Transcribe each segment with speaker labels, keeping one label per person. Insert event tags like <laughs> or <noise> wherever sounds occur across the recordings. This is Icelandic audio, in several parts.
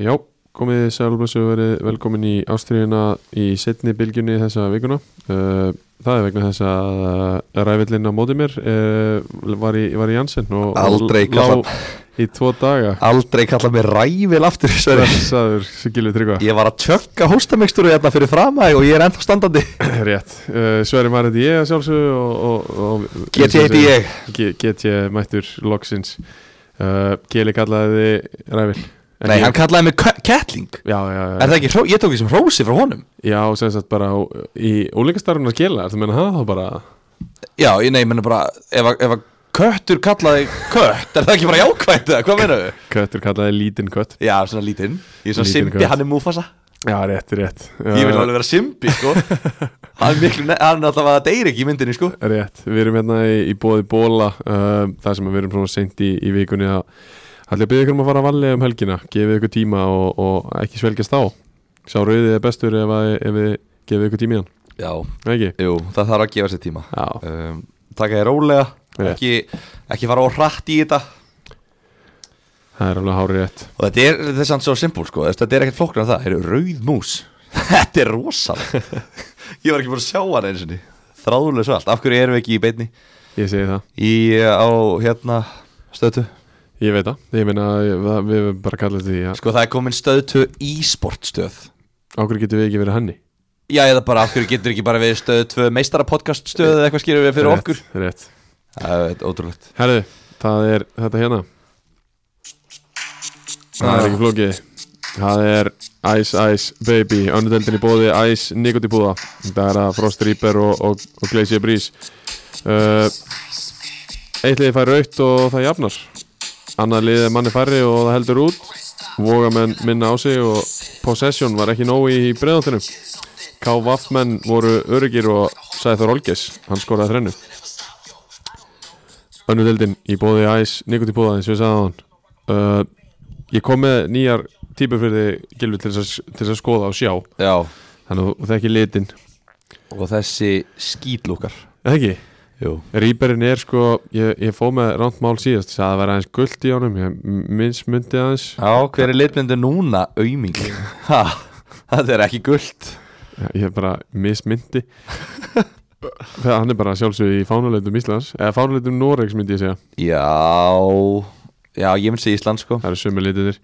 Speaker 1: Já, komið sælblessu og verið velkomin í ástriðuna í setni bylgjunni þessa vikuna uh, Það er vegna þess að uh, ræfillinn á móti mér uh, var, í, var í Janssen og
Speaker 2: Aldrei
Speaker 1: og lá í tvo daga
Speaker 2: Aldrei kalla mig ræfil aftur <laughs> Sverrir.
Speaker 1: Stressaður, Gilvi Tryggva
Speaker 2: Ég var að tjögga hóstamiksturu hérna fyrir framæg og ég er ennþá standandi
Speaker 1: <laughs> Rétt, uh, Sverri Marit ég að sjálfsögðu og, og, og
Speaker 2: Get ég heiti ég
Speaker 1: G- Get ég mættur loksins uh, Kili kallaði þið ræfill En
Speaker 2: Nei,
Speaker 1: ég-
Speaker 2: hann kallaði mig kö- kettling
Speaker 1: Já, já, já
Speaker 2: Er það ekki, hró- ég tók því sem hrósi frá honum
Speaker 1: Já, sem sagt bara á- í úlingastarfunar Kila, ertu að meina það þá bara
Speaker 2: Já, ég nei, ég menna bara Ef að- ef að köttur kallaði kött Er það ekki bara jákvæmt eða, hvað meinaðu?
Speaker 1: Köttur kallaði lítinn kött
Speaker 2: Já, svona lítinn Ég er svona
Speaker 1: Lítinn
Speaker 2: simpi,
Speaker 1: kött.
Speaker 2: hann er múfasa
Speaker 1: Já, rétt, rétt
Speaker 2: Ég vil alveg vera simpi, <laughs> sko Hann er miklu, ne- hann er alltaf að deyri ekki í myndinni, sko
Speaker 1: Rétt, við erum hérna í, í bóði bóla uh, Það sem við erum svona seint í, í vikunni að Allir byrja ykkur um að fara að valli um helgina Gefið ykkur tíma og, og ekki svelgjast á Sá rauðið er bestur ef, að, ef við gefið ykkur tíma í hann
Speaker 2: Já,
Speaker 1: Nei, Ekki?
Speaker 2: jú, það þarf að gefa sér tíma
Speaker 1: Já,
Speaker 2: um, Taka þér rólega
Speaker 1: Rétt.
Speaker 2: ekki, ekki fara á hratt í þetta
Speaker 1: það er alveg hárið rétt
Speaker 2: Og þetta er þess að svo simpul sko Þetta þetta er ekkert flokknar það, þetta er rauð mús <laughs> Þetta er rosalega <laughs> Ég var ekki búin að sjá hana eins og Þráðulega svo allt, af hverju erum við ekki í beinni
Speaker 1: Ég segi það
Speaker 2: Í, eh, á, hérna, stöðtu
Speaker 1: Ég veit það, ég meina ég- það- við erum bara kallað því að
Speaker 2: Sko það er komin stöðtu í sportstöð
Speaker 1: Ákveður getum við ekki verið henni
Speaker 2: Já, eða bara af hverju getur ekki bara við stöðu tvö meistara podcaststöð eða eitthvað skýrur við fyrir
Speaker 1: rétt,
Speaker 2: okkur
Speaker 1: Rétt
Speaker 2: Það er ótrúlegt
Speaker 1: Herðu, það er þetta hérna Það er ekki flókið Það er Ice Ice Baby Önnudeldin í bóði Ice Nikotipúða Þetta er að Frost Reaper og, og, og Glacier Breeze uh, Eitt liði fær raukt og það jafnar Annað liði manni færri og það heldur út Vogamenn minna á sig og Possession var ekki nóg í breiðáttinu KVF menn voru örugir og Sæður Olges, hann skoraði þrennu önnu deildin í bóði æs nikotipúða eins og ég sagði á hann uh, ég kom með nýjar típur fyrir þig Gylfi til þess að, til þess að skoða og sjá
Speaker 2: Já,
Speaker 1: þannig að það ekki litin
Speaker 2: og þessi skýtlúkar
Speaker 1: eða ekki,
Speaker 2: Jú
Speaker 1: rýperinn er sko ég, ég fóð með ránt mál síðast ég sagði að það væri aðeins gullt í honum ég minnsmundi aðeins
Speaker 2: Já, hver er litmyndu núna? Auming Ha, <laughs> það er ekki gullt
Speaker 1: ég er bara mismyndi þegar hann er bara sjálfsög í fánuleitum Íslands eða fánuleitum Noregs myndi ég segja
Speaker 2: Já Já, ég myndi segja Ísland sko
Speaker 1: það eru sömu litinir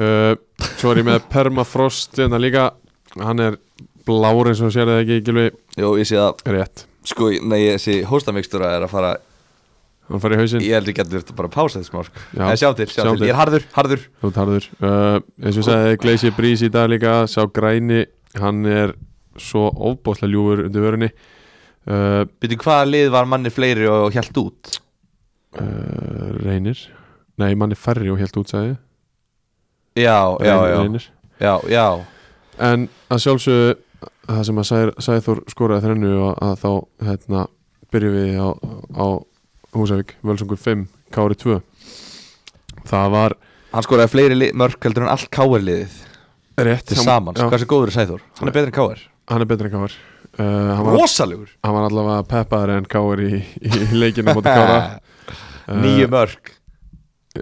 Speaker 1: uh, svo er ég með permafrost en það líka, hann er blár eins og sér það ekki Gylfi
Speaker 2: Jú, ég sé að
Speaker 1: Rétt,
Speaker 2: Sko, nei, þessi hóstamikstúra er að fara
Speaker 1: hann farið í hausinn
Speaker 2: Ég held ekki að þetta bara að pása þessi smá sko
Speaker 1: Já.
Speaker 2: En sjá til, Hm. sjá,
Speaker 1: Sjá til.
Speaker 2: til. Ég Sko- er harður, harður
Speaker 1: Þú tarður uh, eins og ég sagði, Glacier Breeze í dag líka sá græni, hann er svo ofbóðslega ljúfur undir vörunni uh,
Speaker 2: Býtu, hvaða lið var manni fleiri og hjælt út?
Speaker 1: uh, reynir nei, mann er færri og helt útsæði
Speaker 2: Já, já, já
Speaker 1: reynir.
Speaker 2: Já, já
Speaker 1: en að sjálfsögðu það sem að Sæ- Sæþór skoraði þrennu og að þá hérna, byrjum við á, á Húsavík, Völsungur 5 Kári 2 það var
Speaker 2: Hann skoraði fleiri lið, mörk heldur en allt káar liðið
Speaker 1: rétt
Speaker 2: Til saman, sko.
Speaker 1: já,
Speaker 2: hversu góður er Sæþór? Hann er betri en káar
Speaker 1: hann er betri en Kári uh, hann var
Speaker 2: Rósalegur
Speaker 1: hann var allavega peppaður en káir í, í leikinu mot
Speaker 2: <laughs>
Speaker 1: kára Eh,
Speaker 2: Nýju mörk,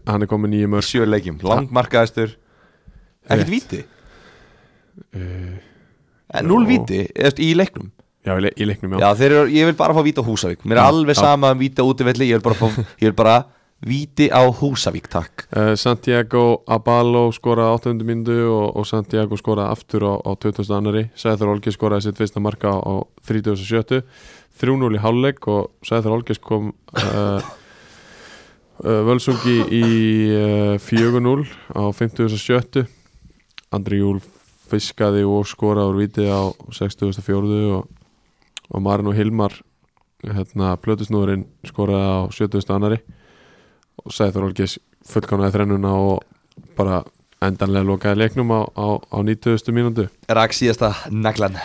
Speaker 1: hann er komið nýju mörg
Speaker 2: sjö leikjum Langmarkaðistur
Speaker 1: Rétt.
Speaker 2: Ekkert víti
Speaker 1: uh,
Speaker 2: En Núl
Speaker 1: Já.
Speaker 2: víti eftir, í leiknum
Speaker 1: já, í, le í leiknum já,
Speaker 2: Já, þeir eru, ég vil bara fá víti á Húsavík Mér er
Speaker 1: Já,
Speaker 2: alveg
Speaker 1: já.
Speaker 2: sama um víti á útivelli Ég vil bara, fá, ég vil bara víti á Húsavík, takk
Speaker 1: Uh, Santiago Abalo skoraði á 800 myndu og, og Santiago skoraði aftur á, á 2000 annari Sæður Olgis skoraði sitt fyrsta marka á, á 37 3-0 í hálfleik og Sæður Olgis kom uh, uh, Völsungi í uh, 4-0 á 57 Andri Júl fiskaði og skoraði úr viti á 64 og, og Marino Hilmar hérna, plötusnúðurinn skoraði á 70 annari og Sæður Olgis fullkonaði þrennuna og bara endanlega lokaði leiknum á, á, á 90. mínútu
Speaker 2: Rak síðasta naglan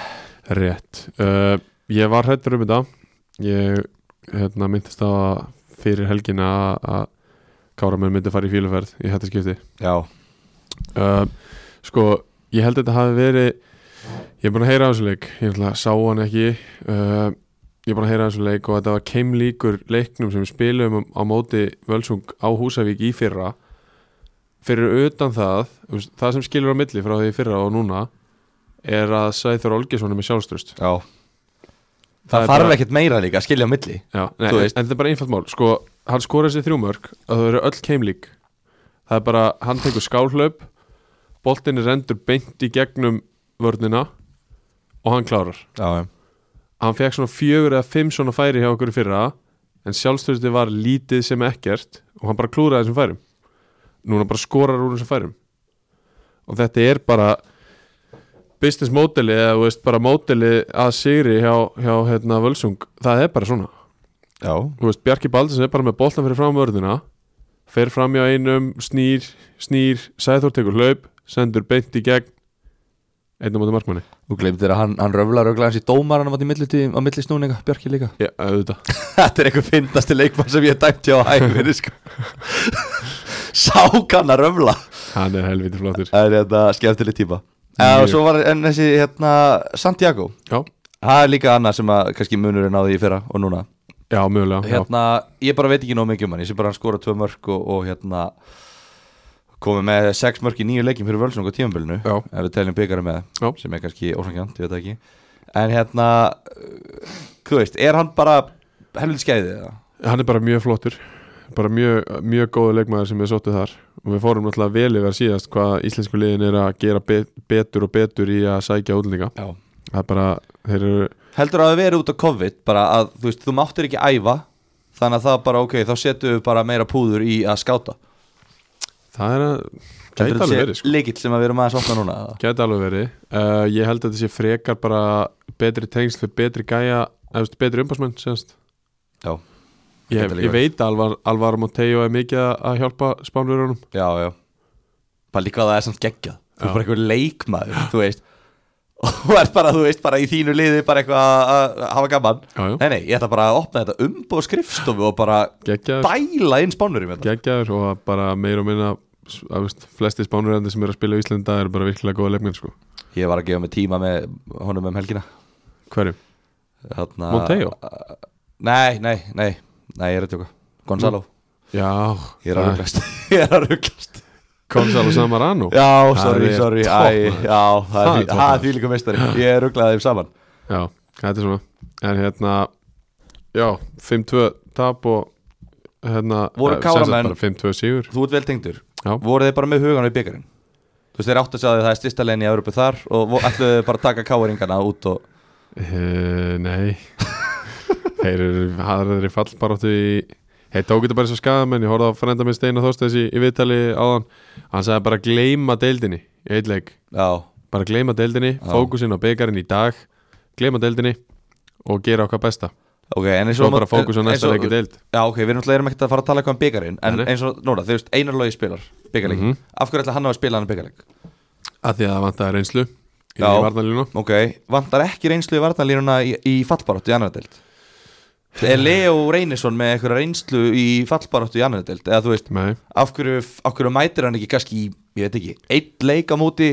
Speaker 1: Rétt uh, Ég var hrættur um þetta Ég hérna, myndist á að fyrir helgina að- að Káramenn myndi fara í fíluferð í þetta skipti
Speaker 2: Já,
Speaker 1: uh, Sko, ég held að þetta hafi verið Ég er búin að heyra af þessu leik Ég ætla að sá hann ekki uh, Ég er búin að heyra af þessu leik og þetta var keimlíkur leiknum sem við spilum á móti Völsung á Húsavík í fyrra fyrir utan það þú veist, það sem skilur á milli frá því í fyrra og núna er að Sæþur Olgesson er með sjálfströst
Speaker 2: Já
Speaker 1: Það er
Speaker 2: Það þarf
Speaker 1: bara-
Speaker 2: ekkert meira líka að skilja á milli
Speaker 1: Já, nei,
Speaker 2: Þú
Speaker 1: en
Speaker 2: veist.
Speaker 1: þetta er bara einfalt mál sko, hann skorar þessi þrjú mörg að það eru öll keimlík það er bara, hann tekur skálhlaup boltin er endur beint í gegnum vörnina og hann klárar
Speaker 2: Já, já
Speaker 1: hann fekk svona fjögur eða fimm svona færi hjá okkur í fyrra en sjálfstöðusti var lítið sem ekkert og hann bara klúraði þessum færum núna bara skorar úr þessum færum og þetta er bara business modeli eða þú veist, bara modeli að sigri hjá, hjá hérna, Völsung það er bara svona
Speaker 2: Já,
Speaker 1: þú veist, Bjarki Baldins er bara með boltan fyrir fram vörðina fer fram hjá einum, snýr, snýr Sæþór tekur hlaup, sendur beint í gegn einn á móti markmanni
Speaker 2: þú glemtir að hann, hann röflar öglega hans í dómaranum á milli, á milli snúninga, Bjarki líka
Speaker 1: Já, auðvitað
Speaker 2: <laughs> Þetta er einhver fyndasti leikmann sem ég dæmt hjá æfinni sko. <laughs> Sá kann að röfla
Speaker 1: Hann er helviti flottur
Speaker 2: Það er þetta skemmtileg típa
Speaker 1: Mjög.
Speaker 2: En svo var en þessi hérna Santiago
Speaker 1: Já,
Speaker 2: Það er líka annað sem að kannski munur er náði í fyrra og núna
Speaker 1: já mögulega já.
Speaker 2: Hérna, ég bara veit ekki nóg mikið um hann Ég sé bara að hann skora tvö mörk og, og hérna komið með sex mörk í nýju leikjum fyrir völsung á tímabilinu
Speaker 1: Já.
Speaker 2: ef við teljum byggari með
Speaker 1: Já.
Speaker 2: sem er kannski ósangjant, ég veit það ekki en hérna uh, þú veist, er hann bara helviti skeiðið það?
Speaker 1: Hann er bara mjög flottur bara mjög, mjög góðu leikmaður sem við sóttu þar og við fórum náttúrulega vel yfir síðast hvað íslensku liðin er að gera be betur og betur í að sækja útlendinga
Speaker 2: Já.
Speaker 1: það er bara, þeir eru
Speaker 2: heldur að það verið út á COVID bara að þú veist, þú máttir ekki æfa þannig að það bara, ok, þá setjum við bara meira púður í að skáta
Speaker 1: það er að, gæti alveg verið sko.
Speaker 2: Líkill sem að við erum aðeins opna núna eða?
Speaker 1: Gæti alveg verið uh, Ég held að þetta sé frekar bara betri tengsl við betri gæja, eftir betri umbásmenn semst
Speaker 2: Já,
Speaker 1: Ég,
Speaker 2: Gæti líka
Speaker 1: ég veit að Alvar, Alvar Monteo er mikið að- að hjálpa spánverunum
Speaker 2: já, já Bara líka að það er samt geggjað Þú
Speaker 1: Já.
Speaker 2: er bara eitthvað leikmaður, þú veist og þú ert bara, þú veist, bara í þínu liði bara eitthvað að- að hafa gaman
Speaker 1: Já, já.
Speaker 2: Nei, nei, ég ætla bara að opna þetta umboð skrifstofu og bara
Speaker 1: Geggjaður,
Speaker 2: bæla inn hérna. spánurum þetta
Speaker 1: geggjaður og að bara meir og minna s- að, veist, flesti spánverðandi sem eru að spila í Íslanda er bara virkilega góða leikmenn sko.
Speaker 2: Ég var að gefa mig tíma með honum um helgina
Speaker 1: Hverjum?
Speaker 2: Þarna,
Speaker 1: Monteo?
Speaker 2: Nei, nei, nei, nei, ég er að tjóka Gonzalo,
Speaker 1: Já,
Speaker 2: ég er að rugglast <laughs> Ég er að rugglast
Speaker 1: Gonzalo Samarano
Speaker 2: Já,
Speaker 1: Það
Speaker 2: sorry,
Speaker 1: er
Speaker 2: sorry,
Speaker 1: topp,
Speaker 2: æ,
Speaker 1: maður.
Speaker 2: já, það
Speaker 1: Það
Speaker 2: er
Speaker 1: er
Speaker 2: því-
Speaker 1: topp,
Speaker 2: það er
Speaker 1: maður.
Speaker 2: því líka meistari Ég rugglaði þeim saman
Speaker 1: Já, þetta er svona En hérna, já, 5-2 tap og hérna,
Speaker 2: Voru
Speaker 1: eh, sem sagt
Speaker 2: káramenn-
Speaker 1: bara 5-2 sigur
Speaker 2: Þú ert vel tengdur,
Speaker 1: Já.
Speaker 2: voru þeir bara með hugan við byggarinn? Þú veist, þeir átt að segja að það er styrsta legin í Európu þar og vo- ætluðu þeir bara að taka káringana út og
Speaker 1: Uh, nei Þeir eru aðraður í fallbaróttu í Þeir tók þetta bara svo skaða menn Ég horfði á frenda minn Steinar Þorstæðis í, í viðtali áðan Hann sagði bara gleyma deildinni í Eitt leik,
Speaker 2: Já,
Speaker 1: bara gleyma deildinni
Speaker 2: Já.
Speaker 1: Fókusin á byggarinn í dag Gleyma deildinni og gera okkar besta
Speaker 2: ok, en eins
Speaker 1: Svo
Speaker 2: og
Speaker 1: bara fókus á
Speaker 2: en-
Speaker 1: næsta
Speaker 2: eins og-
Speaker 1: leik í deild
Speaker 2: Já, ok, við erum alltaf erum ekkert að fara að tala eitthvað um byggarinn En
Speaker 1: Nei, nei.
Speaker 2: eins og, núna, þú veist, einar logi spilar byggarleik
Speaker 1: Mhm.
Speaker 2: Af hverju ætla hann að spila hann byggarleik?
Speaker 1: að Því að það vantaði reynslu Í
Speaker 2: Já.
Speaker 1: varnalínu
Speaker 2: Ok, vantar ekki reynslu í varnarlínuna í, í fallbaráttu í annardelt Er Leo Reynisson með einhverja reynslu í fallbaráttu í annardelt eða þú veist,
Speaker 1: Nei,
Speaker 2: af hverju, af hverju mætir hann ekki kannski í, ég veit ekki, einn leik á móti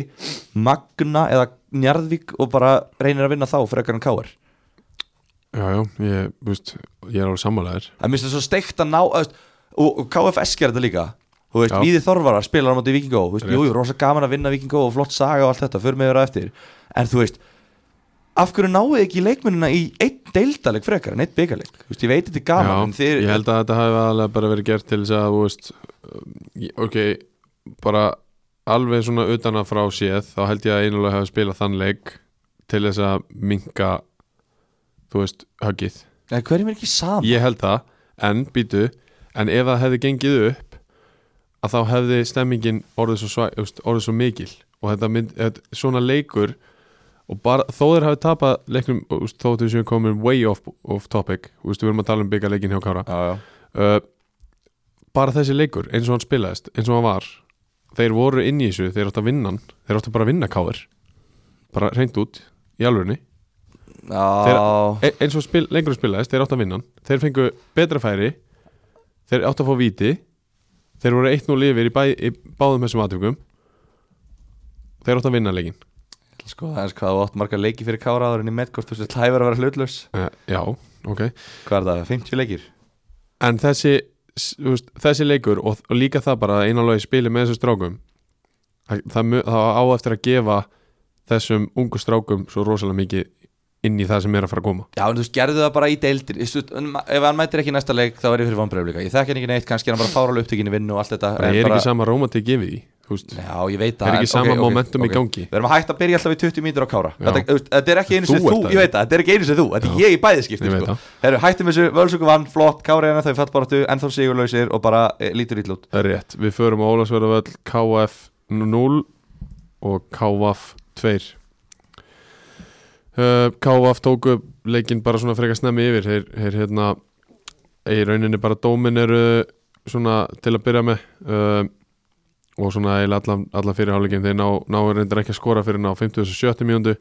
Speaker 2: Magna eða Njarðvík og bara reynir að vinna þá frekar en Káar
Speaker 1: já, já, ég, þú veist, ég er alveg sammálaðir
Speaker 2: Það minnst það svo steikt að ná þú veist, og, og KFS gerir þetta líka Þú veist,
Speaker 1: Já.
Speaker 2: Víði Þorvarar spilar á móti Víkingó Þú veist,
Speaker 1: Rétt.
Speaker 2: jú, jú, rosa gaman að vinna Víkingó og flott saga og allt þetta, förum við vera eftir En þú veist, af hverju náðu þið ekki leikmennina í einn deildaleg frekar en einn byggaleg Þú veist, ég veit þetta er gaman en
Speaker 1: Já,
Speaker 2: þið,
Speaker 1: ég held að þetta hafi aðalega bara verið gert til þess að, þú veist, ég- ok, bara alveg svona utan að frá séð, þá held ég að einulega hafi spilað þann leik til þess að minka, þú veist, höggið.
Speaker 2: En hverjum er ekki saman?
Speaker 1: Ég held það, en býtu, en ef það hefði gengið upp, að þá hefði stemmingin orðið svo, svæ, þú veist, orðið svo mikil og þetta mynd, þetta, svona leikur og bara, þó þeir hafi tapað leiknum, þú veist, þó þau séu komin way off, off topic, þú veist, við erum að tala um byggarleikin hjá Kára
Speaker 2: Já, já
Speaker 1: uh, bara þessi leikur eins og hann spilaðist, eins og hann var þeir voru inn í þessu, þeir áttu að vinna hann þeir áttu bara að vinna káður bara reynd út í alvörunni
Speaker 2: Já,
Speaker 1: e eins og spil, lengur spilaðist, þeir áttu að vinna hann þeir fengu betra færi þeir áttu að fá víti þeir voru 1-0 yfir í, bæ, í báðum þessum aðtökum þeir áttu að vinna leikin
Speaker 2: sko, það er hvað þú átt marga leiki fyrir káraður en í medkort, þú veist, það er að vera hlutlaus
Speaker 1: uh, já, Eh, ok
Speaker 2: Hvað er það, 50 leikir?
Speaker 1: en þessi s- þú veist, þessi leikur og, og líka það bara að eina logi spili með þessum strákum það, það, mu- það á eftir að gefa þessum ungu strákum svo rosalega mikið inn í það sem er að fara að koma
Speaker 2: Já, en þú veist, gerðu það bara í deildir um, Ef hann mætir ekki í næsta leik, þá er ég fyrir vonbreyflika Ég þekki hann ekki neitt, kannski er hann bara fáral upptökin í vinnu og allt þetta
Speaker 1: það
Speaker 2: en
Speaker 1: er
Speaker 2: bara-
Speaker 1: ekki sama rómatík yfir því þú veist,
Speaker 2: Já, ég veit það
Speaker 1: er ekki
Speaker 2: en-
Speaker 1: sama
Speaker 2: ok, ok,
Speaker 1: momentum
Speaker 2: ok.
Speaker 1: í gangi
Speaker 2: Við erum að hætta að byrja alltaf í 20 mínútur á kára
Speaker 1: Já.
Speaker 2: þetta, þú veist, þetta er ekki einu
Speaker 1: Þú
Speaker 2: sem þú,
Speaker 1: ert það.
Speaker 2: ég veit það Þetta er ekki einu sem þú, þetta er ég í bæði skipti
Speaker 1: Ég veit
Speaker 2: sko.
Speaker 1: það.
Speaker 2: Herru, hættum þessu, völsöku vann, flott, kára hérna Þau fatt bara áttu, ennþá sigurlausir og bara e, lítur ítl út
Speaker 1: það er rétt, við förum á Ólasverðavöll KF 0 og KVF 2 uh, KVF tóku leikinn bara svona frekar snemmi yfir þeir, þeir hérna í rauninni bara dómin eru svona til að byrja með uh, og svona eiginlega allan, allan fyrirháleikin þeir ná, ná reyndar ekki að skora fyrir ná 57. mjöndu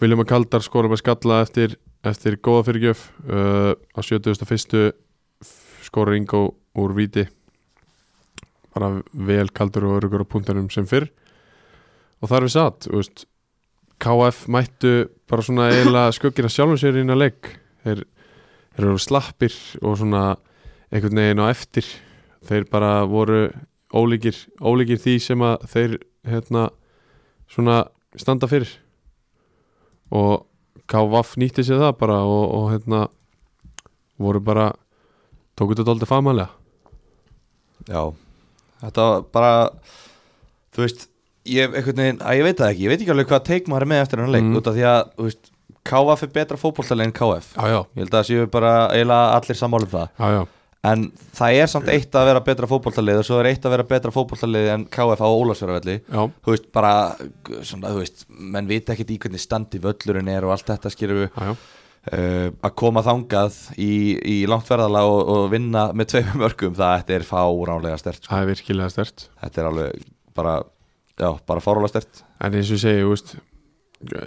Speaker 1: Viljum að Kaldar skora með skalla eftir, eftir góða fyrirgjöf uh, á 71. skora Ingo úr víti bara vel kaldur og örugur á punktunum sem fyrr og þar við satt þú veist, KF mættu bara svona eiginlega skuggina sjálfum sér inn að leik þeir, þeir eru slappir og svona einhvern veginn á eftir þeir bara voru ólíkir, ólíkir því sem að þeir hérna svona standa fyrir og KVF nýtti sér það bara og, og hérna voru bara tóku þetta aldrei famalega
Speaker 2: Já, þetta var bara Þú veist, ég, einhvern veginn, að ég veit það ekki Ég veit ekki alveg hvað teik maður er með eftir hann leik
Speaker 1: Mm.
Speaker 2: Út af því að, þú veist, KF er betra fótboltalegin KF
Speaker 1: Já, já,
Speaker 2: Ég held að séu bara eiginlega allir sammála um það
Speaker 1: já, já.
Speaker 2: En það er samt eitt að vera betra fótboltalið og svo er eitt að vera betra fótboltalið en KF á Ólafsverðarvelli
Speaker 1: Já,
Speaker 2: Þú veist, bara, svona, þú veist, menn vita ekkert í hvernig standi völlurinn er og allt þetta skýrum við
Speaker 1: já, já,
Speaker 2: uh, að koma þangað í, í langt ferðala og, og vinna með tveimum örgum, það þetta er fáránlega stert sko.
Speaker 1: það er virkilega stert
Speaker 2: Þetta er alveg bara, já, bara fáránlega stert
Speaker 1: En eins og ég segi, þú veist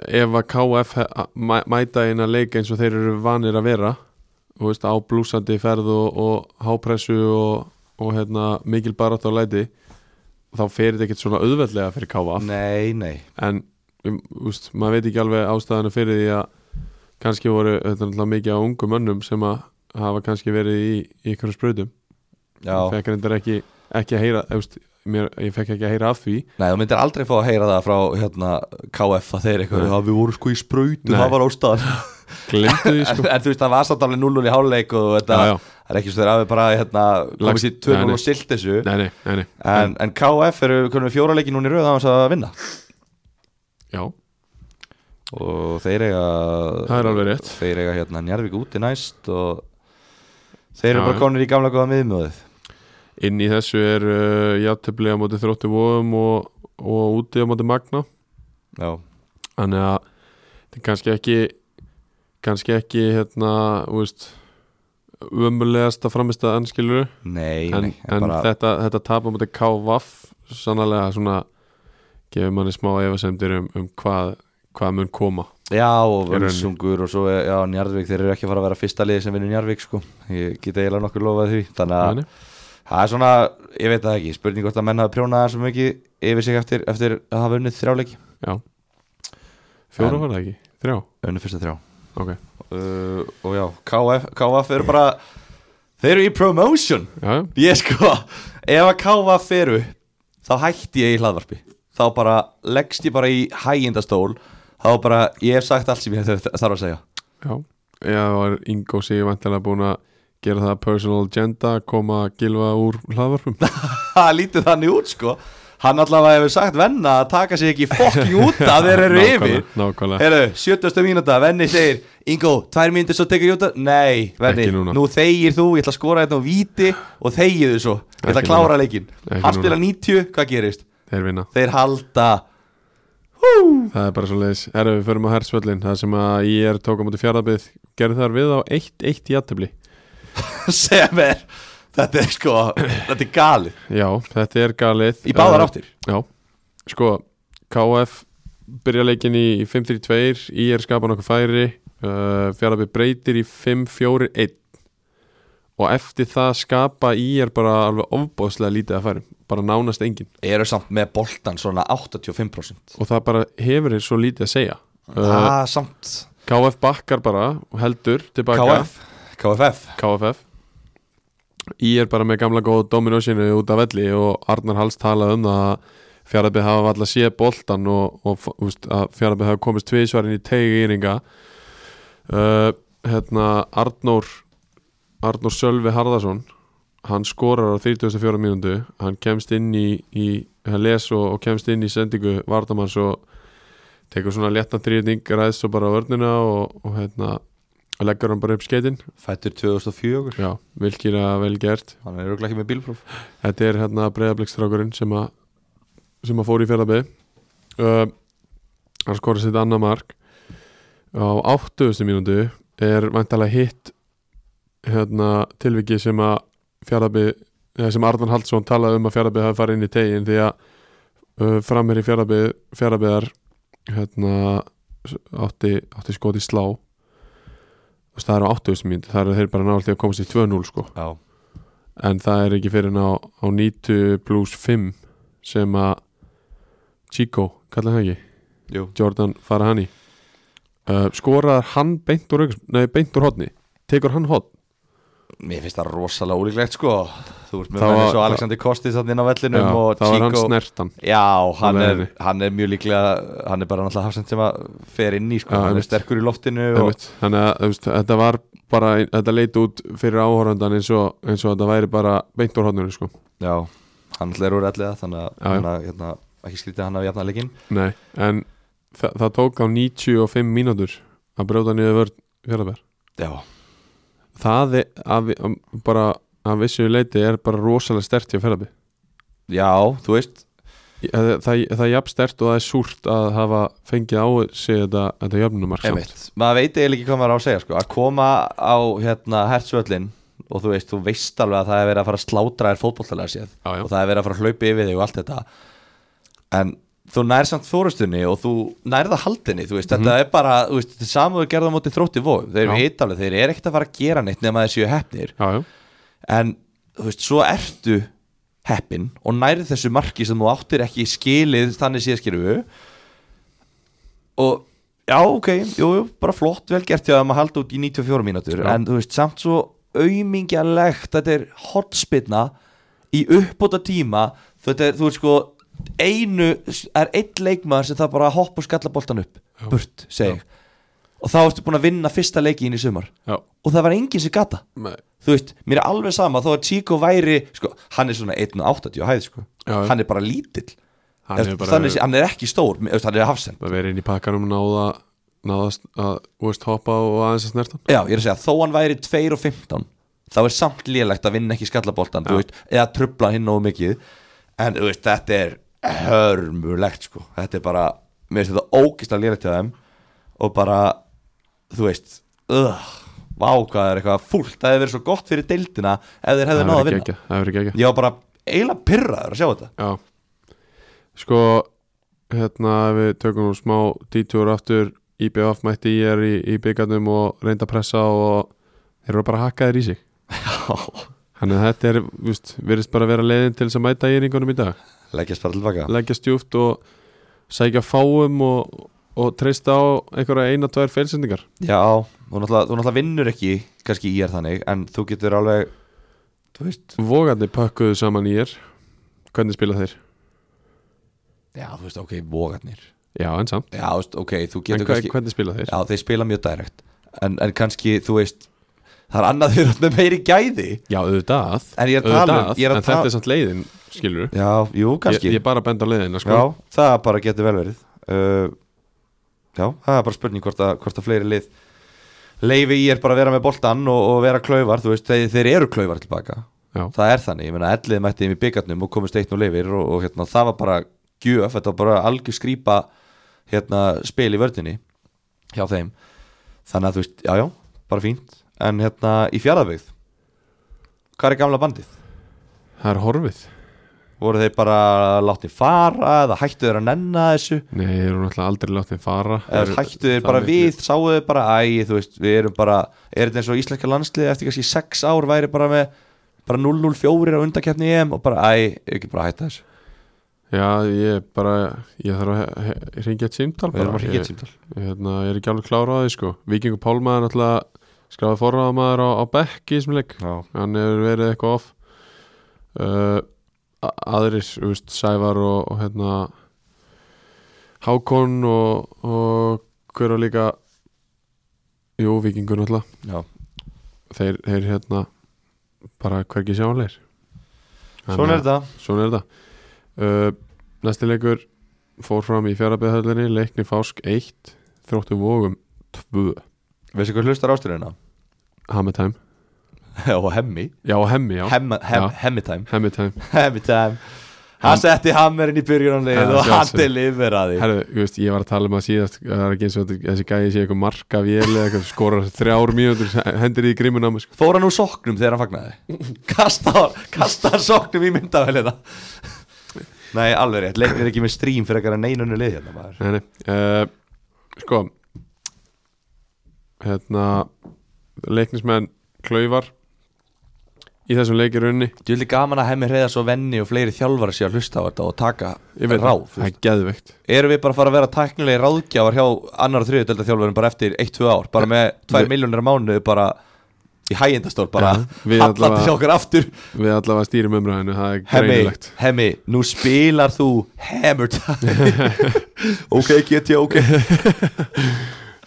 Speaker 1: Ef að KF he- mæ, mæta inn að leika eins og þeir eru vanir að vera þú veist, á blúsandi ferð og, og hápressu og, og hérna, mikil barátt á læti þá fer þetta ekkert svona auðveldlega fyrir KF
Speaker 2: Nei, nei,
Speaker 1: en um, þú veist, maður veit ekki alveg ástæðana fyrir því að kannski voru þetta er náttúrulega mikið á ungu mönnum sem að hafa kannski verið í, í ykkur sprautum
Speaker 2: já
Speaker 1: fekk reyndar ekki, ekki að heyra þú veist, mér, ég fekk ekki að heyra af því
Speaker 2: Nei, þú myndir aldrei fá að heyra það frá hérna, KF að þeir eitthvað,
Speaker 1: Nei.
Speaker 2: já, við vorum sko í sprautu,
Speaker 1: Nei.
Speaker 2: það var ástæðan
Speaker 1: <laughs> glemdu því
Speaker 2: en,
Speaker 1: sko
Speaker 2: en þú veist, það var samt alveg 0-0 í háluleik og þetta,
Speaker 1: Já, já.
Speaker 2: það er ekki svo þeir hafi bara hérna, komist
Speaker 1: Lagst-
Speaker 2: í 2-0
Speaker 1: nei,
Speaker 2: og silt þessu
Speaker 1: Nei, nei, nei, nei.
Speaker 2: en, en KF eru konum við fjóra leiki núna í röð á hans að vinna
Speaker 1: Já,
Speaker 2: og þeir eiga
Speaker 1: það er alveg rétt
Speaker 2: þeir eiga hérna Njarvík úti næst og þeir eru
Speaker 1: Já,
Speaker 2: bara
Speaker 1: já.
Speaker 2: konur í gamla góða miðmjóðið
Speaker 1: Inn í þessu er uh, játtöfli á móti þrótti vóðum og, og úti á móti magna
Speaker 2: já,
Speaker 1: Þannig að þetta er kannski ekki kannski ekki hérna þú veist, ömulegasta framist að anskilur
Speaker 2: nei,
Speaker 1: en,
Speaker 2: nei
Speaker 1: en þetta, þetta tap á móti KVF sannlega svona gefur manni smá efasemdir um, um hvað, hvað mun koma
Speaker 2: já, og
Speaker 1: Í rauninni.
Speaker 2: völsungur og svo, er- já, Njarvík þeir eru ekki að fara að vera fyrsta liði sem vinnur Njarvík sko, ég get eiginlega nokkur lofað því þannig að
Speaker 1: Þannig?
Speaker 2: Það er svona, ég veit það ekki, spurning hvort að menn hafa prjónað þessum mikið yfir sig eftir, eftir að hafa unnið þrjáleiki
Speaker 1: Já Fjóra
Speaker 2: En-
Speaker 1: var það ekki? Þrjá?
Speaker 2: Unnið fyrsta þrjá
Speaker 1: Ok
Speaker 2: uh, Og já, KF, KF eru bara, þeir eru í promotion
Speaker 1: Já, já.
Speaker 2: Ég sko, ef að KF eru, þá hætti ég í hlaðvarpi Þá bara leggst ég bara í hægindastól Þá bara, ég hef sagt allt sem ég þarf þarf að segja
Speaker 1: Já, já það var Ingo sig vantilega búin að gera það personal agenda, koma að gilfa úr hlaðvarpum
Speaker 2: <laughs> Það lítið þannig út sko Hann allavega hefur sagt venna að taka sig ekki fokking út að þeir eru yfir
Speaker 1: Nákvæmlega, nákvæmlega
Speaker 2: Herru, 70. mínúta, Venni segir Ingo, tvær mínútur svo tekur Jóta Nei, Venni,
Speaker 1: Ekki núna.
Speaker 2: nú þegir þú Ég ætla að skora þetta á víti og þegið þau svo Ég ætla að
Speaker 1: Ekki
Speaker 2: klára
Speaker 1: núna.
Speaker 2: leikinn
Speaker 1: Ekki
Speaker 2: Hann spila
Speaker 1: núna.
Speaker 2: 90, hvað gerist?
Speaker 1: Þeir vinna,
Speaker 2: Þeir halda <laughs>
Speaker 1: það er bara svo leiðis Erum við förum á hersvöllin, það sem að ég er tók á móti fjárðabið, gerði þar við á 1-1 í aðtöfli
Speaker 2: sem er Þetta er sko, þetta er galið
Speaker 1: Já, þetta er galið
Speaker 2: Í báðar
Speaker 1: Eh,
Speaker 2: áttir
Speaker 1: Já, sko KF byrja leikin í í 5-3-2 í er skapan okkur færi uh, Fjarlabbi breytir í 5-4-1 og eftir það skapa í er bara alveg ofbóðslega lítið að færi bara nánast engin
Speaker 2: Eru samt með boltan svona 85%
Speaker 1: og það bara hefur þeir svo lítið að segja uh,
Speaker 2: Það samt
Speaker 1: KF bakkar bara og heldur tilbaka
Speaker 2: KF KFF
Speaker 1: KFF Í er bara með gamla góð dominósinu út af velli og Arnar Hals talaði um það að Fjarafið hafa alltaf séð boltan og, og úst, að Fjarafið hafa komist tvísvarinn í tegi íringa uh, hérna Arnór Arnór Sölvi Harðarsson hann skorar á 34 mínútu hann kemst inn í, í hann les og, og kemst inn í sendingu Vardamanns og tekur svona léttan þrýðning ræðs og bara á örnina og, og hérna leggur hann bara upp skeitin
Speaker 2: Fættur 2004
Speaker 1: já, vilkýra vel gert
Speaker 2: Hann er auðvitað ekki með bílpróf
Speaker 1: Þetta er hérna breyðablikkstrákurinn sem að sem að fór í fjarlabið uh, hann skorið sitt annað mark á áttuðustu mínútu er væntalega hitt hérna tilviki sem að fjarlabið, sem Arnar Haldsson talaði um að fjarlabið hafi farið inn í tegin því að uh, framherri fjarlabið fjarlabiðar hérna s- átti, átti skot í slá Þú veist, það er á áttuðustu mínútu það eru þeir bara náttúrulega að komast í 2-0 sko
Speaker 2: Já,
Speaker 1: en það er ekki fyrir en á, á 90 plus 5 sem að Chico, kallar hann ekki,
Speaker 2: jú
Speaker 1: Jordan Farahani uh, skorar hann beint úr, auks- nei, beint úr hotni tekur hann hotn
Speaker 2: Mér finnst það rosalega ólíklegt sko Þú ert með
Speaker 1: Það
Speaker 2: menni
Speaker 1: var-
Speaker 2: svo Alexander Kostis þannig inn á vellinum og
Speaker 1: þá er hann
Speaker 2: Chico
Speaker 1: snertan
Speaker 2: Já, hann
Speaker 1: Á
Speaker 2: er,
Speaker 1: leiðinni.
Speaker 2: hann er mjög líklega Hann er bara náttúrulega hafsend sem að fer inn í sko.
Speaker 1: Já,
Speaker 2: Hann er
Speaker 1: einmitt.
Speaker 2: sterkur í loftinu og,
Speaker 1: Einmitt. þannig að þú veist, þetta var bara þetta leit út fyrir áhorfandan eins og, eins og þetta væri bara beint úr hotninu sko.
Speaker 2: Já, hann náttúrulega er úr elliða Þannig að
Speaker 1: Já, já.
Speaker 2: hann að, hérna, ekki skrítið að hann að jafna leikinn
Speaker 1: nei, en það, það tók á 95 mínútur að brjóta niður vörn fjörðabær
Speaker 2: Já,
Speaker 1: það er að, vi- að, bara að vissu leiti er bara rosalega stert hjá ferðabi
Speaker 2: já, þú veist
Speaker 1: það, það, það er jafn stert og það er súrt að hafa fengið á sig þetta, þetta jöfnumark samt.
Speaker 2: Einmitt. Maður veit eiginlega ekki hvað maður á að segja sko. Að koma á hérna, hertsvöllin Og þú veist, þú veist alveg að það er verið að fara að slátra þér fótbolltalega séð
Speaker 1: Já, já.
Speaker 2: Og það er verið að fara að hlaupa yfir þig og allt þetta En þú nær samt þórustunni og þú nærða haldinni Þú veist, þetta er bara, þú veist, þetta er samuður gerða á móti þrótti vóðum Þeir eru
Speaker 1: Mhm. Já.
Speaker 2: hittalega, þeir eru ekkert að fara að gera neitt nema þeir séu heppnir
Speaker 1: já, já,
Speaker 2: En, þú veist, svo ertu heppin og nærið þessu marki sem þú áttir ekki skilið þannig síðaskirfu og já, ok, jú, jú, bara flott vel gert hjá þeim að halda út í 94 mínútur
Speaker 1: Já.
Speaker 2: en þú veist, samt svo aumingjalegt þetta er hotspinna í uppbóta tíma þetta er, þú veist sko einu, það er einn leikmaður sem það bara að hoppa og skalla boltan upp
Speaker 1: Já.
Speaker 2: burt, segi ég og þá ertu búin að vinna fyrsta leikin í sumar
Speaker 1: já.
Speaker 2: og það var enginn sem gata
Speaker 1: Nei,
Speaker 2: þú veist, mér er alveg sama þó að Chico væri, sko, hann er svona 1.80 á hæð, sko,
Speaker 1: Já, já.
Speaker 2: hann er bara lítill
Speaker 1: hann
Speaker 2: hann
Speaker 1: hefur
Speaker 2: er,
Speaker 1: bara verið-
Speaker 2: þannig, sé- hann er ekki stór, mér- þú veist, hann er hafsend
Speaker 1: bara verið inn í pakkanum og náða náðast að úrst hoppa og aðeins að snertan
Speaker 2: já, ég er að segja, þó hann væri 2 og 15 þá er samt lélegt að vinna ekki skallaboltan þú veist, eða trubla hinn nógu mikið en, þú veist, þetta er hörmulegt, sko, þetta er bara mér finnst þetta ógist að lélegt til þeim og bara, þú veist uh, vá, hvað er eitthvað fúlt, það hefði verið svo gott fyrir deildina ef þeir hefði
Speaker 1: það verið
Speaker 2: náða að vinna
Speaker 1: ekki það verið ekki
Speaker 2: ég var bara eiginlega pyrraður að sjá þetta
Speaker 1: Já Sko hérna ef við tökum nú smá dítúr aftur IBF mætti ég er í, í byggarnum og reynda að pressa og þeir eru bara hakkaðir í sig Þannig að þetta er, víst, virðist bara vera leiðin til þess að mæta í yringunum í dag
Speaker 2: leggjast bara tilbaka
Speaker 1: Leggja stjúft og sækja fáum og, og treysta á einhverja eina, tvær feilsendingar
Speaker 2: já, þú náttúrulega, þú náttúrulega vinnur ekki kannski í er þannig, en þú getur alveg þú veist
Speaker 1: Vogandi pökkuðu saman í er Hvernig spila þeir?
Speaker 2: já, þú veist, ok, vogarnir
Speaker 1: Já, en samt
Speaker 2: já, þú veist, ok, þú
Speaker 1: En
Speaker 2: getur
Speaker 1: hva-
Speaker 2: kannski
Speaker 1: hvernig spila þeir?
Speaker 2: já, þeir spila mjög direkt en, en kannski, þú veist það er annað <laughs> þeir eru með meiri gæði
Speaker 1: Já, auðvitað
Speaker 2: En ég er að tala um-
Speaker 1: Auðvitað,
Speaker 2: ég er að
Speaker 1: en
Speaker 2: tala-
Speaker 1: þetta er samt leiðin, skilur
Speaker 2: já, jú,
Speaker 1: ég,
Speaker 2: kannski
Speaker 1: ég er bara að benda á leiðina sko.
Speaker 2: já, það bara getur vel verið uh, já, það er bara spurning hvort að, hvort að fleiri lið leifi í er bara að vera með boltan og, og vera klauvar, þú veist, þeir, þeir eru klauvar tilbaka
Speaker 1: Já.
Speaker 2: það er þannig, ég meina ellið mætti þeim í byggarnum og komist eitt og leifir og, og hérna, það var bara gjöf, þetta var bara algjör skrýpa hérna, spil í vördinni hjá þeim þannig að þú veist, já já, bara fínt en hérna í fjaraðbyggð hvað er gamla bandið?
Speaker 1: það er horfið
Speaker 2: voru þeir bara látið fara eða hættu þeir að nenna þessu
Speaker 1: Nei, þeir eru náttúrulega aldrei látið fara
Speaker 2: eða hættu þeir
Speaker 1: það
Speaker 2: bara
Speaker 1: miklu-
Speaker 2: við, sáu þeir bara æ, þú veist, við erum bara, er þetta eins og íslenska landslið eftir kannski 6 ár væri bara með bara 0-0-4 á undakeppni í EM og bara æ, ekki bara að hætta þessu
Speaker 1: Já, ég bara, ég þarf að he- he- hringja eitt símtal
Speaker 2: við erum
Speaker 1: bara
Speaker 2: að hringja eitt símtal
Speaker 1: ég, hérna, ég er ekki alveg klára á því sko Víkingur Pálmaður náttúrulega skráði forraðamaður á, á bekki í þessum leik
Speaker 2: Já,
Speaker 1: hann hefur verið eitthvað off uh, a- aðrir, þú veist, Sævar og, og hérna Hákon og, og hver var líka jú, Víkingur náttúrulega
Speaker 2: já,
Speaker 1: þeir, þeir hérna bara hvergi sjáanleir
Speaker 2: svona er þetta
Speaker 1: Svona er þetta uh, Næsti leikur fór fram í fjarabeðhöllinni Leikni Fásk 1 Þróttu Vogum 2
Speaker 2: Veistu hvað hlustar ásturina?
Speaker 1: Hammer time
Speaker 2: og hemmi
Speaker 1: Já, hemmi, já
Speaker 2: Hemma- hem-
Speaker 1: Já.
Speaker 2: Hemmi time <laughs>
Speaker 1: Hemmi time
Speaker 2: Hemmi time Hann setti hammerinn í
Speaker 1: Ja,
Speaker 2: byrjunanlið og hann
Speaker 1: sjálfsögðu.
Speaker 2: deliveraði
Speaker 1: Herðu, ég veist, ég var að tala um að síðast Það er ekki eins og þetta- þessi gæði sé eitthvað marka vél eða eitthvað skorar þrjár mínútur hendir í grimmuna mig sko.
Speaker 2: Fór hann úr soknum þegar hann <laughs> fagnaði Kastar, kastar soknum í myndavælina Nei, alveg rétt Leiknir er ekki með stream fyrir eitthvað neynunni lið hérna maður
Speaker 1: Nei, nei uh, Sko Hérna Leiknismenn Klauvar Í þessum leikir unni
Speaker 2: Þú vildi gaman að hemmi reyða svo venni og fleiri þjálfara sé að hlusta á þetta og taka
Speaker 1: Ég veit
Speaker 2: ráð
Speaker 1: það,
Speaker 2: þú
Speaker 1: það
Speaker 2: veist.
Speaker 1: er geðveikt
Speaker 2: Erum við bara að fara að vera tæknilegi ráðgjafar hjá annar og þriðu delta þjálfarum bara eftir 1-2 ár bara með 2
Speaker 1: Við-
Speaker 2: miljónir á mánu bara í hægindastól bara
Speaker 1: Ja, við
Speaker 2: hallandi
Speaker 1: allavega-
Speaker 2: hjá okkur aftur
Speaker 1: Við allavega stýrum umræðinu, það er
Speaker 2: Hemmi,
Speaker 1: greinilegt
Speaker 2: hemmi, nú spilar þú Hammer time
Speaker 1: <laughs>
Speaker 2: Ok, get ég, ok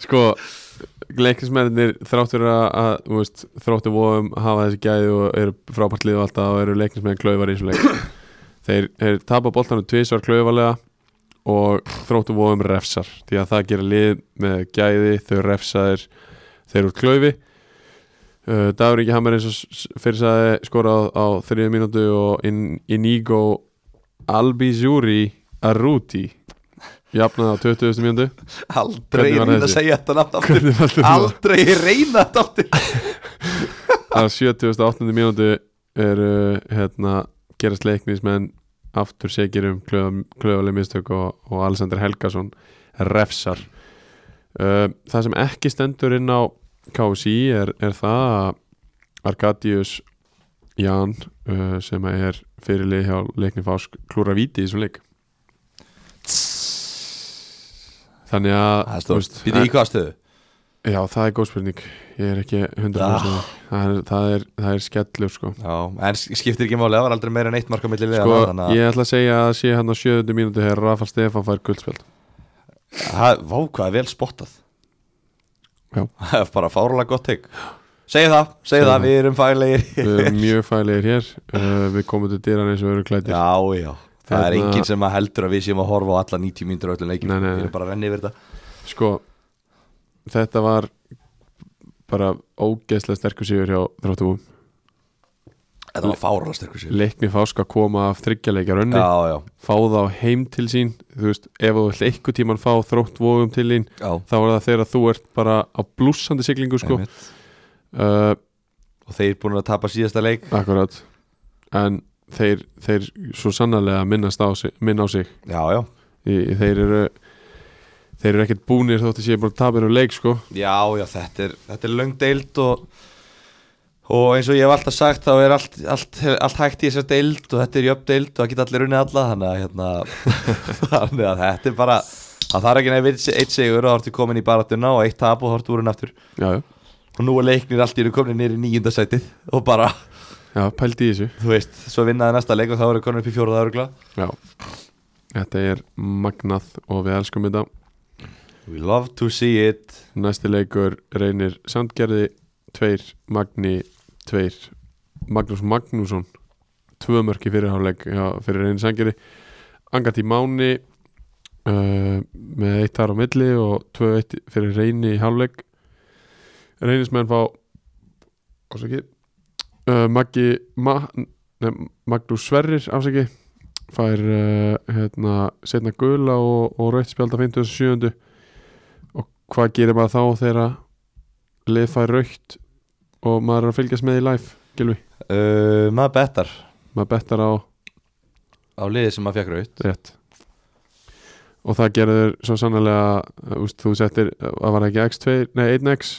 Speaker 1: Sko, leiknismennir þráttur að, að þú veist, þráttur vóðum hafa þessi gæði og eru frábært lið og alltaf og eru leiknismenn klauvar í þessu leik Þeir, þeir tapa boltanum tvisvar klauvarlega og þróttur vóðum refsar því að það gerir lið með gæði þau refsaðir þeir eru úr klaufi uh, Dagur Ingi Hammer eins og s- fyrir sagði skorað á, á þriðið mínútu og In Inigo Albizuri Arruti jafnaði á 20. mínútu
Speaker 2: Aldrei
Speaker 1: Hvernig var
Speaker 2: reyna að
Speaker 1: þessi?
Speaker 2: segja þetta nafn aftur
Speaker 1: Hvernig valdur þú það?
Speaker 2: Aldrei reyna þetta aftur
Speaker 1: að 78. mínútu eru hérna, gerast leiknismenn aftur segir um klöðaleg mistök og, og Alexander Helgason refsar uh, það sem ekki stendur inn á KSI er, er það að Arkadius Jan uh, sem er fyrirlið hjá leikni Fásk klúra víti í þessum leik þannig að
Speaker 2: Það er
Speaker 1: þú
Speaker 2: stórt Býtu í hvað stöðu?
Speaker 1: já það er góð spurning ég er ekki 100% ah. það, er, það, er, það er skellur sko
Speaker 2: Já, en sk- skiptir ekki máli, það var aldrei meira en eitt marka milli liða
Speaker 1: Sko,
Speaker 2: þannig að
Speaker 1: ég ætla að segja að sé hann á sjöðundu mínútu þegar Rafa Stefán fær guldspjöld
Speaker 2: Það- Vá, hvað er vel spottað
Speaker 1: Já.
Speaker 2: Það er bara fárlega gott teik Segðu það, segðu
Speaker 1: Segðu
Speaker 2: það,
Speaker 1: það.
Speaker 2: við erum fælegir
Speaker 1: <laughs> Við erum mjög fælegir hér uh, Við komum til dýran eins og við erum klætir
Speaker 2: Já, já Það er
Speaker 1: Þarna-
Speaker 2: enginn sem að heldur að við séum að horfa á alla 90 mínútur á öllum leikjum
Speaker 1: Hérna- Nei, nei,
Speaker 2: Við
Speaker 1: nei.
Speaker 2: erum bara að renni yfir þetta
Speaker 1: Sko, þetta var bara ógeðslega sterkur sígur hjá þráttum
Speaker 2: Þetta var fárlega sterkur sér
Speaker 1: Leikni fásk að koma af þryggjarleikja rönni
Speaker 2: Já, já,
Speaker 1: Fá þá heim til sín Þú veist, ef þú vilt einhver tíman fá þrótt vóðum til þín
Speaker 2: já
Speaker 1: Þá er það þegar þú ert bara á blúsandi siglingu sko
Speaker 2: einmitt.
Speaker 1: uh,
Speaker 2: Og þeir búin að tapa síðasta leik
Speaker 1: Akkurat En þeir, þeir svo sannarlega minnast á sig, minn á sig
Speaker 2: Já, já
Speaker 1: Í- þeir eru þeir eru ekkert búnir þótt að séu bara tapir um leik sko
Speaker 2: Já, já, þetta er, þetta er löng deild og, og eins og ég hef alltaf sagt þá er allt, allt, allt hægt í þessar deild og þetta er jöfn deild og það geta allir unnið alla þannig að, hérna, <laughs> þannig að þetta er bara það þarf ekki nefnir eitt sigur og þá ertu komin í baratuna og eitt tap og þá ertu úr henni aftur
Speaker 1: já, já,
Speaker 2: og nú er leiknir allt í eru komin niður í nýjundasætið og bara,
Speaker 1: já pældi í þessu
Speaker 2: þú veist, svo vinnaði næsta leik og þá eru komin upp í fjóruða örgla
Speaker 1: já. þetta er magnað og við elskum þetta
Speaker 2: We love to see it
Speaker 1: næsti leikur reynir Sandgerði tveir Magni tveir Magnús Magnússon tvö mörki fyrir hálfleik já, fyrir reynir Sandgerði Angati Máni uh, með eitt þar á milli og tvö eitt fyrir reyni í hálfleik reynismenn fá ásaki uh, Maggi Ma, nefn, Magnús Sverrir ásaki fær uh, hérna, setna gula og, og rauðspjald á 57 hvað gerir maður þá þegar að lið fær raukt og maður er að fylgjast með í live Gilvi,
Speaker 2: uh, Maður betar
Speaker 1: maður bettar á
Speaker 2: á liðið sem maður fekk raut
Speaker 1: rétt og það gerður svo sannlega úst, þú settir, það var ekki x2 nei 1x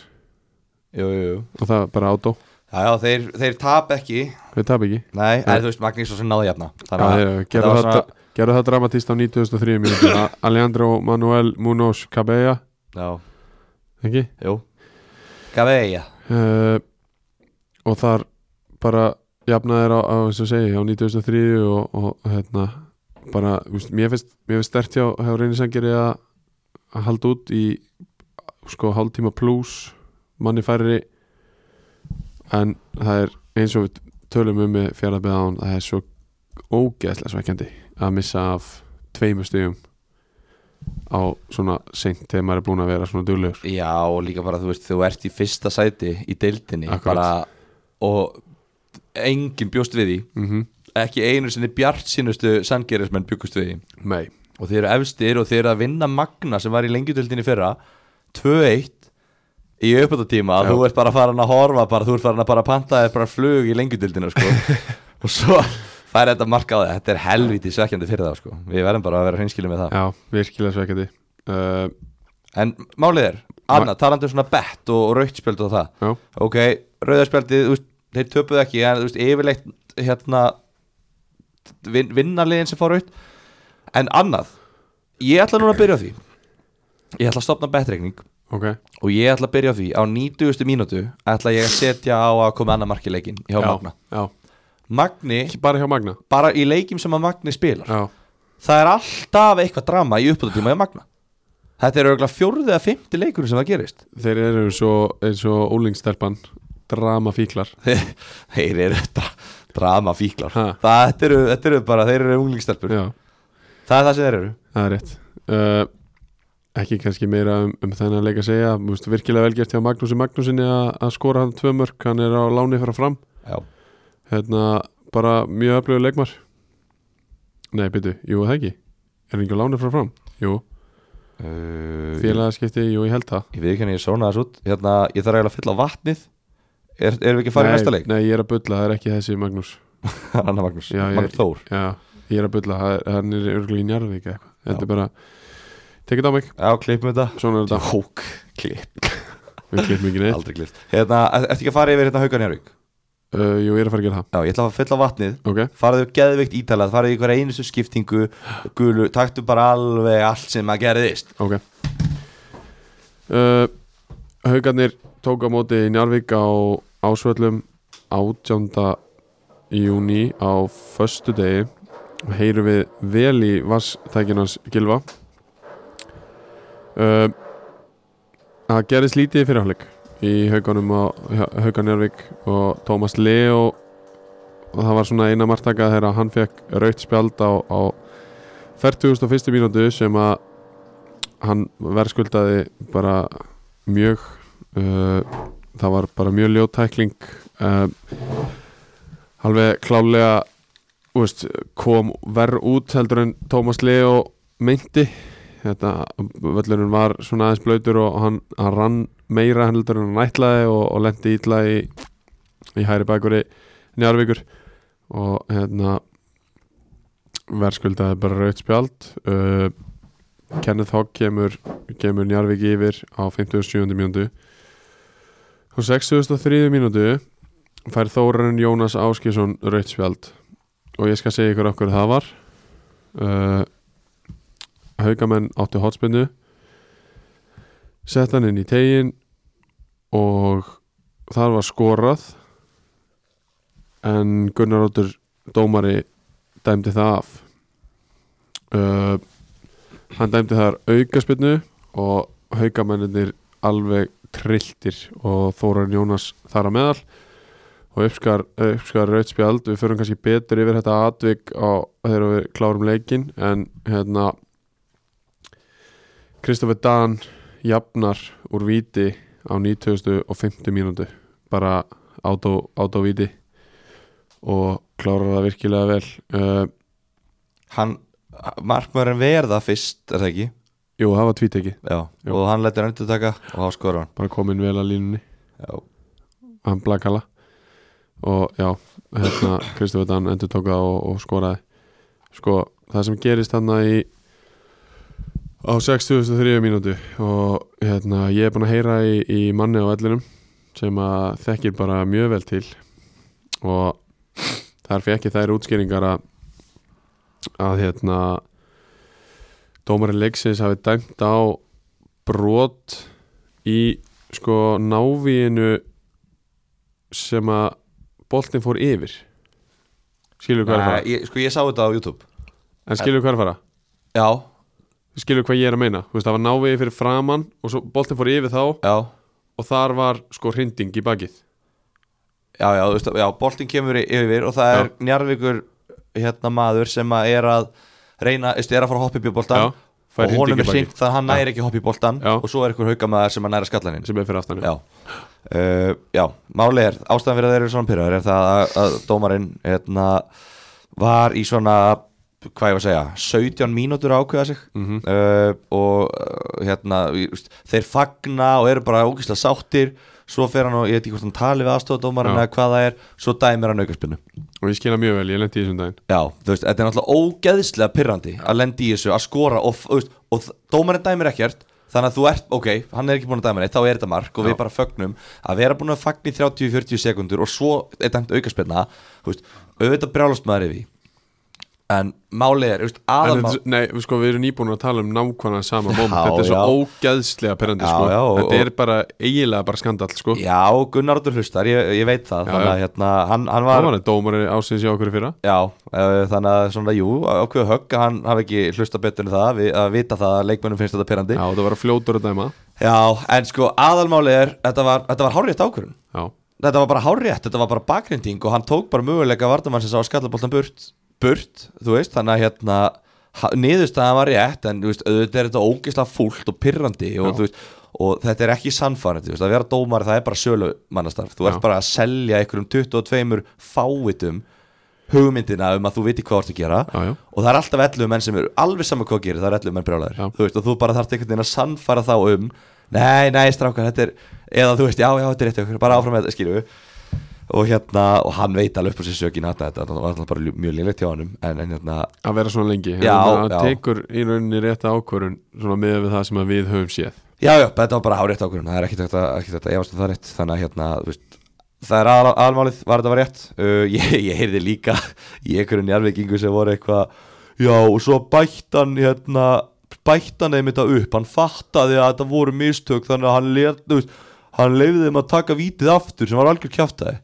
Speaker 2: Jú, jú, jú
Speaker 1: og það er bara átó,
Speaker 2: Já, já, þeir, þeir tap ekki
Speaker 1: við tap ekki
Speaker 2: Nei,
Speaker 1: Nei.
Speaker 2: en þú veist Magnís og sem náði jafna
Speaker 1: Já,
Speaker 2: Þannig að
Speaker 1: þeir
Speaker 2: þetta
Speaker 1: gerðu
Speaker 2: var
Speaker 1: það,
Speaker 2: svona-
Speaker 1: svona... gerðu það dramatist á 2003 mínútur Alejandro Manuel Munoz Cabella
Speaker 2: Já,
Speaker 1: ekki?
Speaker 2: jú Gaveja
Speaker 1: uh, og þar bara jafnaðir á, á eins og segi, á 93 og, og hérna bara, þú veist, mér finnst, mér finnst stert hjá hefur reynisengeri að að halda út í sko hálftíma pluss manni færri en það er eins og við tölum um með fjaraðbeða án það er svo ógeðslega svekkjandi að missa af tveimur stigum á svona seint þegar maður er búin að vera svona duglegur
Speaker 2: Já, og líka bara, þú veist, þú ert í fyrsta sæti í deildinni
Speaker 1: Akkurat.
Speaker 2: bara, og enginn bjóst við því
Speaker 1: mm -hmm.
Speaker 2: ekki einu sinni bjart sínustu sangerismenn bjókust við því
Speaker 1: Nei,
Speaker 2: og þeir eru efstir og þeir eru að vinna Magna sem var í lengjutöldinni fyrra 2-1 í uppbættatíma
Speaker 1: Já.
Speaker 2: þú ert bara farin að horfa bara, þú ert farin að bara panta þér bara flug í lengjutöldinu sko.
Speaker 1: <laughs>
Speaker 2: og svo fær þetta marka á það þetta er helviti svekkjandi fyrir það sko. við verðum bara að vera hreinskilum með það
Speaker 1: já, virkilega svekkjandi uh,
Speaker 2: en málið er, Anna, talandi um svona bett og, og rautspjöld og það
Speaker 1: Já,
Speaker 2: ok, rauðarspjaldið, þú veist, þeir töpuð ekki en þú veist, yfirleitt hérna vin, vinnarliðin sem fór raut en annað ég ætla núna að byrja á því ég ætla að stopna betreikning
Speaker 1: ok,
Speaker 2: og ég ætla að byrja á því á 90. mínútu ætla ég að setja á að koma annar markileikin hjá
Speaker 1: já,
Speaker 2: Magna
Speaker 1: já.
Speaker 2: Magni,
Speaker 1: Ekki bara hjá Magna
Speaker 2: bara í leikim sem að Magni spilar
Speaker 1: Já,
Speaker 2: það er alltaf eitthvað drama í uppbúttatíma hjá Magna þetta er auðvitað fjórðið að fymti leikunum sem það gerist
Speaker 1: þeir eru svo eins og ólingsterpan dramafíklar
Speaker 2: <laughs> þeir eru dra dramafíklar
Speaker 1: Ha.
Speaker 2: það, þetta, eru, þetta eru bara, þeir eru unglingstelpur
Speaker 1: Já,
Speaker 2: það er það sem þeir eru
Speaker 1: það er rétt uh, Ekki kannski meira um, um þennan leik að segja Múst, virkilega velgert hjá Magnúsi Magnúsinni að að skora hann tvö mörk hann er á láni frá fram
Speaker 2: já.
Speaker 1: hérna, bara mjög öflugur leikmar Nei, byrju, jú, það ekki Er hann ekki á láni frá fram? Jú,
Speaker 2: Félag...
Speaker 1: félagaskipti, jú, ég held það
Speaker 2: Uh, ég veit ekki hvernig ég svona þessu út hérna, ég þarf eiginlega að fylla á vatnið er, erum við ekki að fara í
Speaker 1: Nei,
Speaker 2: næsta leik? <laughs>
Speaker 1: Nei, ég er að bulla, það er ekki þessi Magnús
Speaker 2: Anna Magnús,
Speaker 1: Já, ég-
Speaker 2: Magnús Þór
Speaker 1: Já, ég er að bulla, það er- hann er örgulega í Njarðvík eða eitthvað Þetta er bara, tekið á mig
Speaker 2: já, klippum þetta
Speaker 1: Svona er þetta,
Speaker 2: Jók, klipp,
Speaker 1: við klippum ekki neitt
Speaker 2: aldrei klipp hérna, eftir ekki að fara yfir hérna Haukan Járvík
Speaker 1: uh, Jú, ég er að fara að gera það
Speaker 2: já, ég ætla að fylla á vatnið
Speaker 1: Ok,
Speaker 2: farðu geðveikt ítalað, farðu í hverja einustu skiptingu gulu, taktu bara alveg allt sem að gerðist
Speaker 1: ok uh, Haukarnir tók á móti í Njarðvík á ásvöllum 18. júni á föstu degi og heyrum við vel í vasstækinans gilva uh, Það gerðist lítið í fyrirháleik í hauganum á haugan Jörvík og Tómas Leo og það var svona eina martaka þegar hann fekk raut spjald á, á 41. mínútu sem að hann verðskuldaði bara mjög uh, það var bara mjög ljótækling uh, alveg klálega þú veist, kom verð út heldur en Tómas Leo meinti þetta völlurinn var svona aðeins blöytur og hann, hann rann meira heldur en hann ætlaði og, og lendi ítla í, í hæri bakveri njárvíkur og hérna verðskuldaði bara raut spjald uh, Kenneth Hogg kemur, kemur Njarvík yfir á 57. mínútu og 63. mínútu fær Þórarinn Jónas Áskjesson rautspjald og ég skal segja ykkur okkur það var uh, Haukamenn áttu hotspinnu sett hann inn í tegin og þar var skorað en Gunnar Róttur dómari dæmdi það af uh, hann dæmdi þar aukaspinnu og haukamennir alveg trilltir og Þóran Jónas þar að meðal og uppskar, uppskar rautspjald við förum kannski betur yfir þetta atvik á, þegar við klárum leikin en hérna Kristoffer Dan jafnar úr viti á 9050 mínútu bara átó, átó viti og klárar það virkilega vel uh,
Speaker 2: hann, markmaðurinn verða fyrst er það ekki,
Speaker 1: jú, það var tvíteki
Speaker 2: já,
Speaker 1: Jú.
Speaker 2: og hann letur endur taka og þá skora hann
Speaker 1: bara komin vel að línunni
Speaker 2: já.
Speaker 1: hann blakala og já, hérna Kristofur Dan endur tók það og, og skoraði sko, það sem gerist hann í á 6.003 mínútu og hérna, ég er búin að heyra í, í manni á vellinum sem að þekkir bara mjög vel til og þar fekk ég þær útskýringar að, að hérna dómarinn leiksins hafi dæmt á brot í sko návíinu sem að boltin fór yfir skilur hvað er að
Speaker 2: Nei,
Speaker 1: fara
Speaker 2: ég, sko ég sá þetta á YouTube
Speaker 1: en skilur hvað er að fara
Speaker 2: Já,
Speaker 1: skilur hvað ég er að meina Þú veist, það var návið fyrir framann og svo boltin fór yfir þá
Speaker 2: já,
Speaker 1: og þar var sko hrinding í bakið
Speaker 2: já, já, þú veist, já boltinn kemur í- yfir og það
Speaker 1: Já.
Speaker 2: er njarvíkur hérna maður sem að er að reyna, þú veist, er að fara að hoppa upp í boltan
Speaker 1: Já, fær
Speaker 2: og honum
Speaker 1: hringingu í
Speaker 2: er
Speaker 1: bakið.
Speaker 2: hringt þannig að hann
Speaker 1: Já.
Speaker 2: næri ekki að hoppa í boltan
Speaker 1: Já.
Speaker 2: og svo er einhver haugamaður sem að næra skallaninn
Speaker 1: sem er fyrir aftan já.
Speaker 2: Já, uh, já málið er, ástæðan fyrir að þeir eru svona pyrraður er það að, að dómarinn hérna, var í svona hvað ég var að segja, 17 mínútur að ákveða sig uh, og uh, hérna, ég- veist, þeir fagna og eru bara ógislega sáttir svo fer hann og ég veit ekki hvort hann tali við aðstofadómarinn
Speaker 1: Já.
Speaker 2: eða hvað það er, svo dæmir hann aukarspinnu
Speaker 1: og ég skila mjög vel, ég lendi í þessum daginn
Speaker 2: Já, þú veist, þetta er náttúrulega ógeðslega pyrrandi að lendi í þessu, að skora og, þú veist, og þ- dómarinn dæmir ekkert þannig að þú ert, ok, hann er ekki búin að dæma neitt þá er þetta mark og við
Speaker 1: Já.
Speaker 2: bara fögnum að vera búin að fagna í 30-40 sekundur og svo er dæmt aukarspenna, þú veist auðvitað brjálast maður yfir því. en málið er, þú veist,
Speaker 1: En
Speaker 2: aðalmál
Speaker 1: þetta, nei, við sko, við erum nýbúin að tala um nákvæmlega sama moment,
Speaker 2: Já,
Speaker 1: þetta er svo
Speaker 2: já.
Speaker 1: ógæðslega perandi,
Speaker 2: Já,
Speaker 1: sko,
Speaker 2: já, og-
Speaker 1: þetta er bara eiginlega bara skandall, sko,
Speaker 2: Já, Gunnar Artur hlustar, ég, ég veit það
Speaker 1: Já,
Speaker 2: þannig að hérna, hann, hann
Speaker 1: það
Speaker 2: var
Speaker 1: var þetta dómari ásins hjá okkur í fyrra,
Speaker 2: Já, uh, þannig að svona, jú, ákveðu högg að hann hafi ekki hlusta betur en það, við, að vita það að leikmönnum finnst þetta pyrrandi
Speaker 1: já, það var að fljótur að dæma,
Speaker 2: Já, en sko aðalmálið er Þetta var, þetta var hárétt ákvörun
Speaker 1: já,
Speaker 2: Þetta var bara hárétt, þetta var bara bakrinding Og hann tók bara möguleika vardamann sem sá að skalla boltan burt Burt, þú veist, þannig að hérna ha- Niðurstaðan var rétt En þú veist, auðvitað er þetta ógeðslega fúlt og pirrandi og,
Speaker 1: Já.
Speaker 2: þú veist, og þetta er ekki sannfærandi þú veist, Að vera dómari það er bara sölu mannastarf Þú
Speaker 1: Já.
Speaker 2: ert bara að selja einhverjum 22 fávitum hugmyndina um að þú viti hvað þú ert að gera
Speaker 1: já, já,
Speaker 2: og það er alltaf 11 menn sem eru alveg saman hvað gerir, það er 11 menn brjálæðir
Speaker 1: Já.
Speaker 2: þú veist, og þú bara þarft einhvern veginn að sannfara þá um nei, nei, strákar, þetta er eða þú veist, já, já, þetta er rétt hjá okkur, bara áfram með þetta, skilju og hérna, og hann veit alveg upp á sér sökin að þetta, þetta var alltaf bara ljú- mjög lélegt hjá honum, en, en hérna,
Speaker 1: að vera svona lengi,
Speaker 2: Já,
Speaker 1: það
Speaker 2: já.
Speaker 1: tekur í rauninni rétta ákvörun, svona miðað við það sem að við höfum séð,
Speaker 2: já, já, þetta var bara hárétt ákvörðun, það er ekkit þetta, ekkit þetta, ég varst um það rétt þannig að hérna, þú veist, það er aðal, aðalmálið, var þetta var rétt uh, <laughs> ég, ég heyrði líka í einhverju njárvikingu sem voru eitthvað, já, og svo bættan hérna, bættan þeim þetta upp, hann fattaði að þetta voru mistök, þannig að hann lef, veist, hann leiði þeim að taka vítið aftur sem var algjör kjáftæði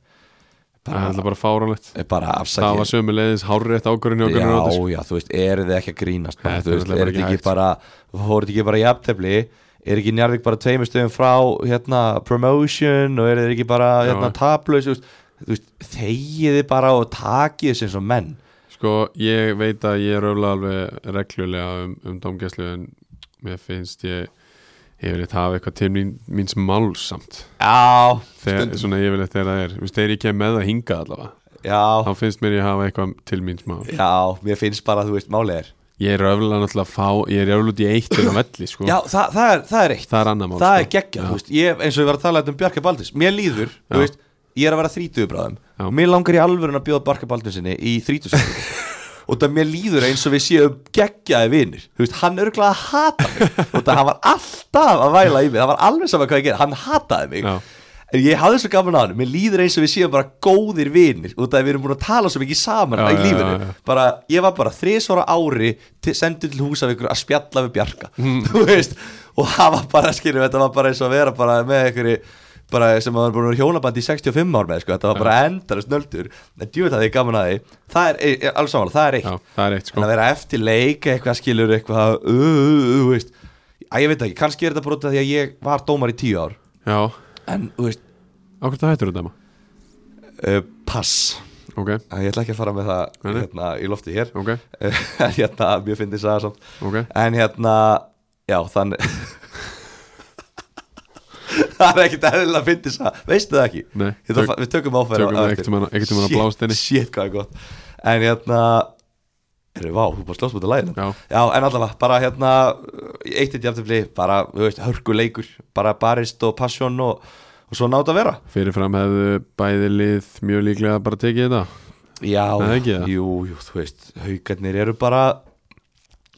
Speaker 1: það er alltaf bara fáránlegt,
Speaker 2: bara
Speaker 1: það
Speaker 2: afsakið
Speaker 1: var sömu leiðis hárrétt ákvörun hjá okkur
Speaker 2: já,
Speaker 1: náttúr,
Speaker 2: já, þú veist, eru þið ekki að grínast bara,
Speaker 1: Þetta
Speaker 2: þú
Speaker 1: er
Speaker 2: veist,
Speaker 1: náttúrulega
Speaker 2: eru þið
Speaker 1: bara
Speaker 2: ekki bara voruð þið ekki bara jafntefli er ekki Njarvík bara tveimur stöðum frá hérna, promotion og eru þið ekki bara
Speaker 1: Já.
Speaker 2: hérna, tablaus þú veist, þú veist, þegið þið bara og takið þið sem svo menn
Speaker 1: sko, ég veit að ég röfla alveg reglulega um, um domgæslu, en mér finnst ég, ég vil hafa eitthvað til mín, míns málsamt,
Speaker 2: já,
Speaker 1: þegar,
Speaker 2: stundum-
Speaker 1: svona yfirleitt þegar það er Þú veist, þegar ég kem með að hinga allavega
Speaker 2: já,
Speaker 1: þá finnst mér ég hafa eitthvað til mín smá
Speaker 2: já, mér finnst bara þú veist, málið er
Speaker 1: ég er öfla náttúrulega að fá ég er öfla út í eitt en að velli sko.
Speaker 2: já, það, það, er, það er eitt
Speaker 1: það er annar mál
Speaker 2: það er
Speaker 1: sko.
Speaker 2: geggjað,
Speaker 1: Já.
Speaker 2: þú veist, ég, eins og ég var að tala um Bjarka Baldins, mér líður,
Speaker 1: Já.
Speaker 2: þú veist ég er að vera 30 bráðum,
Speaker 1: Já.
Speaker 2: mér langar í alvörun að bjóða Bjarka Baldinsinni í 30
Speaker 1: <laughs>
Speaker 2: og það mér líður eins og við séum geggjaði vinir, þú veist, hann örgulega að hata mig, og það hann var alltaf að væla í mig, það var alveg saman hvað ég gerði hann hataði mig,
Speaker 1: Já.
Speaker 2: en ég hafði svo gaman að hann, mér líður eins og við séum bara góðir vinir, og það við erum búin að tala svo mikið saman
Speaker 1: Já,
Speaker 2: í
Speaker 1: já,
Speaker 2: lífinu,
Speaker 1: já, já.
Speaker 2: bara, ég var bara þrísvara ári til, sendur til húsavíkur að spjalla við Bjarka <laughs> þú veist, og það var bara skilur, þetta var bara eins og að vera bara með einhverju bara sem að var búin að vera hjónabandi í 65 ár með sko, þetta var bara endarast nöldur en djúið það er gaman að því það er, er, er alveg samanlega, það er eitt
Speaker 1: Já, það er eitt
Speaker 2: en
Speaker 1: sko.
Speaker 2: að vera eftir leik eitthvað skilur eitthvað, uh, uh, uh, veist að ég veit ekki, kannski er þetta bara út af því að ég var dómar í 10 ár,
Speaker 1: já,
Speaker 2: en, þú veist
Speaker 1: á hvert það hættur þetta maður
Speaker 2: uh, pass,
Speaker 1: ok,
Speaker 2: ég ætla ekki að fara með það
Speaker 1: Nei, nei.
Speaker 2: hérna, í lofti hér <laughs>
Speaker 1: ok,
Speaker 2: Eh, en hérna, mjög fyndið saga samt
Speaker 1: ok
Speaker 2: en hérna, já þannig <laughs> það er ekkert eðlilega fyndið saga, veistu það ekki
Speaker 1: Nei,
Speaker 2: Þetta
Speaker 1: tök-
Speaker 2: fa- við tökum áfæri
Speaker 1: tökum það ekkert um hana- ekkert um hana blást inni.
Speaker 2: shit hvað er gott en hérna, erum vá, þú bara slóst mútið lægin
Speaker 1: Já.
Speaker 2: hérna. já, en allavega, bara hérna eitt eitt jafntöfli, bara, þú veist, hörkuleikur bara barist og passion og, og svo nátt að vera
Speaker 1: fyrirfram hefðu bæði lið mjög líklega bara tekið þetta
Speaker 2: Já,
Speaker 1: Nei, ekki það?
Speaker 2: jú, jú, þú veist haugarnir eru bara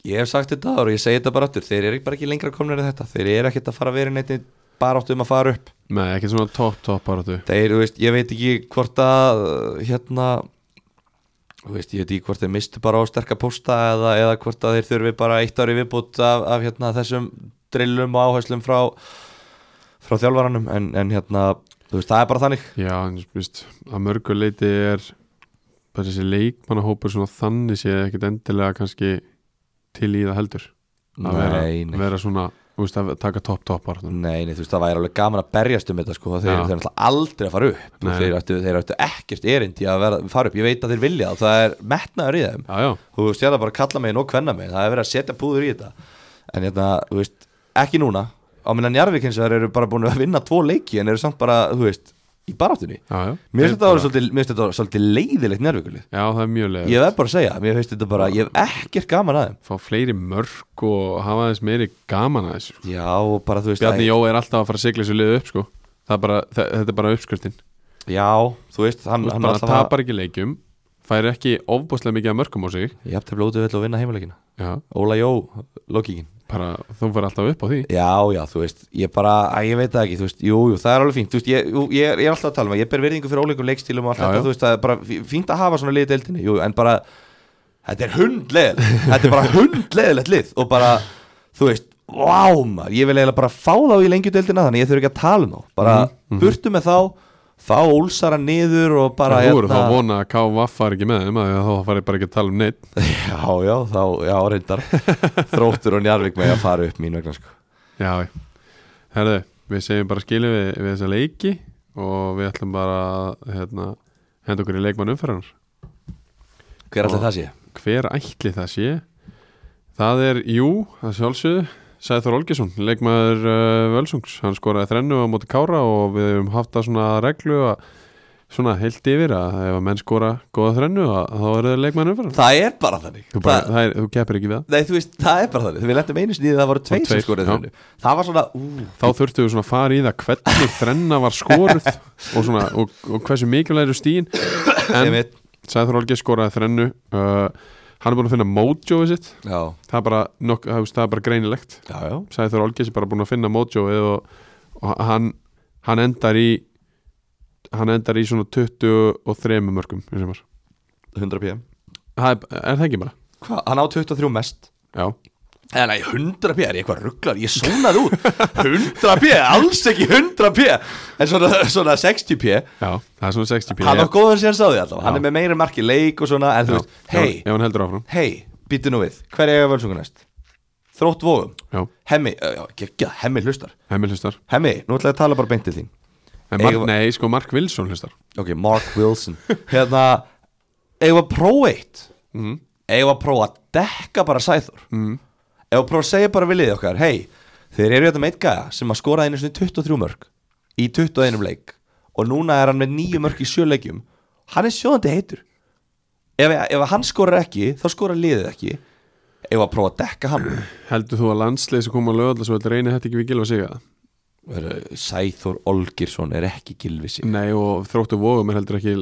Speaker 2: ég hef sagt þetta áður og ég segi þetta bara aftur þeir eru bara ekki lengra komnir en þetta þeir eru ekkert að fara að vera neitt bara áttu um að fara upp
Speaker 1: nei, ekki svona topp topp baratu
Speaker 2: þeir, þú veist, ég veit ekki hvort að uh, hérna þú veist, ég veit ekki hvort þeir mistu bara á sterka posta eða, eða hvort að þeir þurfi bara eitt ári viðbútt af, af hérna, þessum drillum og áherslum frá frá þjálfaranum en, en hérna þú veist, það er bara þannig
Speaker 1: Já, en víst, að mörgu leiti er bara þessi leikmannahópur svona þannig sé ekkit endilega kannski til í það heldur að vera,
Speaker 2: Nei, nei.
Speaker 1: vera svona þú veist, að taka topp-toppar
Speaker 2: Nei, nei, þú veist, það væri alveg gaman að berjast um þetta sko, þeir,
Speaker 1: Já.
Speaker 2: þeir eru náttúrulega aldrei að fara upp og
Speaker 1: Nei.
Speaker 2: þeir ættu, þeir ættu ekkert erindi að vera, fara upp, ég veit að þeir vilja það, það er metnaður í þeim
Speaker 1: Já, já,
Speaker 2: þú veist, ég er það bara að kalla mig og kvenna mig það er verið að setja púður í þetta en hérna, þú veist, ekki núna á minna Njarvík hins vegar eru bara búin að vinna tvo leiki en eru samt bara, þú veist, í baráttunni
Speaker 1: já, já
Speaker 2: Mér finnst
Speaker 1: Þeir
Speaker 2: þetta
Speaker 1: bara-
Speaker 2: orðið svolítið- mér finnst þetta orðið svolítið leiðilegt Njarvíkulið
Speaker 1: Já, það er mjög leið
Speaker 2: Ég verð bara að segja, mér finnst þetta bara, ég hef ekkert gaman að þeim
Speaker 1: Fá fleiri mörg og hafa þess meiri gaman að þessu sko.
Speaker 2: Já, og bara þú veist
Speaker 1: Bjarni
Speaker 2: æ-
Speaker 1: Jó er alltaf að fara að sigla þessu liðu upp sko. Það er bara, þe- þetta er bara uppskriftin
Speaker 2: Já, þú veist, hann,
Speaker 1: Þú veist
Speaker 2: hann
Speaker 1: bara tapar ekki leikjum fær ekki ofbúslega mikið að mörgum á sig
Speaker 2: Ég hafði blótið vel að vinna heimileikina
Speaker 1: Já,
Speaker 2: Óla Jó, lokíkin
Speaker 1: bara þú fyrir alltaf upp á því
Speaker 2: Já, já, þú veist, ég bara, að ég veit það ekki, þú veist, jú, jú, það er alveg fínt, þú veist, ég, jú, ég, er- ég er alltaf að tala um að ég ber virðingu fyrir óleikum leikstílum og allt
Speaker 1: Já,
Speaker 2: þetta,
Speaker 1: já.
Speaker 2: þú veist, það er bara fí- fínt að hafa svona lið í deildinni, jú, en bara, þetta er hundleðil, þetta er bara hundleðilegt lið og bara, þú veist, vá, maður, ég vil eiginlega bara fá þá í lengju deildina þannig, ég þurfi ekki að tala um þá, bara,
Speaker 1: Mhm,
Speaker 2: burtu með þá, fá úlsara niður og bara, hérna-
Speaker 1: Þú eru þá að vona að KVF var ekki með þeim að þá farið bara ekki að tala um neitt
Speaker 2: <laughs> já, já, þá, já, reyndar, þróttur og njarvík með að fara upp mín vegna, sko.
Speaker 1: Já, herðu, við segjum bara skilum við, við þessa leiki og við ætlum bara að hérna, henda okkur í leikmann umferðanar
Speaker 2: Hver alltaf það sé?
Speaker 1: Hver ætli það sé? Það er, jú, það sjálfsögðu Sæður Olgesson, leikmaður uh, Völsungs, hann skoraði þrennu á móti Kára og við hefum haft það svona að reglu að svona heilt yfir að ef að menn skora góða þrennu að, þá eru þau leikmaður umferðan
Speaker 2: Það er bara þannig.
Speaker 1: Þú, bara,
Speaker 2: Það-
Speaker 1: það er, þú keppir ekki við það
Speaker 2: Nei, þú veist, það er bara þannig Við lendum einu sinni í því að það voru tveir
Speaker 1: tveir,
Speaker 2: sem skorið
Speaker 1: já.
Speaker 2: þennu Það var svona, ú,
Speaker 1: Þá þurftu við svona að fara í það hvernig þrenna var skoruð og, svona, og, og hversu mikilvægur stíin
Speaker 2: ég
Speaker 1: en
Speaker 2: veit
Speaker 1: Sæður Olgesson skoraði þrennu uh, hann er búin að finna mojoið sitt
Speaker 2: Já,
Speaker 1: það er bara, nokk, það það er bara greinilegt
Speaker 2: já, já
Speaker 1: Sæður Olgis er bara búin að finna mojoið og, og hann, hann endar í hann endar í svona 23 mörgum í sumar.
Speaker 2: 100 pm
Speaker 1: það er, er það ekki bara
Speaker 2: Hva? Hann á 23 mest
Speaker 1: já,
Speaker 2: Eh, Nei, 100 pm, ég eitthvað rugglar, ég sónaði
Speaker 1: <laughs>
Speaker 2: úr 100 pm, alls ekki 100 pm En svona, svona 60 pm
Speaker 1: já, það er svona 60
Speaker 2: Hann á góðan sér sáði alltaf Hann
Speaker 1: Já.
Speaker 2: er með meira marki leik og svona En þú veist, hei,
Speaker 1: ef hann heldur áfram
Speaker 2: hei, býttu nú við Hver er ég að völsunga næst? Þrótt vóðum
Speaker 1: já,
Speaker 2: Hemmi, eh, já, geggjað, Hemmi hlustar
Speaker 1: Hemil hlustar
Speaker 2: Hemmi, nú ætla ég að tala bara beint til þín
Speaker 1: en Mark,
Speaker 2: Eigum-
Speaker 1: nei, sko Mark Wilson hlustar
Speaker 2: Ok, Mark Wilson Hérna, eigum að prófa eitt
Speaker 1: Mhm.
Speaker 2: Eigum að prófa að dekka bara sæður mm. Eigum að prófa að segja bara viljið okkar Hei, þeir eru þetta með eitt gæja sem að skora einu sinni 23 mörg Í 21 leik Og núna er hann með 9 mörg í 7 leikjum Hann er sjóðandi heitur Ef, ef hann skorar ekki, þá skorar liðið ekki Eigum að prófa að dekka hann
Speaker 1: heldur þú að landsleis að koma að lögða svo þetta reynir þetta ekki við gilfa sig
Speaker 2: Sæþór Olgirsson er ekki gilvisi
Speaker 1: nei, og þróttu vóðum er heldur ekki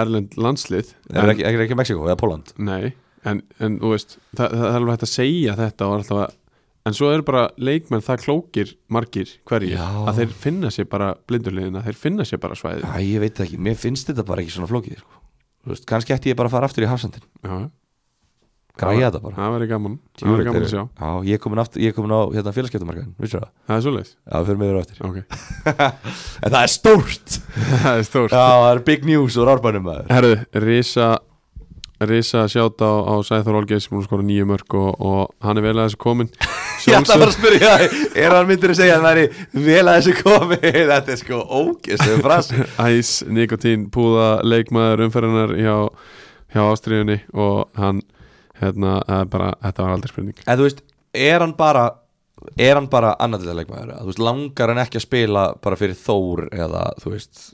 Speaker 1: erlend landslið
Speaker 2: Er ekki, er ekki Mexiko eða Póland
Speaker 1: Nei, en, en þú veist það, það er alveg hægt að segja þetta og alltaf að En svo eru bara leikmenn það klókir margir hverjir
Speaker 2: Já.
Speaker 1: að þeir finna sér bara blindurliðina, þeir finna sér bara svæði
Speaker 2: Æ, ég veit það ekki, mér finnst þetta bara ekki svona flókið sko. Þú veist, kannski ætti ég bara að fara aftur í hafsendin
Speaker 1: Já,
Speaker 2: Græja þetta bara
Speaker 1: það væri gaman, það væri gaman að sjá
Speaker 2: Já, ég er komin, aftur, ég er komin á hérna, félagskeptumarkaðin, vissur það?
Speaker 1: Það er svoleiðis,
Speaker 2: Já, við fyrir meður eftir <laughs>
Speaker 1: ok <laughs>
Speaker 2: En það er stórt Já,
Speaker 1: Það er stórt
Speaker 2: það er big news úr árbænum maður
Speaker 1: Herðu, Risa Risa sjáta á, á Sæþór Olgeis sem hún skora nýju mörg og, og hann er vel aðeins <laughs> komin
Speaker 2: Ég ætla bara að spyrja, það, er hann myndir að segja að hann væri vel að þessu komi <laughs> Þetta er sko ógestu frasi
Speaker 1: <laughs> Æs, nikotín, púða, leikmaður umferðinar hjá, hjá ástriðunni og hann hérna, það er bara, þetta var aldrei spurning
Speaker 2: En þú veist, er hann bara er hann bara annarlega Þú veist, langar hann ekki að spila bara fyrir Þór eða, þú veist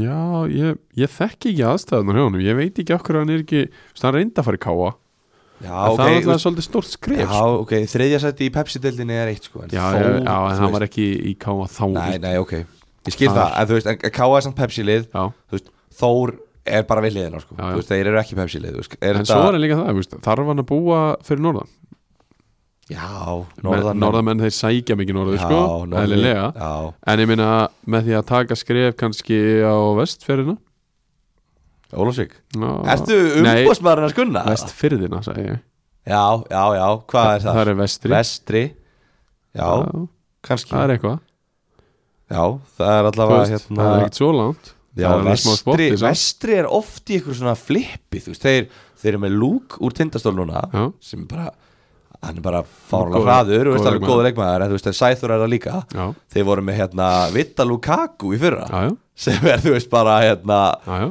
Speaker 1: Já, ég, ég þekki ekki aðstæðunar hjá honum, ég veit ekki okkur hann er ekki, þú veist, hann reynda að fara í káa
Speaker 2: Já,
Speaker 1: en það
Speaker 2: Ah, þú
Speaker 1: er
Speaker 2: veist-
Speaker 1: alltaf svolítið stórt skrif
Speaker 2: Já,
Speaker 1: sko.
Speaker 2: ok, þriðja sæti í Pepsi-deldinni er eitt sko en
Speaker 1: já,
Speaker 2: þó,
Speaker 1: já, já, en
Speaker 2: þú
Speaker 1: hann
Speaker 2: veist-
Speaker 1: var ekki í káa þá þú
Speaker 2: Nei,
Speaker 1: veist.
Speaker 2: nei, ok, ég skil
Speaker 1: Það
Speaker 2: það En þú veist, en K.A. er samt Pepsi-lið
Speaker 1: Já,
Speaker 2: Þú veist, Þór er bara við liðina sko
Speaker 1: Já, já.
Speaker 2: Þú veist, þeir eru ekki Pepsi-lið þú veist, er
Speaker 1: en svo var hann líka það, þú veist, þarf hann að búa fyrir norðan,
Speaker 2: Já,
Speaker 1: norðan norðamenn þeir sækja mikið norðu,
Speaker 2: Já,
Speaker 1: sko,
Speaker 2: norðan-
Speaker 1: eðlilega
Speaker 2: Já,
Speaker 1: en ég minna, með því að taka skrif kannski á vestfjörðina
Speaker 2: Ólafsvík
Speaker 1: Já.
Speaker 2: Ertu
Speaker 1: Nei,
Speaker 2: umbóðsmaðurinn að skunna?
Speaker 1: Vestfyrðina, sagði ég
Speaker 2: Já, já, já, hvað er það?
Speaker 1: er vestri
Speaker 2: Vestri Já,
Speaker 1: Já,
Speaker 2: kannski
Speaker 1: það er eitthvað
Speaker 2: Já, það er
Speaker 1: Þú
Speaker 2: allavega
Speaker 1: veist,
Speaker 2: hérna,
Speaker 1: það er ekkert svo langt
Speaker 2: já,
Speaker 1: það er alveg smá
Speaker 2: vestri,
Speaker 1: spotti, samt.
Speaker 2: vestri er oft í ykkur svona flippi þú veist, þeir, þeir eru með lúk úr tindastól núna
Speaker 1: Já.
Speaker 2: sem bara hann er bara fárlega
Speaker 1: Góður-
Speaker 2: hraður og veist
Speaker 1: góður
Speaker 2: alveg góður leikmaður en þú veist, en Sæþur er það líka
Speaker 1: Já,
Speaker 2: þeir voru með hérna Vita Lukaku í fyrra
Speaker 1: já, já,
Speaker 2: sem er þú veist bara hérna
Speaker 1: já, já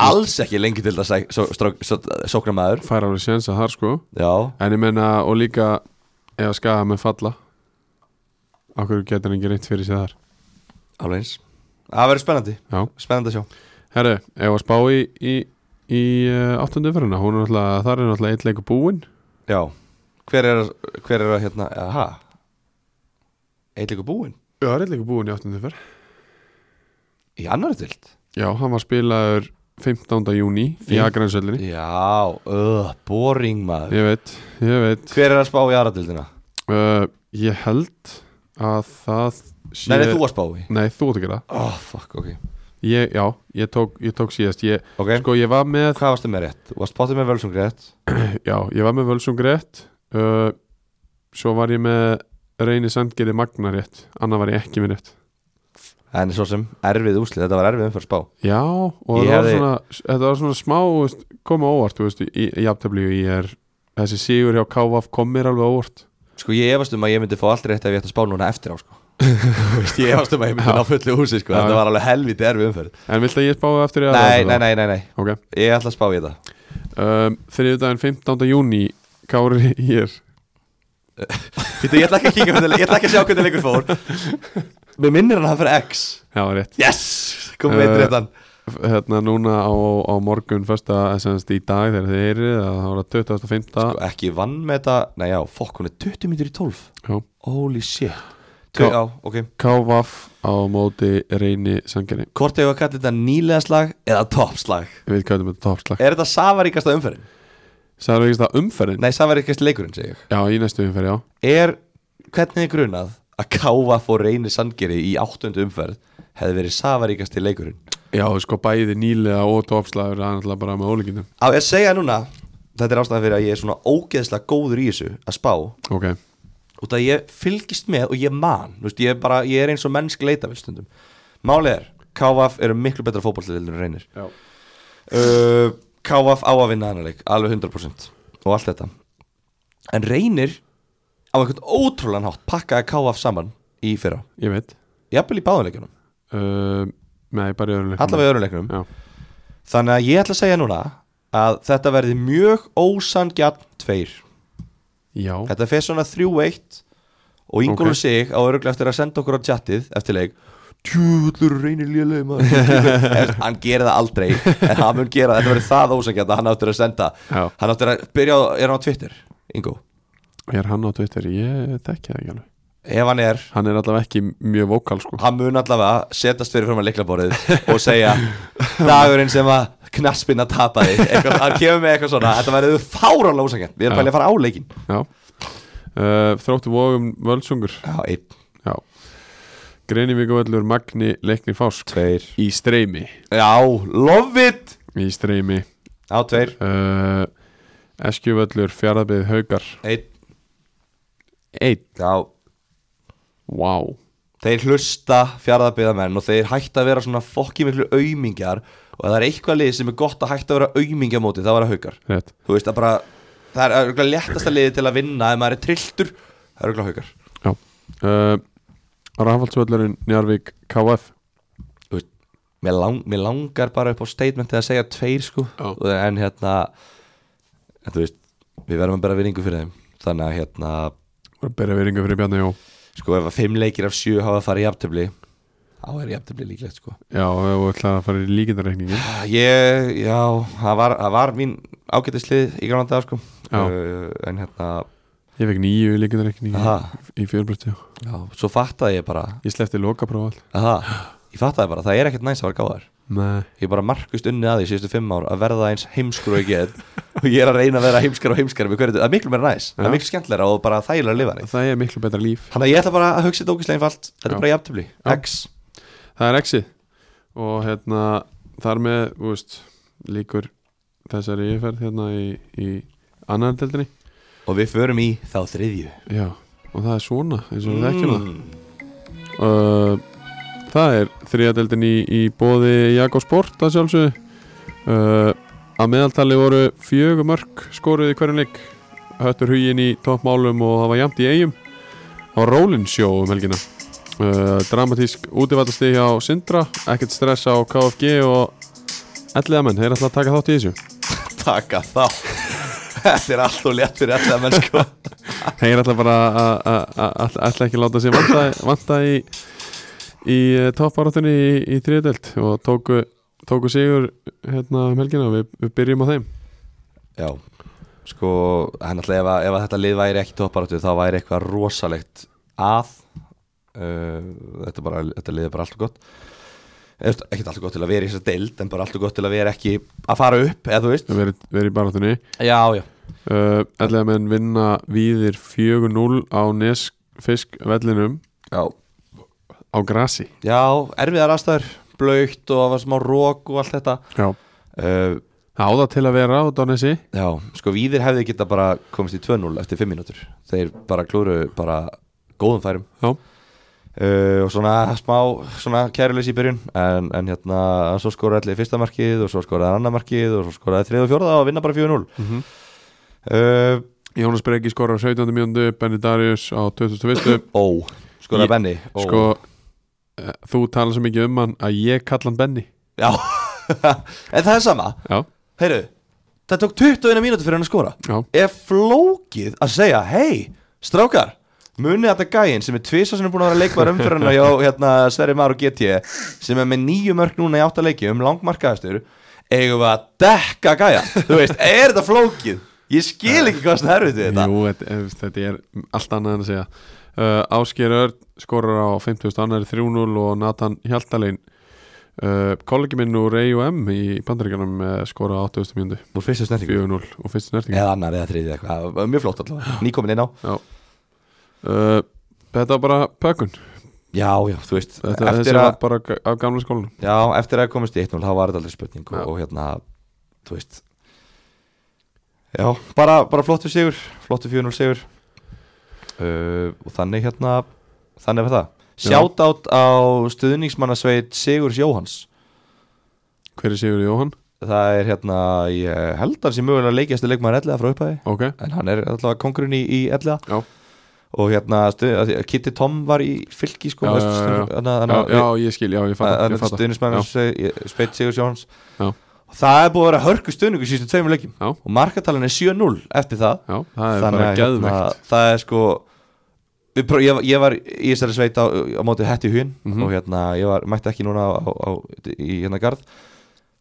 Speaker 2: alls ekki lengi til það sóknamaður
Speaker 1: fær alveg séns að þar sko
Speaker 2: já,
Speaker 1: En ég menna, og líka ef að skaga með falla á hverju getur hann ekki reynt fyrir sér þar
Speaker 2: alveg eins það verður spennandi,
Speaker 1: Já,
Speaker 2: spennandi að sjá
Speaker 1: herru, ef að spá í, í, í uh, áttundu fyrirna, hún er náttúrulega þar er náttúrulega eitt leikur búinn
Speaker 2: já, hver er, hver er að hérna, aha eitthvað búinn
Speaker 1: Já, það er eitt leikur búinn í áttundu fyrir
Speaker 2: í annar dild
Speaker 1: Já, hann var spilaður 15. júni í
Speaker 2: Fim-
Speaker 1: Akransöllinni
Speaker 2: já, öð, boring maður
Speaker 1: Ég veit, ég veit
Speaker 2: hver er að spá í aðra dildina?
Speaker 1: uh, Ég held að það sé
Speaker 2: nei, nei, þú að spá í
Speaker 1: Nei, þú átt að gera það.
Speaker 2: oh, fuck, ok,
Speaker 1: ég, Já, ég tók, ég tók síðast ég,
Speaker 2: ok,
Speaker 1: Sko, ég var með
Speaker 2: hvað varstu með rétt? þú varst báttið með völsung rétt
Speaker 1: Já, ég var með Völsung rétt uh, Svo var ég með Reyni Sandgeri Magna rétt Annað var ég ekki með rétt
Speaker 2: en svo sem erfið úslið, þetta var erfið umfyrir spá
Speaker 1: Já, og
Speaker 2: Ég
Speaker 1: þetta var,
Speaker 2: hefði-
Speaker 1: svona, þetta var svona smá þú veist, koma á óvart, þú veist, í, í aftöfli ég er, þessi sigur hjá KVF kom mér alveg á óvart
Speaker 2: Sko ég efast um að ég myndi fá allt rétt ef ég ætti að spá núna eftir á sko Þú veist, Ég efast um að ég myndi ná fullu húsi
Speaker 1: Já,
Speaker 2: sko Þetta
Speaker 1: já.
Speaker 2: var alveg helviti erfi umferð
Speaker 1: En vilt að ég spáði eftir ég
Speaker 2: nei, nei, nei, nei, nei,
Speaker 1: Ok,
Speaker 2: ég ætla að spá í þetta
Speaker 1: um, þriðudaginn 15. júni Kári <laughs> hér
Speaker 2: Þetta ég ætla ekki að kíka hvernig, ég ætla ekki að sjá hvernig leikur fór Mér minnir hann að það fyrir X
Speaker 1: Já, rétt
Speaker 2: Yes, kom með
Speaker 1: Eh,
Speaker 2: eitt réttan
Speaker 1: Hérna núna á, á morgun Fyrsta, semst í dag þegar þið eru Það var það 25.
Speaker 2: Og Sko, ekki vann með þetta, nei já, fokk hún er 20 mínútur í 12
Speaker 1: Já.
Speaker 2: Holy shit
Speaker 1: Já.
Speaker 2: Tvö, Já, ok
Speaker 1: KVF á móti Reyni Sandgeri
Speaker 2: Hvort hefur að kalla þetta nýlega slag eða toppslag
Speaker 1: Við kæðum þetta toppslag
Speaker 2: Er þetta safaríkasta umferðin?
Speaker 1: Sæður ekki það umferðin?
Speaker 2: Nei, safaríkasta leikurinn, segi ég
Speaker 1: Já, í næstu umferð, já
Speaker 2: er, hvernig er grunað að káfa fór reyni sangeri í áttundu umferð hefði verið safaríkasti leikurinn
Speaker 1: Já, sko bæði nýlega og toppslagur Það er náttúrulega bara með ólíkinum
Speaker 2: á ég að segja núna, þetta er ástæðan fyrir að ég er svona ógeðslega góður í þessu að spá
Speaker 1: Ok,
Speaker 2: út að ég fylgist með og ég man þú veist, ég, er bara, ég er eins og mennsk leitavel stundum málið er, KVF eru miklu betra fótballtildin en reynir
Speaker 1: já,
Speaker 2: uh, KVF á að vinna hennar leik alveg 100% og allt þetta en reynir á einhvern ótrúlan hátt pakkaði KVF saman í fyrra,
Speaker 1: ég veit
Speaker 2: jafnvel í báðanleikunum
Speaker 1: uh, Nei, bara í öðrum leiknum.
Speaker 2: allavega í öðrum leiknum
Speaker 1: Já,
Speaker 2: Þannig að ég ætla að segja núna að þetta verði mjög ósangjarn tveir.
Speaker 1: já,
Speaker 2: Þetta fer svona 3-1 og Ingólu
Speaker 1: Ok.
Speaker 2: sig á öruglega eftir að senda okkur á tjattið eftir leik Tjúðlur reynir lélega maður <laughs> Ef- Hann gerir það aldrei en hann mun gera það, þetta verður það ósangjarn að hann áttur að senda
Speaker 1: Já.
Speaker 2: Hann áttur að byrja á, er hann á Twitter, Ingó
Speaker 1: er hann á Twitter Ég þekki það ekki alveg
Speaker 2: Ef hann er,
Speaker 1: Hann er allavega ekki mjög vókal, sko
Speaker 2: hann mun allavega setast fyrir fram að leiklaborið og <laughs> segja dagurinn sem að knaspinna tapaði eitthvað, hann kemur með eitthvað svona þetta verður fáránlega ósangjarn, við erum
Speaker 1: Já.
Speaker 2: bælið að fara á leikin
Speaker 1: Já uh, Þróttu vóðum völsungur
Speaker 2: Já, einn
Speaker 1: Já Greinivík og öllur Magni Leikni Fásk
Speaker 2: Tveir
Speaker 1: Í streymi
Speaker 2: Já, love it
Speaker 1: Í streymi
Speaker 2: Já, tveir
Speaker 1: uh, Eskjuvöllur, Fjarðabið, Haukar
Speaker 2: Einn
Speaker 1: Eitt
Speaker 2: Já
Speaker 1: Vá wow.
Speaker 2: Þeir hlusta fjaraðabyðamenn og þeir hætta að vera svona fokki miklu aumingjar og ef það er eitthvað lið sem er gott að hætta að vera aumingja á móti það var að haukar
Speaker 1: Rétt
Speaker 2: Þú veist að bara það er örgulega léttasta liði til að vinna ef maður er trilltur það er örgulega haukar
Speaker 1: Já uh, Rafaldsvöllurinn, Njarvík, KF
Speaker 2: Þú veist, mér, lang, mér langar bara upp á statementið að segja tveir sko
Speaker 1: Já.
Speaker 2: Og- en hérna en þú veist við verðum að bera vinningu fyrir þeim þannig að hérna
Speaker 1: Bara berja veringu fyrir Bjarni Jó
Speaker 2: sko ef að fimm leikir af sjö hafa að fara í jafntöfli þá er jafntöfli líklegt sko
Speaker 1: Já, og við ætlaði að fara í líkindarreikningin
Speaker 2: ég, já, það var, það var mín ágætislið í grann dag sko
Speaker 1: Já.
Speaker 2: uh, en hérna
Speaker 1: Ég fekk nýju í líkindarreikningin
Speaker 2: Aha.
Speaker 1: Í fjörbrötti
Speaker 2: já, svo fattaði ég bara
Speaker 1: Ég sleppti lokapróf all
Speaker 2: aha, ég fattaði bara, það er ekkert næst að vera gáðar
Speaker 1: Nei
Speaker 2: ég er bara markvist unnið að því síðustu fimm ár að verða eins heimskur og ég get <laughs> og ég er að reyna að vera heimskar og heimskar við hverju þetta, það er miklu meira næs, það
Speaker 1: Já.
Speaker 2: er miklu skemmtilegra og bara þægilega að lifa þannig
Speaker 1: Það er miklu betra líf
Speaker 2: þannig að ég ætla bara að hugsa þetta ógislega einfalt
Speaker 1: Já.
Speaker 2: þetta er bara jafntöfli,
Speaker 1: Já.
Speaker 2: x
Speaker 1: Það er exið og hérna þar með þú veist, líkur þessari yfirferð hérna í, í annar deildinni
Speaker 2: og við förum í þá þriðju Hmm,
Speaker 1: Já, og það er svona eins og við þekkjum það uh, Það er þriðadeldin í, í bóði Jakobs Sport að sjálfsögðu uh, Að meðaltali voru fjögur mörg skoruð í hverjum leik Höttur hugin í toppmálum og það var jamt í eigum á Rólinsjó um helgina uh, Dramatísk útivallastig hjá Sindra ekkert stress á KFG og elliða menn, þeir ætla að taka þátt í þessu
Speaker 2: taka þá <laughs> Þetta er allt og létt fyrir alltaf menn sko
Speaker 1: Þeir ætla bara að að- að- að- ætla ekki að láta sér vanta, vanta í í topparatunni í, í þriðdelt og tóku, tóku sigur hérna um helgina við, við byrjum á þeim
Speaker 2: Já, sko hann alltaf ef, að- ef að þetta lið væri ekki topparáttu þá væri eitthvað rosalegt að uh, þetta, bara, þetta lið er bara allt og gott Eða, ekkert allt og gott til að vera í þessa deild en bara allt og gott til að vera ekki að fara upp eða þú veist
Speaker 1: að vera í baratunni
Speaker 2: Já, já
Speaker 1: uh, ellega menn vinna víðir 4-0 á nesfiskvellinum
Speaker 2: Já,
Speaker 1: á grasi
Speaker 2: já erfiðar aðstæður blaukt og það var smá rók og allt þetta
Speaker 1: Já.
Speaker 2: uh,
Speaker 1: það á það til að vera á Donesi
Speaker 2: Já, sko víðir hefði geta bara komist í 2-0 eftir 5 mínútur þeir bara klúru bara góðum færum
Speaker 1: Já,
Speaker 2: uh, og svona smá svona kæruleys í byrjun en, en hérna svo skoraði allir fyrsta markið og svo skoraði hann annað markið og svo skoraði þrið og fjórða og vinna bara 4-0 uh,
Speaker 1: Jónas Breki skorar á 17. mjöndu Benny Darius á 21.
Speaker 2: Ó, skoraði
Speaker 1: Ég-
Speaker 2: Benny ó.
Speaker 1: sko, eh, þú talar svo mikið um hann að ég kalla hann Benny
Speaker 2: Já, <laughs> en það er sama
Speaker 1: Já,
Speaker 2: Heyru, það tók 21 mínútur fyrir hann að skora
Speaker 1: já,
Speaker 2: Er flókið að segja hei, strákar munið þetta gæinn sem er tvisa sem er búin að vera leikmar umfyrirna hjá <laughs> hérna, Sverri Mar og GT sem er með nýju mörg núna í áttaleikjum langmarkaðastur eigum við að dekka gæja <laughs> þú veist, er þetta flókið ég skil ekki hvað sem erfið við þetta
Speaker 1: Jú, þetta, eh, þetta er allt annað en að segja uh, Ásker Örn skorar á 50. annar 3-0 og Nathan Hjaltalein uh, kollegi minn úr EUM í bandaríkanum uh, skorar á 80. mjöndu
Speaker 2: Úr fyrstu snertingu
Speaker 1: 4-0 og fyrst snertinga
Speaker 2: eða annar eða þriði eitthvað, mjög flott allavega nýkomin inn á,
Speaker 1: uh, Þetta var bara pökun
Speaker 2: já já, þú veist
Speaker 1: Þetta, Þessi
Speaker 2: eftir að,
Speaker 1: var bara g- af gamla skólanum
Speaker 2: já, eftir að komist í 1-0 þá var þetta aldrei spurning og,
Speaker 1: Já.
Speaker 2: og hérna, þú veist já, bara, bara flottu sigur flottu 4-0 sigur uh, og þannig hérna þannig var það,
Speaker 1: Já.
Speaker 2: shoutout á stuðningsmannasveit Sigurs Jóhans
Speaker 1: Hver er Sigurður Jóhann?
Speaker 2: það er hérna, ég held að sem mögulega leikjastu leikmaður ellega frá upphæði
Speaker 1: Ok,
Speaker 2: en hann er allavega kongurinn í, í ellega
Speaker 1: já
Speaker 2: og hérna stu, að því að Kitty Tom var í fylki sko
Speaker 1: Já,
Speaker 2: veist,
Speaker 1: já, já.
Speaker 2: stund- þannig að-
Speaker 1: Já,
Speaker 2: þannig
Speaker 1: já,
Speaker 2: að-
Speaker 1: ég skil, já, ég fatta,
Speaker 2: þannig
Speaker 1: ég
Speaker 2: að
Speaker 1: fatta.
Speaker 2: stuðnismenn
Speaker 1: Já,
Speaker 2: Speit Sigur Sjóns
Speaker 1: Já.
Speaker 2: og það er búið að vera hörku stuðningu sístu tveimur leikjum
Speaker 1: Já.
Speaker 2: og markatalin er 7-0 eftir það
Speaker 1: já, það er bara
Speaker 2: hérna,
Speaker 1: geðvegt
Speaker 2: það er sko við pró- ég, var- ég var í þessari sveit á, á móti hætti hugin
Speaker 1: Mhm.
Speaker 2: og hérna ég var, mætti ekki núna á, á, á, í hérna garð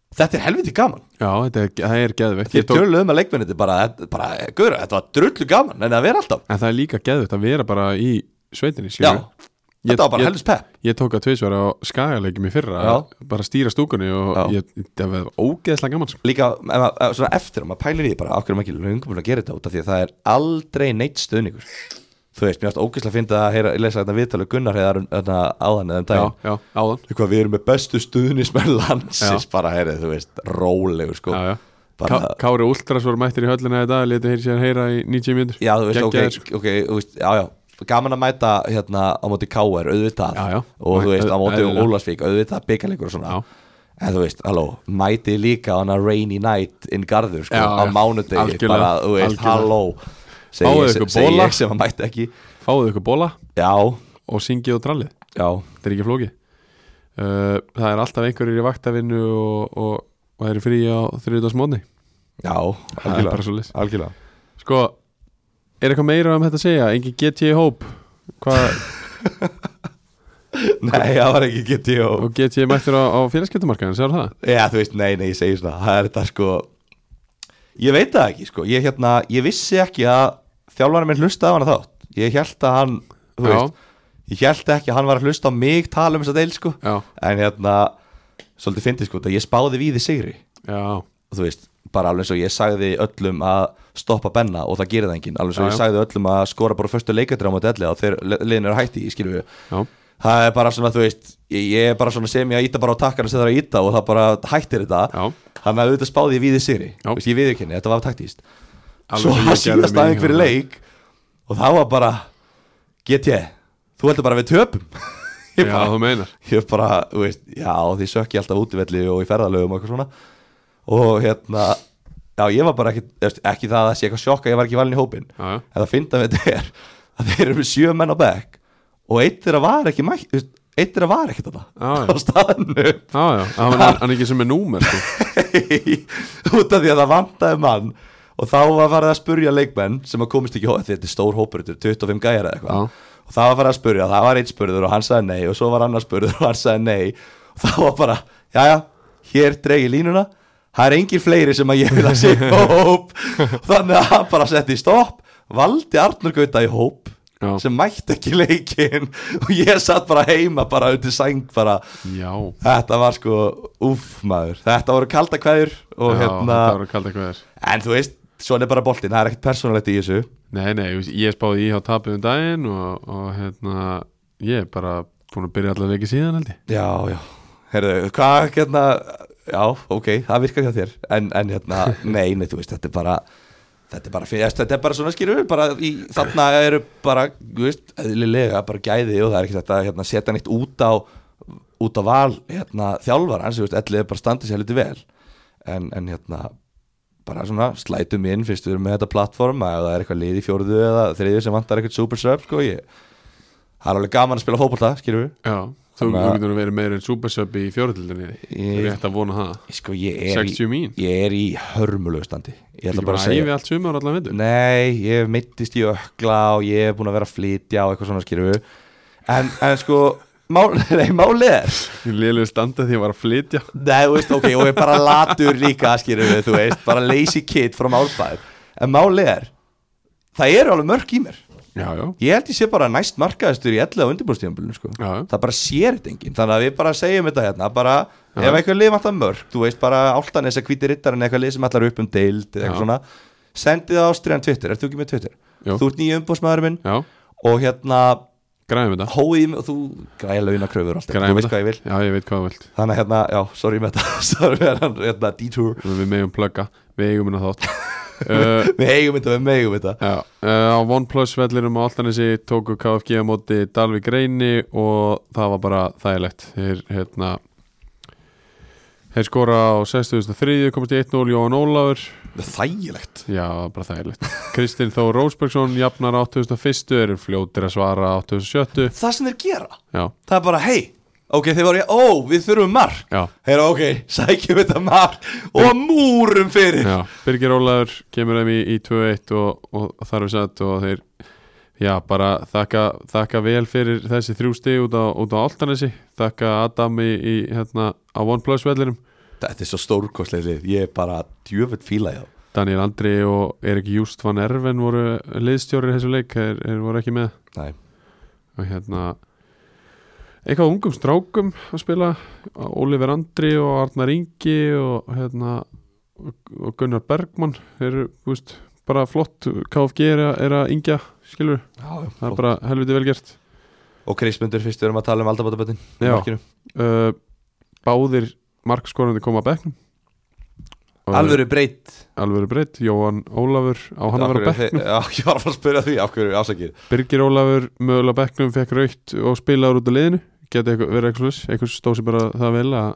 Speaker 2: þetta er helviti gaman
Speaker 1: Já, þetta er, það er geðvegt
Speaker 2: því töluðum að leikmenni bara, bara gura, þetta var drullu gaman en það vera alltaf
Speaker 1: En það er líka geðvett að vera bara í sveitinni
Speaker 2: já,
Speaker 1: skilur. Ég-
Speaker 2: þetta var bara
Speaker 1: ég-
Speaker 2: helvits pepp
Speaker 1: Ég tók að tveisvara á skagalegjum í fyrra
Speaker 2: Já.
Speaker 1: bara stýra stúkunni og
Speaker 2: Já.
Speaker 1: ég, það var ógeðslega gaman sko.
Speaker 2: líka ef maður- ef- svona eftir að maður pælir í því bara okkur er maður ekki löngum búin að gera þetta út af því að það er aldrei neitt stöðningur þú veist, mér varst ógeðslega að finna að heyra, lesa þetta viðtalið Gunnar heiðar áðan eða um
Speaker 1: Já,
Speaker 2: daginn
Speaker 1: já, áðan
Speaker 2: eitthvað við erum með bestu stuðnismenn <laughs> landsins bara heyrið, þú veist, rólegur sko
Speaker 1: já, já.
Speaker 2: Bara,
Speaker 1: Ká- Kári Últras voru mættir í höllina í dag letið hér sér heyra í 90 mínútur
Speaker 2: já, þú veist,
Speaker 1: Geggjaðir, sko.
Speaker 2: ok, ok þú veist, já, já gaman að mæta hérna á móti KR auðvitað
Speaker 1: Já, já.
Speaker 2: og þú veist, á móti
Speaker 1: Eðlilega.
Speaker 2: Ólasvík auðvitað byggaleikur og svona
Speaker 1: Já.
Speaker 2: en þú veist, halló, mæti líka on a rainy night in Garður sko,
Speaker 1: Já,
Speaker 2: á
Speaker 1: já.
Speaker 2: mánudegi,
Speaker 1: Algjörlega,
Speaker 2: bara, þú veist,
Speaker 1: algjörlega.
Speaker 2: halló segi
Speaker 1: Fáið
Speaker 2: ég,
Speaker 1: ykkur
Speaker 2: segi
Speaker 1: bolla.
Speaker 2: ég sem að mæti ekki
Speaker 1: Fáðu ykkur bóla
Speaker 2: já,
Speaker 1: og syngið og trallið
Speaker 2: já,
Speaker 1: Þetta er ekki flóki uh, Það er alltaf einhverjir í vaktavinnu og, og, og það eru frí á þriðdagsmóðni
Speaker 2: já,
Speaker 1: Það er bara
Speaker 2: algjörlega
Speaker 1: svo leys
Speaker 2: algjörlega
Speaker 1: Sko, er eitthvað meira um þetta að segja? Engin GT hóp Hvað,
Speaker 2: nei, það var ekki getið og
Speaker 1: og GT mættir á, á félagskiptumarkaðin, sér það?
Speaker 2: Já, þú veist, nei, nei, ég segi svona Það er þetta sko Ég veit það ekki, sko Ég, hérna, ég vissi ekki að þjálfarinn minn hlustaði á hana þátt Ég held að hann, þú
Speaker 1: Já.
Speaker 2: veist Ég held ekki að hann var að hlusta á mig tala um þess að deil, sko
Speaker 1: Já,
Speaker 2: En hérna, svolítið fyndið, sko þetta Ég spáði við í sigri
Speaker 1: já
Speaker 2: Þú veist, bara alveg eins og ég sagði öllum að stoppa benna og það gerir það enginn Alveg eins og
Speaker 1: Já,
Speaker 2: ég
Speaker 1: já.
Speaker 2: sagði öllum að skora bara fyrstu leikadrið á móti ellega og þeir liðin eru að hætti, skilum við
Speaker 1: Já,
Speaker 2: það er bara svona, þú veist ég, ég er bara svona sem ég að íta bara á takkana sem það er að íta og það bara hættir þetta
Speaker 1: Já.
Speaker 2: þannig að auðvitað spáði ég við í sigri
Speaker 1: Já.
Speaker 2: Vist, ég viður ekki henni, þetta var taktíst
Speaker 1: Alveg
Speaker 2: svo
Speaker 1: eins og ég gerði
Speaker 2: það síðast
Speaker 1: mikið
Speaker 2: aðeins fyrir
Speaker 1: hérna.
Speaker 2: leik og það var bara get ég, þú heldur bara að við töpum Ég
Speaker 1: Já,
Speaker 2: bara-
Speaker 1: þú meinar
Speaker 2: <laughs> ég bara, þú veist, já því sökki alltaf útivelli og í ferðalögum og eitthvað svona og hérna já ég var bara ekki, ekki það að sé eitthvað sjokk að ég var ekki valin í hópin
Speaker 1: Já, já.
Speaker 2: en það fynda með þetta er að þeir eru með sjö menn á bekk og eitt þeirra var ekki mætt, þú veist, eitt þeirra var ekki þetta
Speaker 1: Já, já.
Speaker 2: <laughs> á staðinu
Speaker 1: Já, já, það var hann ekki sem er númer sko.
Speaker 2: <laughs> út af því að það vantaði mann og þá var farið að spurja leikmenn sem að komist ekki, þetta er stór hópur þetta er 25 gæjar eða eitthvað
Speaker 1: Já.
Speaker 2: og það var farið að spurja, það var einn spurður og hann sagði nei og svo var annar spurður og hann sagði nei og það var bara, jæja, hér dregi línuna það er engin fleiri sem að ég vil að sé í
Speaker 1: <laughs>
Speaker 2: hóp þannig að hann bara setti í stopp valdi Arnur Gauta í hóp
Speaker 1: Já.
Speaker 2: sem mætti ekki leikin og ég satt bara heima bara undir sæng bara
Speaker 1: Já,
Speaker 2: Þetta var sko, uff maður Þetta voru kalda kveður og
Speaker 1: já
Speaker 2: hérna
Speaker 1: þetta var að kalda eitthvað þér
Speaker 2: En þú veist, svona er bara boltinn, það er ekkert persónulegt í þessu
Speaker 1: Nei, nei, ég- ég spáði í á tapið um daginn og, og hérna, ég er bara búin að byrja allar leiki síðan held ég
Speaker 2: Já, já, herðu, hvað hérna Já, ok, það virkar hjá þér En, en hérna, nei, nei, þú veist, þetta er bara Þetta er bara, fyrir, þetta er bara svona skýrur bara í, Þarna eru bara, þú veist, eðlilega bara gæði og það er ekki þetta hérna, setja neitt út á út á val, hérna, þjálfara hans, þú veist, ellið bara standið sér liti vel en, en hérna bara svona slætum inn fyrst við erum með þetta plattform að það er eitthvað lið í fjórðu eða þriðju sem vantar eitthvað super sub sko ég það er alveg gaman að spila fótbolta skilur við
Speaker 1: Já, þú
Speaker 2: Þannig
Speaker 1: þú
Speaker 2: að-
Speaker 1: getur að vera meira en supersub í fjórhildinni
Speaker 2: Ég-
Speaker 1: Rétt að vona það
Speaker 2: sko ég er
Speaker 1: 60 mín,
Speaker 2: í ég er í hörmulegu standi ég ætla
Speaker 1: ekki
Speaker 2: bara
Speaker 1: bara
Speaker 2: að segja
Speaker 1: æfi allt sumar allan vindur
Speaker 2: nei ég hef meittist í ökla og ég hef búin að vera að flytja og eitthvað svona skilur við en, en sko mál, <laughs> nei, málið er
Speaker 1: Ég lélega standa því að ég var að flytja
Speaker 2: Nei, þú veist, ok, og ég er bara latur líka, skýrðu við, þú veist, bara lazy kid frá málbæð. En málið er, það eru alveg mörg í mér.
Speaker 1: Já, já,
Speaker 2: Ég held ég sé bara næst markaðistur í 11 á undirbúrstíðanbílunum, sko.
Speaker 1: já, já.
Speaker 2: Það bara sér þetta enginn, þannig að við bara segjum þetta hérna, bara,
Speaker 1: Já.
Speaker 2: ef einhver lið vantar mörg, þú veist, bara áltan þess að hvíti rittarinn eitthvað lið sem allar upp um deild eða
Speaker 1: Já.
Speaker 2: eitthvað svona, sendið það á stríðan Twitter, ert þú ekki með Twitter?
Speaker 1: Jú.
Speaker 2: Þú ert nýja umbúrsmaður minn
Speaker 1: já,
Speaker 2: og hérna,
Speaker 1: græðum þetta
Speaker 2: hóið í mig og þú græja launakröfur og allt þetta,
Speaker 1: Græðum
Speaker 2: þú veist hvað ég vil.
Speaker 1: Já, ég veit hvað þú vilt
Speaker 2: Þannig að hérna, já, sorry með þetta <laughs> Sorry með þetta, hérna, detour
Speaker 1: Við meðum plugga, við eigum hérna <laughs> þátt uh,
Speaker 2: Við eigum þetta, við megum þetta
Speaker 1: Já, uh, á OnePlus vellinum á Altanesi tóku KFG á móti Dalvik Reyni og það var bara þægilegt þeir hérna þeir skora á 63 komast í 1-0 Jóhann Ólafur
Speaker 2: Þægilegt
Speaker 1: já, það var bara þægilegt Kristinn Þór Rósbergsson jafnar á 2001 eru fljótir að svara á 2007
Speaker 2: Það sem þeir gera,
Speaker 1: já,
Speaker 2: það er bara, hei Ok, þeir voru, ó, við þurfum mark
Speaker 1: já,
Speaker 2: Heyra, ok, <laughs> sækjum þetta mark Og múrum fyrir
Speaker 1: já Birgir Ólafur kemur þeim í, í 2-1 og, og þar við satt og þeir já, bara þakka, þakka vel fyrir þessi þrjú stig út á, út á Altanesi þakka Adam í, í hérna á OnePlus vellinum
Speaker 2: Þetta er svo stórkostlega lið Ég er bara djöfut fíla ég á
Speaker 1: Daniel Andri og Erik Júst van Erven voru liðstjórir í þessu leik þeir, þeir voru ekki með
Speaker 2: Nei,
Speaker 1: og hérna eitthvað af ungum strákum að spila Oliver Andri og Arnar Ingi og hérna og Gunnar Bergmann þeir eru, þú veist, bara flott KFG er að, er að ingja, skilur
Speaker 2: já, já,
Speaker 1: það er
Speaker 2: flott.
Speaker 1: bara helviti vel gert
Speaker 2: Og Krismundur fyrst við erum að tala um aldabátabötin
Speaker 1: Já. uh, báðir markskorandi koma að bekknum Og
Speaker 2: Alvöru breytt
Speaker 1: alvöru breytt, Jóhann Ólafur á hann að vera á bekknum
Speaker 2: <laughs> Já, ég var að fara að spyrja því, af hverju afsakir
Speaker 1: Birgir Ólafur mögulega á bekknum fekk raukt og spilaður út af liðinu geti eitthvað, verið eitthvað slags, eitthvað stóð sér bara það vel að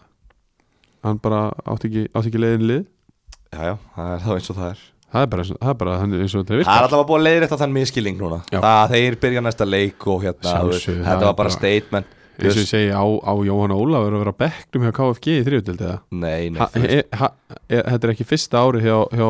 Speaker 1: hann bara átti ekki, átti ekki leiðin lið
Speaker 2: Já, já, það er þá eins og það er
Speaker 1: það er bara, eins og- það er bara þannig eins og þetta
Speaker 2: Það er
Speaker 1: virkar
Speaker 2: alltaf að búa að leiðrétta þann miskilling núna
Speaker 1: Já.
Speaker 2: það, Þeir byrja næsta leik og hérna
Speaker 1: Sjálfsögðu,
Speaker 2: þú veist,
Speaker 1: það
Speaker 2: Þetta
Speaker 1: er
Speaker 2: var bara
Speaker 1: bara-
Speaker 2: statement
Speaker 1: eins og ég segi á, á Jóhann Ólafur að vera á bekknum hjá KFG í þriðutild eða
Speaker 2: Nei, nei
Speaker 1: Ha-
Speaker 2: þú veist.
Speaker 1: e- ha- e- þetta er ekki fyrsta ári hjá, hjá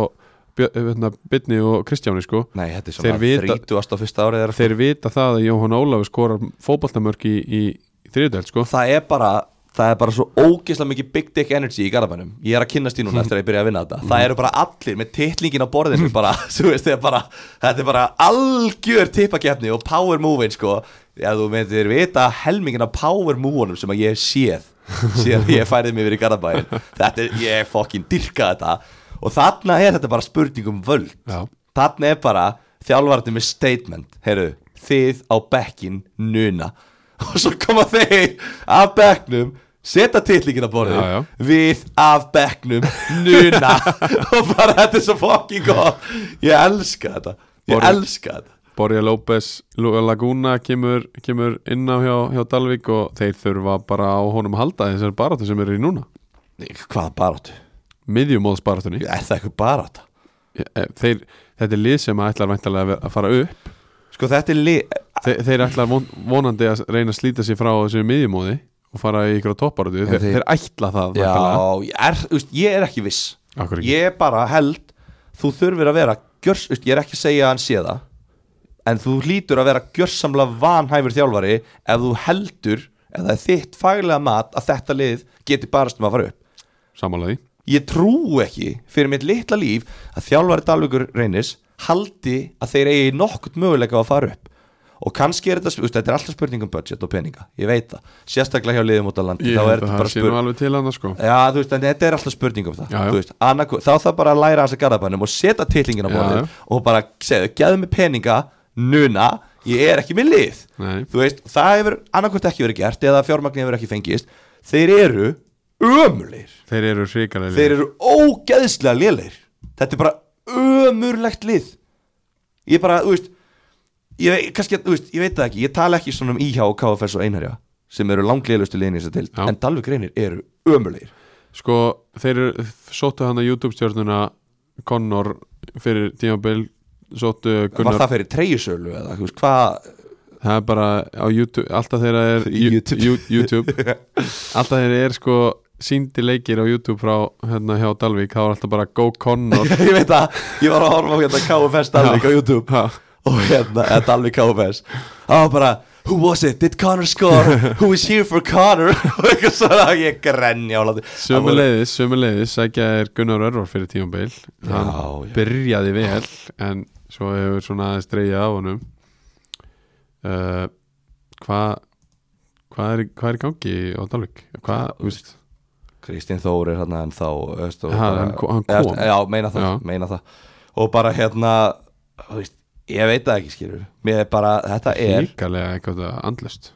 Speaker 1: Björ- hérna, Byrni og Kristjáni sko
Speaker 2: Nei, þetta er
Speaker 1: Þeir
Speaker 2: svona
Speaker 1: vita-
Speaker 2: þrítugast á fyrsta árið þeirra.
Speaker 1: þeir vita það að Jóhann Ólafur skorar fótballtamörk í, í þriðutild sko
Speaker 2: Það er bara Það er bara svo ógeðslega mikið big dick energy í garabænum Ég er að kynnast í núna eftir að ég byrja að vinna
Speaker 1: Mhm.
Speaker 2: þetta Það eru bara allir með titlingin á borðinu bara, <laughs> þú veist, þeir bara, Þetta er bara algjör tippakefni og power move sko. Já, þú myndir vita helmingin af power move-unum sem að ég hef séð síðan ég færið mig yfir í garabæn Þetta er, ég fokkin dyrka þetta Og þarna er þetta bara spurning um völd
Speaker 1: Já.
Speaker 2: Þarna er bara þjálfarnir með statement Heru, Þið á bekkin nuna <laughs> Og svo koma þeir af bekknum Seta titlingin að borðið
Speaker 1: Já, já.
Speaker 2: Við af bekknum
Speaker 1: <laughs>
Speaker 2: nuna Og bara þetta er svo fucking gott Ég elska þetta Ég
Speaker 1: Borðið-
Speaker 2: elska þetta
Speaker 1: Borja López Laguna kemur, kemur inn á hjá, hjá Dalvik og þeir þurfa bara á honum að halda þessar baráttu sem eru í núna
Speaker 2: Hvað baráttu?
Speaker 1: miðjumóðsbaráttunni eh,
Speaker 2: Er það eitthvað barátta?
Speaker 1: þeir, þetta er lið sem að ætlar væntalega að vera- að fara upp
Speaker 2: Sko þetta er lið
Speaker 1: þeir, þeir ætlar von, vonandi að reyna að slíta sér frá þessu miðjumóði og fara í ykkur á topparáttu þeir,
Speaker 2: þeir-
Speaker 1: þeir ætla það
Speaker 2: Já,
Speaker 1: væntanlega.
Speaker 2: ég er, þú veist, ég er ekki viss
Speaker 1: Af hverju ekki?
Speaker 2: Ég bara held Þú þurfir að vera gjörs, þú veist, Ég er ekki að segja að hann sé það En þú hlýtur að vera gjörsamlega vanhæfur þjálfari Ef þú heldur Ef það er þitt faglega mat Að þetta lið geti barast um að fara upp
Speaker 1: sammála því
Speaker 2: Ég trú ekki fyrir mitt litla líf að þjálfari Dalvíkur reynis haldi að þeir eigi nokkurt möguleika á að fara upp og kannski er þetta, þú veist, þetta er alltaf spurning um budget og peninga, ég veit það, sérstaklega hjá liðum út á landi,
Speaker 1: ég
Speaker 2: þá
Speaker 1: held
Speaker 2: er
Speaker 1: að
Speaker 2: þetta
Speaker 1: það
Speaker 2: bara
Speaker 1: sé nú
Speaker 2: spurning
Speaker 1: alveg til annars sko
Speaker 2: Já, þú veist, en þetta er alltaf spurning um það
Speaker 1: Já, já.
Speaker 2: Þú veist, annarku, þá þarf bara að læra hans að garðabænum og setja titlingin á
Speaker 1: Já,
Speaker 2: borðið
Speaker 1: já.
Speaker 2: og bara segja, geðu mig peninga núna, ég er ekki með lið
Speaker 1: Nei.
Speaker 2: þú veist, það hefur annarkvort ekki verið gert eða fjármagni hefur ekki fengist þeir eru ömulir
Speaker 1: þeir eru hrikalega
Speaker 2: þeir eru ógeðslega lélir þetta er bara ömurlegt lið ég bara, þú veist ég, vei- kannski, þú veist, ég veit það ekki ég tala ekki svona um IH og KFS og Einherja sem eru langleilustu liðin í þessu til
Speaker 1: Já.
Speaker 2: en Dalvik reynir eru ömurlegir
Speaker 1: Sko, þeir eru, sóttu hann að YouTube-stjórnuna Connor fyrir tímabil, sóttu
Speaker 2: var
Speaker 1: Gunnar,
Speaker 2: það fyrir treyjusölu eða þú veist, hvað <laughs>
Speaker 1: það? er bara á YouTube, alltaf þeirra er
Speaker 2: YouTube.
Speaker 1: Ju- Ju- YouTube. alltaf þeirra er sko síndi leikir á YouTube frá hérna hjá Dalvík, það var alltaf bara Go Connor
Speaker 2: ég veit það, ég var að horfa á hérna KFS Dalvik á YouTube
Speaker 1: Ha,
Speaker 2: og hérna, eða Dalvik KFS það var bara Who was it? Did Connor score? Who is here for Connor? <laughs> og eitthvað svona, ég grenja á láti
Speaker 1: Sömuleiðis, sömuleiðis sækja er Gunnar Örvar fyrir tímabil hann
Speaker 2: Já, já.
Speaker 1: byrjaði vel en svo hefur svona aðeins dreigið af honum uh, Hvað hvað er, hvað er í gangi á Dalvík? Hvað, þú veist
Speaker 2: Kristín Þór er hann ennþá öst,
Speaker 1: Ha, hann ko- hann kom.
Speaker 2: já, meina það,
Speaker 1: Já.
Speaker 2: meina það og bara hérna þú veist, ég veit það ekki skilur mér er bara, þetta er,
Speaker 1: Ríkalega eitthvað andlust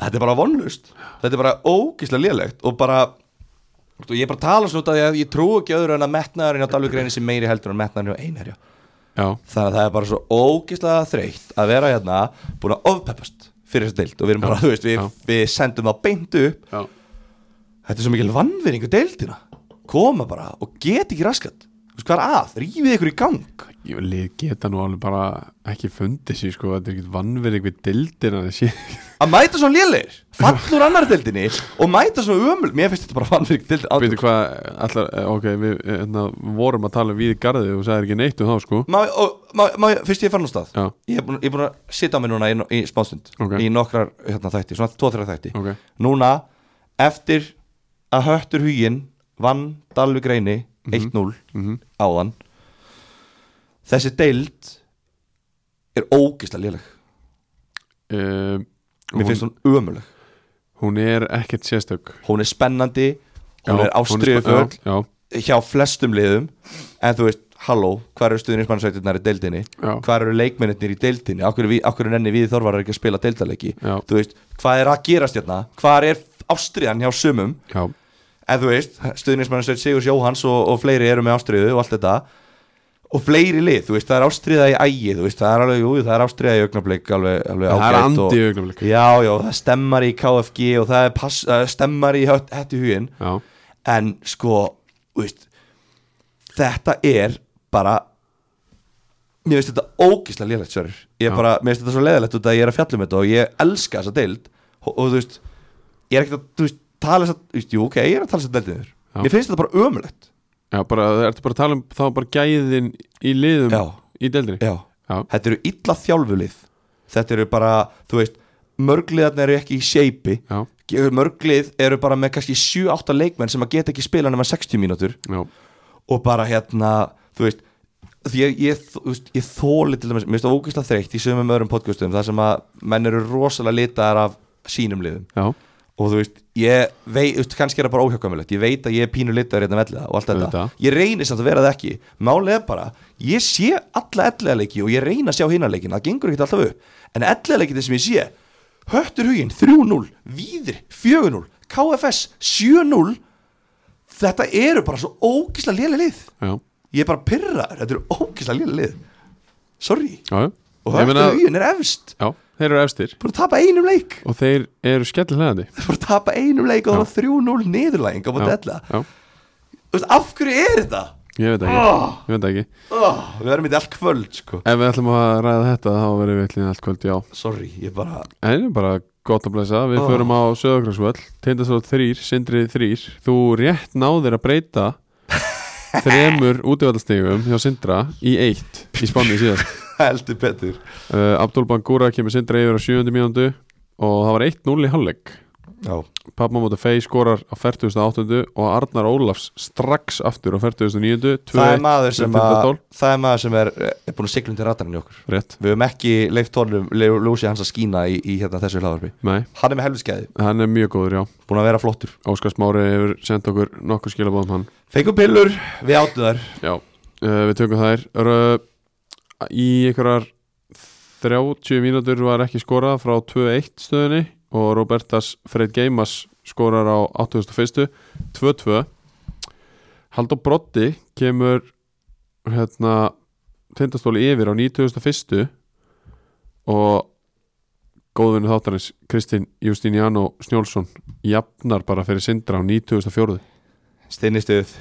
Speaker 2: þetta er bara vonlust þetta er bara ógislega lélegt og bara og ég er bara að tala svona út af því að ég trú ekki öðru en að metnaðurinn á Dalvíkreini sem meiri heldur en metnaðurinn á Einherja
Speaker 1: Já,
Speaker 2: þannig að það er bara svo ógislega þreytt að vera hérna búin að ofpeppast fyrir þessu deild og við erum bara, þú veist, við,
Speaker 1: Já.
Speaker 2: við sendum það beint upp
Speaker 1: já.
Speaker 2: Þetta er svo mikil vannveringu deildina Koma bara og get ekki raskat Þú veist hvað er að, rífið ykkur í gang
Speaker 1: Ég lið geta nú alveg bara ekki fundið sér sko, þetta er ekkert vannverið við dildina þessi
Speaker 2: Að mæta svona lélir, fallur annar deildinni Og mæta svona ömul, mér finnst þetta bara vannveringu deildin
Speaker 1: Býtu hvað, allar, ok, við hérna, vorum að tala við í garði og sagði ekki neitt um þá sko
Speaker 2: Má, og, má, má, fyrst ég fann á stað
Speaker 1: Já,
Speaker 2: Ég er búin, ég er búin að sitja á mig núna í, í spánsund
Speaker 1: Ok.
Speaker 2: Í nokkrar hérna, þætti, svona 2-3 þætti
Speaker 1: ok,
Speaker 2: Núna, eftir að höttur huginn Vann Dalvi Greini 1-0
Speaker 1: mhm
Speaker 2: áðan Þessi deild Er ógislega léleg
Speaker 1: um,
Speaker 2: Mér
Speaker 1: hún,
Speaker 2: finnst hún ömuleg
Speaker 1: hún er ekkert sérstök
Speaker 2: Hún er spennandi Hún
Speaker 1: Já,
Speaker 2: er ástriðu
Speaker 1: spa-
Speaker 2: föl
Speaker 1: já,
Speaker 2: hjá flestum liðum En þú veist, halló, hvað eru stuðnismannsveitirnar í deildinni?
Speaker 1: já, já,
Speaker 2: Hvað eru leikmennirnir í deildinni? Akkur, við, akkur nenni við þorvarar ekki að spila deildalegi?
Speaker 1: já,
Speaker 2: Þú veist, hvað er að gerast hérna? Hvað er ástriðan hjá sumum?
Speaker 1: já,
Speaker 2: En þú veist, stuðnismannsveit Sigurs Jóhans og, og fleiri eru með ástriðu og allt þetta Og fleiri lið, þú veist, það er ástriða í ægi Þú veist, það er alveg, jú, það er ástriða í augnablik alveg, alveg
Speaker 1: það er
Speaker 2: ágætt og-
Speaker 1: andi augnablik
Speaker 2: Já, já, það stemmar í KFG og það er pass, uh, stemmar í hætti hugin
Speaker 1: já,
Speaker 2: en sko, þú veist þetta er bara mér finnst þetta ógislega lélegt sverjur ég
Speaker 1: Já.
Speaker 2: er bara, mér finnst þetta svo leðilegt út af að ég er að fjallum þetta og ég elska þessa deild og, og þú veist, ég er ekkert að þú veist, tala þess að, þú veist, jú, ok, ég er að tala þess að deildið þér
Speaker 1: Já.
Speaker 2: mér finnst þetta bara ömulegt
Speaker 1: já, bara, ertu bara að tala um þá bara gæðin í liðum
Speaker 2: Já.
Speaker 1: í deildinni
Speaker 2: já,
Speaker 1: já,
Speaker 2: þetta eru illa þjálfulið þetta eru bara, þú veist mörgliðarnir eru ekki í shapei
Speaker 1: já,
Speaker 2: mörglið eru bara með kannski 7-8 leikmenn sem að geta ekki spila nema 60 mínútur
Speaker 1: já,
Speaker 2: og bara hérna, þú veist því ég, ég, þú veist, ég þóli til dæmis, mér finnst það ógeðslega þreytt í sömum öðrum podcastum þar sem að menn eru rosalega litaðar af sínum liðum
Speaker 1: já,
Speaker 2: og þú veist, ég veit, þú veist, kannski er það bara óhjákvæmilegt ég veit að ég er pínu litaður hérna velliða og allt þetta,
Speaker 1: Auðvitað.
Speaker 2: ég reynir samt að vera það ekki málið er bara, ég sé alla ellega leiki og ég reyna að sjá hinna leikin það gengur ekkert alltaf upp, en ellega leikin sem ég sé, höttur huginn 3-0 víðir 4-0, KFS 7-0 þetta eru bara svo ógislega lélega lið
Speaker 1: já,
Speaker 2: ég er bara pyrraður, þetta eru ógislega lélega lið sorry,
Speaker 1: já, já.
Speaker 2: og
Speaker 1: Ég meina-
Speaker 2: höfðu hugin er efst
Speaker 1: Já, þeir eru efstir
Speaker 2: búin að tapa einum leik
Speaker 1: og þeir eru skellhleðandi
Speaker 2: búin að tapa einum leik og það var 3-0 niðurlæging á búin
Speaker 1: Já.
Speaker 2: della
Speaker 1: Já,
Speaker 2: Þú veist, af hverju er þetta?
Speaker 1: ég veit ekki,
Speaker 2: Oh,
Speaker 1: ég veit ekki
Speaker 2: oh, við erum í þetta allt kvöld sko.
Speaker 1: Ef við ætlum að ræða þetta þá verðum við ætlum allt kvöld, já
Speaker 2: sorry, ég bara <laughs>
Speaker 1: En það er bara gott að blæsa Við
Speaker 2: Ah.
Speaker 1: förum á Söðokrasvöll Tindastóð 3, Sindrið 3 Þú rétt náðir að
Speaker 2: <laughs>
Speaker 1: breyta Þremur útivaldastegum hjá Sindra Í eitt í spannið síðast
Speaker 2: heldur betur
Speaker 1: uh, Abdul Bangura kemur Sindra yfir á 7. mínúndu Og það var 1-0 í hálfleik
Speaker 2: já,
Speaker 1: Pappa móti Fey skorar á 48. Og Arnar Ólafs strax aftur á 49.
Speaker 2: það er maður sem að
Speaker 1: 2-1,
Speaker 2: það er maður sem er, er búin að sigla undir radarinn í okkur
Speaker 1: Rétt,
Speaker 2: við höfum ekki leift honum ljósið hans að skína í, í hérna þessu hlaðarfi
Speaker 1: nei,
Speaker 2: hann er með helviskeiði,
Speaker 1: hann er mjög góður, já
Speaker 2: búin að vera flottur
Speaker 1: Óskars Mári hefur sendt okkur nokkur skilabóðum hann
Speaker 2: fengum pillur, við áttu þar
Speaker 1: Já, uh, við tökum þær Rö, Í einhverjar 30 mínútur var ekki skorað frá 2-1 stöðunni og Robertas Freyr Geimas skorar á 81. 2-2 Haldur Brotti kemur hérna tindastóli yfir á 91. og góðvinni þáttarins Kristín Justiniano Snjólfsson jafnar bara fyrir sindra á 94.
Speaker 2: stinnistuð,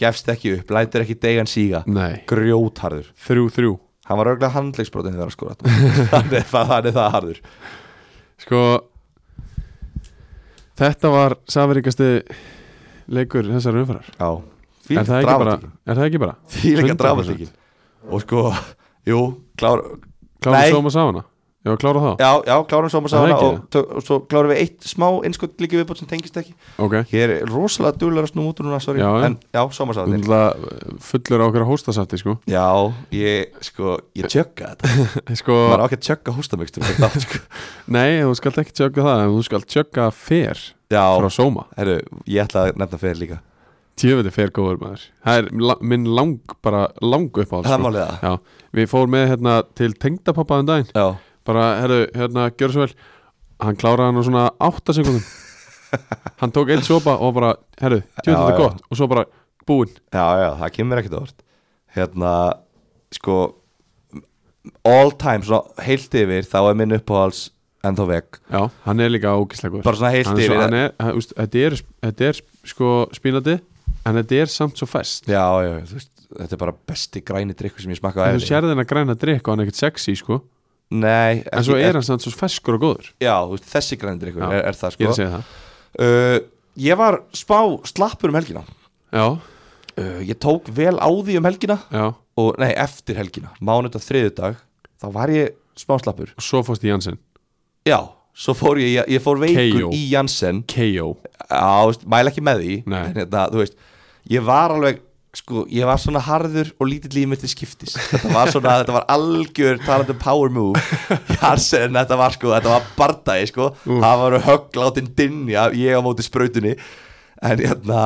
Speaker 2: gefst ekki upp lætur ekki degan síga,
Speaker 1: Nei,
Speaker 2: grjótharður
Speaker 1: 3-3
Speaker 2: hann var örglega handlegsbrotin þegar að skora þetta. <laughs> hann er það, hann er það harður
Speaker 1: Sko Þetta var safaríkasti leikur þessar umfærar
Speaker 2: já,
Speaker 1: er, það
Speaker 2: fílika
Speaker 1: ekki bara-
Speaker 2: dramatíkin
Speaker 1: er það ekki bara?
Speaker 2: fílika
Speaker 1: 100%.
Speaker 2: dramatíkin og sko, jú, klár Nei.
Speaker 1: Klára Soma Savana Já, klára það?
Speaker 2: já, já, klárum svo maður
Speaker 1: Er það
Speaker 2: sána
Speaker 1: ekki?
Speaker 2: og, tök- og svo klárum við eitt smá innskott líki viðbót sem tengist ekki
Speaker 1: Ok
Speaker 2: hér er rosalega duglegur að snúm út úr núna, sorry
Speaker 1: Já, já.
Speaker 2: en já, svo maður
Speaker 1: Þú
Speaker 2: sána
Speaker 1: náttúrulega eh, fullur á okkur að hósta sætti
Speaker 2: <laughs>
Speaker 1: sko
Speaker 2: Já, ég, sko, ég tjögga
Speaker 1: <laughs>
Speaker 2: þetta
Speaker 1: Sko,
Speaker 2: maður á ekki að tjögga hóstamöxtur sko.
Speaker 1: nei, þú skalt ekki tjögga það en þú skalt tjögga fer
Speaker 2: Já,
Speaker 1: frá Soma
Speaker 2: herru, ég ætla að nefna fyrir líka
Speaker 1: Tjöfandi fer góður maður Það er la minn lang, bara lang upp á
Speaker 2: Það er málið það
Speaker 1: Já, við fórum með hérna til tengdapappa um daginn
Speaker 2: Já,
Speaker 1: bara, herru, hérna, gjör svo vel hann kláraði hann á svona 8 sekundum hann tók einn sopa og bara herru,
Speaker 2: Já,
Speaker 1: tjóðum þetta er
Speaker 2: já.
Speaker 1: gott og svo bara, búinn
Speaker 2: já, já, það kemur ekkert á orð Hérna, sko All time, svona heilt yfir Þá er minn uppáhals ennþá veg
Speaker 1: já, hann er líka ógislega góður
Speaker 2: Bara svona heilt
Speaker 1: hann er,
Speaker 2: yfir
Speaker 1: svo, hann er, hann, úst, þetta, er, þetta er sko spínandi en þetta er samt svo fest
Speaker 2: Já, já, þú veist, þetta er bara besti græni drikku sem ég smakka
Speaker 1: en þú sérði hann að græna drikk og hann er ekkert sexy sko
Speaker 2: Nei,
Speaker 1: en svo er hann samt svo feskur og góður
Speaker 2: Já, þú veist, þessi græni drikku
Speaker 1: Já,
Speaker 2: er, er
Speaker 1: ég er
Speaker 2: það, sko
Speaker 1: að segja það
Speaker 2: uh, Ég var spá slappur um helgina
Speaker 1: já,
Speaker 2: uh, Ég tók vel á því um helgina
Speaker 1: já,
Speaker 2: og, Nei, eftir helgina, mánudag þriðudag Þá var ég smá slappur
Speaker 1: og svo fórst í Janssen
Speaker 2: Já, svo fór ég, ég, ég fór veikur
Speaker 1: KO.
Speaker 2: í Janssen
Speaker 1: KO
Speaker 2: Já, veist, mæla ekki með því
Speaker 1: Nei.
Speaker 2: En þetta, þú veist, ég var alveg Sko, ég var svona harður og lítill líf mitt til skiptis Þetta var svona, þetta var algjör talandi um power move <laughs> Janssen, þetta var sko, þetta var bardagi sko Það var höggláttinn dinja Ég á móti sprautunni En hérna,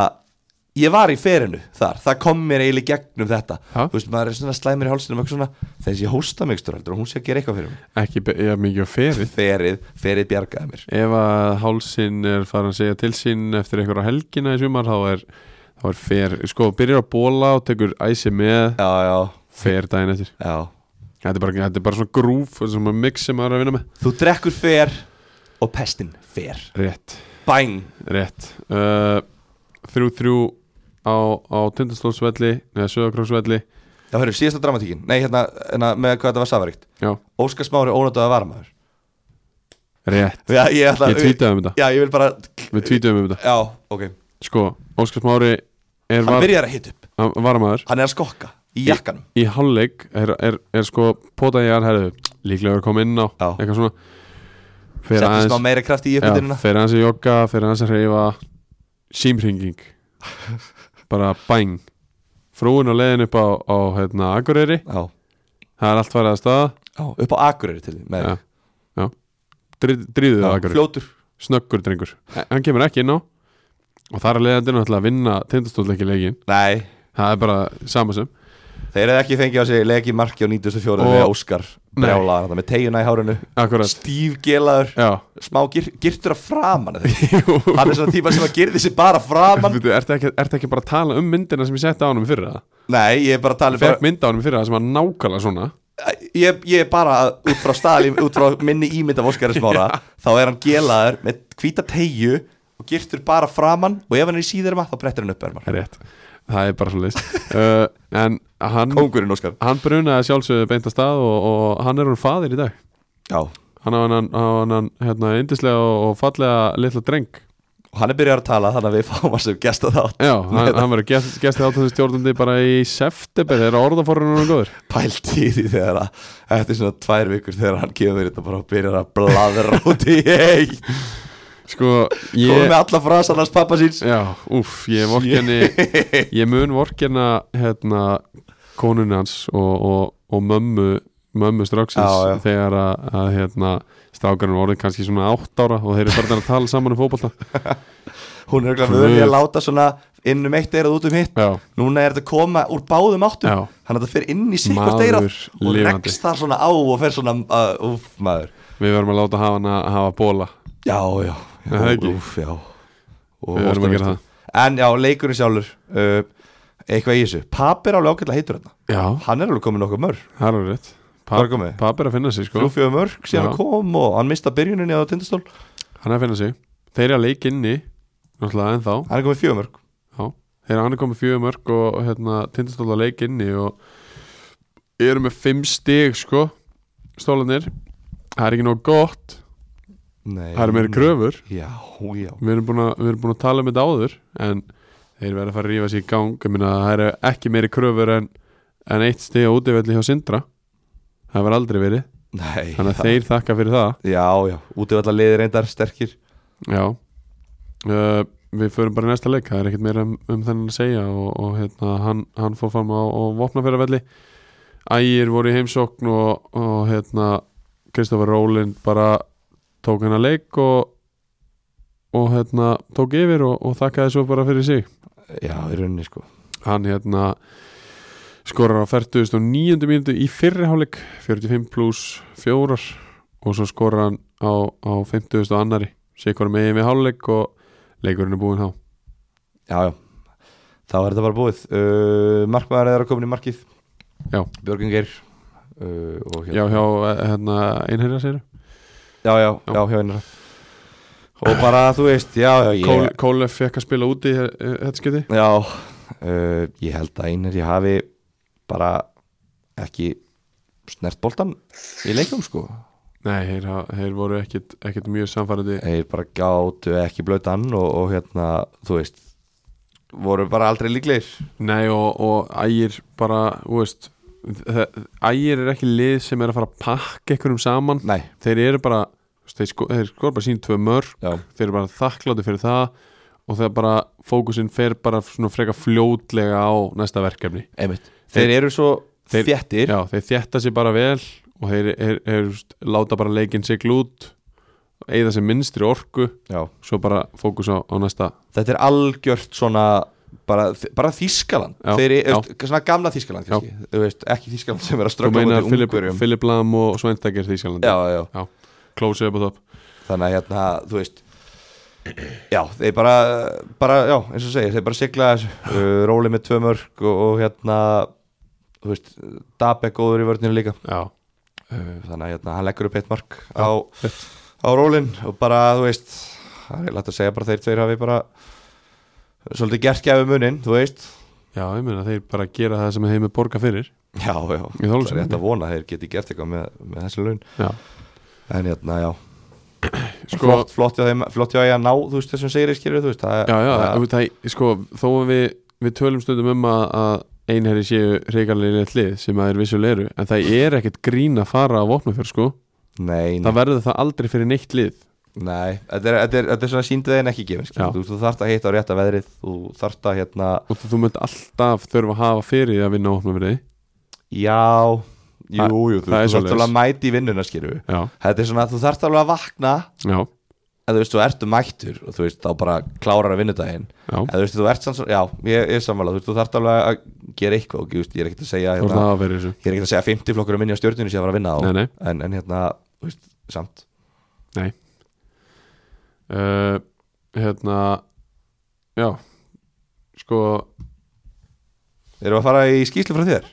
Speaker 2: ég var í ferinu þar Það kom mér eiginlega í gegnum þetta
Speaker 1: Ha?
Speaker 2: Þú veist, maður er svona slæmur í hálsinum eitthvað svona, Þessi hósta mikstur heldur, hún sé að gera eitthvað fyrir mig
Speaker 1: ekki be- já, mikið á ferið
Speaker 2: Ferið, ferið bjargaði mér
Speaker 1: ef að hálsin er farin að segja til sín eftir einhverja helgina í sumar þá er, þá er fer, sko, byrjar að bóla og tekur æsi með
Speaker 2: Já, já,
Speaker 1: fer daginn eftir,
Speaker 2: já
Speaker 1: þetta er bara, þetta er bara svona grúf og svona mix sem maður er að vinna með
Speaker 2: Þú drekkur fer og pestin fer
Speaker 1: rétt,
Speaker 2: Bæn
Speaker 1: rétt uh, þrjú þrjú á, á tindastólsvelli neða söðakróksvelli,
Speaker 2: Já, hörru, síðasta dramatíkin Nei, hérna, hérna með hvað þetta var safaríkt
Speaker 1: já,
Speaker 2: Óskar Smári ónáttuða varmaður
Speaker 1: rétt
Speaker 2: Já, ég ætla
Speaker 1: ég tweetaði um þetta,
Speaker 2: Já, ég vil bara
Speaker 1: við tweetaðum um þetta
Speaker 2: Já, ok Hann
Speaker 1: sko, Óskars Mári er var,
Speaker 2: byrjar að hita upp
Speaker 1: hann var maður
Speaker 2: Hann er að skokka Í jakkanum
Speaker 1: í hálfleik er, er, er sko potað í alherðu líklega er að koma inn á
Speaker 2: Já.
Speaker 1: eitthvað svona fer
Speaker 2: Settir
Speaker 1: aðeins,
Speaker 2: smá meira kraft
Speaker 1: já,
Speaker 2: í uppbytunina
Speaker 1: fer aðeins að jogga fer aðeins að hreyfa símringing bara bæng frúin á leiðin upp á, á hérna, Akureyri
Speaker 2: Já,
Speaker 1: það er allt farið að staða
Speaker 2: já, upp á akureyri til því með
Speaker 1: já,
Speaker 2: þig.
Speaker 1: já. Dri, dríðuð
Speaker 2: Já,
Speaker 1: Akureyri
Speaker 2: Fljótur
Speaker 1: snöggur drengur, H- hann kemur ekki inn á og það er að leiðandi náttúrulega að vinna tindastóðleiki leikin,
Speaker 2: Nei,
Speaker 1: það er bara sama sem
Speaker 2: þeir hefði ekki fengið á sig Legi marki á 94
Speaker 1: Og-
Speaker 2: og... með Óskar
Speaker 1: Nei.
Speaker 2: Brjálaðar þetta með teguna í hárinu
Speaker 1: akkurat,
Speaker 2: Stíf gelaður
Speaker 1: já
Speaker 2: Smá gir, girtur að framan eða ekki?
Speaker 1: Jú. <laughs>
Speaker 2: Hann er svona típa sem að girði sig bara framan
Speaker 1: Bíddu, Ertu ekki, ertu ekki bara að tala um myndina sem ég setti á hann fyrir það?
Speaker 2: Nei, ég er bara að tala um
Speaker 1: Fekk
Speaker 2: bara,
Speaker 1: mynd á hann fyrir það sem var nákvæmlega svona
Speaker 2: ég, ég er bara að, út frá staðli út frá minni ímynd af Óskari Smára þá er hann gelaður með hvíta tegju og girtur bara framann og ef hann er í síðarma þá brettir hann upp ermar
Speaker 1: rétt það er bara svo leist uh, en hann,
Speaker 2: Kóngurinn Óskar
Speaker 1: hann brunaði sjálfsögðu beint að stað og, og hann er hún faðir í dag
Speaker 2: Já. og
Speaker 1: hann á hann, á hann hérna, yndislega og, og fallega litla dreng
Speaker 2: hann er byrjar að tala þannig að við fáum að sem gesta þátt
Speaker 1: já, hann, hann verður gest, gestið átöndistjórnandi bara í september þegar orðaforunum er góður
Speaker 2: pælt í því þegar að eftir svona tvær vikur þegar hann kemur þetta bara og byrjar að bladra út í eitt
Speaker 1: sko,
Speaker 2: komið
Speaker 1: ég
Speaker 2: með alla frasan hans pappa síns
Speaker 1: Já, úff, ég vorkenni
Speaker 2: <laughs>
Speaker 1: Ég mun vorkenna hérna konunni hans og, og, og mömmu mömmu
Speaker 2: Já, já.
Speaker 1: stráksins þegar að, að hérna, strákarinn voru kannski svona átt ára og þeir eru farin að tala saman um fótbolta
Speaker 2: hún er
Speaker 1: Guð.
Speaker 2: örgulega völu að láta svona inn um eitt eirað út um hitt
Speaker 1: Já,
Speaker 2: núna er þetta að koma úr báðum áttum
Speaker 1: Já.
Speaker 2: þannig að þetta fer inn í sikkvart
Speaker 1: Maður
Speaker 2: eirað og
Speaker 1: lifandi.
Speaker 2: regst þar svona á og fer svona uh, úf maður
Speaker 1: við verðum að láta hafa hana hafa bóla
Speaker 2: já já,
Speaker 1: Er það ekki?
Speaker 2: úf já og
Speaker 1: Við verðum að gera
Speaker 2: en já leikurinn sjálfur uh, eitthvað í þessu pap er alveg ágætlega heitur hérna
Speaker 1: Já,
Speaker 2: hann er alveg komin nokkuð mörg
Speaker 1: það er alveg rétt
Speaker 2: Hvar komið?
Speaker 1: Pab er að finna sig sko,
Speaker 2: þrjúfjöðu mörg síðan
Speaker 1: Já.
Speaker 2: hann kom og hann mista byrjuninni á tindastól
Speaker 1: hann er að finna sig Þeir eru að leik inni, náttúrulega ennþá
Speaker 2: hann er komið fjöðu mörg
Speaker 1: Já, þeir hann er komið fjögur mörg og hérna, tindastóla leik inni og eru með fimm stig sko, stólanir það er ekki nóg gott,
Speaker 2: nei
Speaker 1: það eru meiri kröfur
Speaker 2: já já
Speaker 1: við erum búin að, við erum búin að tala um þetta áður en þeir verða að fara að rífa sér í gang ég minna, það eru ekki meiri kröfur en, en eitt stig á útivelli hjá Sindra það hefur aldrei verið
Speaker 2: nei
Speaker 1: þannig að þeir þakka fyrir það
Speaker 2: já já út af alla liðir reyndar sterkir
Speaker 1: Já uh, Við förum bara í næsta leik Það er ekkert meira um, um þennan að segja og, og hérna, hann, hann fór fram á, á vopnafjörðavelli Ægir voru í heimsókn og, og hérna Kristoffer Rólind bara tók hennar leik og, og hérna tók yfir og, og þakkaði svo bara fyrir sig
Speaker 2: já í rauninni sko
Speaker 1: hann hérna skorar á 49. mínútu í fyrriháleik 45 pluss 4 og svo skorar hann á, á 50. annari sé hvað megin við háleik og leikurinn er búinn há
Speaker 2: Já, já, þá er þetta bara búið uh, Markmaður er að koma í markið
Speaker 1: Já.
Speaker 2: Björgun Geir uh, og
Speaker 1: já
Speaker 2: hérna.
Speaker 1: hjá eh, hérna, einherja sér
Speaker 2: já, já, já,
Speaker 1: Já.
Speaker 2: hjá einra Og bara, þú veist, já, já, ég
Speaker 1: yeah. Kólef fekk að spila úti eh, eh, þetta skiti
Speaker 2: Já, uh, ég held að einar ég hafi bara ekki snert boltan í leikum, sko
Speaker 1: nei, þeir, ha- þeir voru ekkit, ekkit mjög samfærandi
Speaker 2: Þeir bara gátu ekki blötan og, og hérna, þú veist voru bara aldrei líklegir
Speaker 1: nei og, og ægir bara þú veist, þe- ægir er ekki lið sem er að fara að pakka einhverjum saman
Speaker 2: Nei,
Speaker 1: þeir eru bara þeir, sko, þeir skor bara sín tvö mörg
Speaker 2: já,
Speaker 1: þeir eru bara þakkláti fyrir það og þegar bara fókusinn fer bara svona freka fljótlega á næsta verkefni
Speaker 2: einmitt Þeir eru svo
Speaker 1: Þeir-
Speaker 2: þéttir
Speaker 1: Já, þeir þjætta sér bara vel og þeir er, er, láta bara leikinn sigla út eigða sér minnstri orku
Speaker 2: já.
Speaker 1: svo bara fókus á, á næsta
Speaker 2: þetta er algjört svona bara, bara Þískaland
Speaker 1: Já,
Speaker 2: þeir
Speaker 1: já.
Speaker 2: eru svona gamla Þískaland
Speaker 1: Já.
Speaker 2: kannski. Þú veist, ekki Þískaland sem er að
Speaker 1: Þú
Speaker 2: ströggla
Speaker 1: meinar
Speaker 2: mútið
Speaker 1: Filip,
Speaker 2: ungverjum
Speaker 1: Filip Lam og Sveinstakir Þísjalandi
Speaker 2: já, já.
Speaker 1: Klósið upp á topp
Speaker 2: þannig að hérna, þú veist já, þeir bara, bara já, eins og segir, þeir bara sigla þessu, uh, róli með tvö mörg og, og hérna þú veist, Dabe góður í vörninu líka
Speaker 1: Já,
Speaker 2: Uh, þannig að hérna, hann leggur upp eitt mark á, á rólinn og bara, þú veist það er lætt að segja bara þeir tveir hafi bara svolítið gert gæfi munin, þú veist
Speaker 1: já ég meina þeir bara gera það sem þeim er borga fyrir
Speaker 2: Já, já,
Speaker 1: Í
Speaker 2: það
Speaker 1: Þorlákshöfn.
Speaker 2: er rétt að vona að þeir geti gert eitthvað með, með þessi laun
Speaker 1: Já,
Speaker 2: En hérna, já,
Speaker 1: sko
Speaker 2: flott, flott hjá þeim, flott hjá ég að ná, þú veist, þessum segir ég skilur, þú veist það,
Speaker 1: Já, já,
Speaker 2: það,
Speaker 1: það, það, sko, þó að við, við tölum stundum um að, að einherri séu reikarlega lið sem að er vissulega eru en það er ekkert grín að fara á vopnafjör sko,
Speaker 2: Nei, nei,
Speaker 1: það verður það aldrei fyrir neitt lið
Speaker 2: nei, þetta er, þetta er, þetta er svona síndið en ekki gefin,
Speaker 1: Já.
Speaker 2: skilur, þú veist, þú þarft að heita á rétta veðrið, þú þarft að, hérna,
Speaker 1: og þú munt alltaf þurfa að hafa fyrir því að vinna á vopnafjörði
Speaker 2: já, jú,
Speaker 1: Það-
Speaker 2: jú, þú
Speaker 1: það er
Speaker 2: veist, þú þarft
Speaker 1: svoleiðis.
Speaker 2: alveg að mæti í vinnuna, skilur
Speaker 1: Já,
Speaker 2: Þetta er svona, þú þarft alveg að vakna,
Speaker 1: já,
Speaker 2: en þú veist, þú ertu mættur og þú veist, þá bara klárar að vinnudaginn
Speaker 1: já,
Speaker 2: En þú veist, þú ert sann, já, ég, ég er sammála, þú veist, þú þarft alveg að gera eitthvað, og, þú veist, ég er ekkert að segja, hérna,
Speaker 1: þú ert að hafa fyrir þessu
Speaker 2: ég er ekki að segja 50 flokkur um minni á stjórnunni sem ég var að vinna á
Speaker 1: Nei, nei,
Speaker 2: en, en hérna, þú veist, samt
Speaker 1: uh, hérna, já, sko,
Speaker 2: erum við að fara í skýslu frá þér?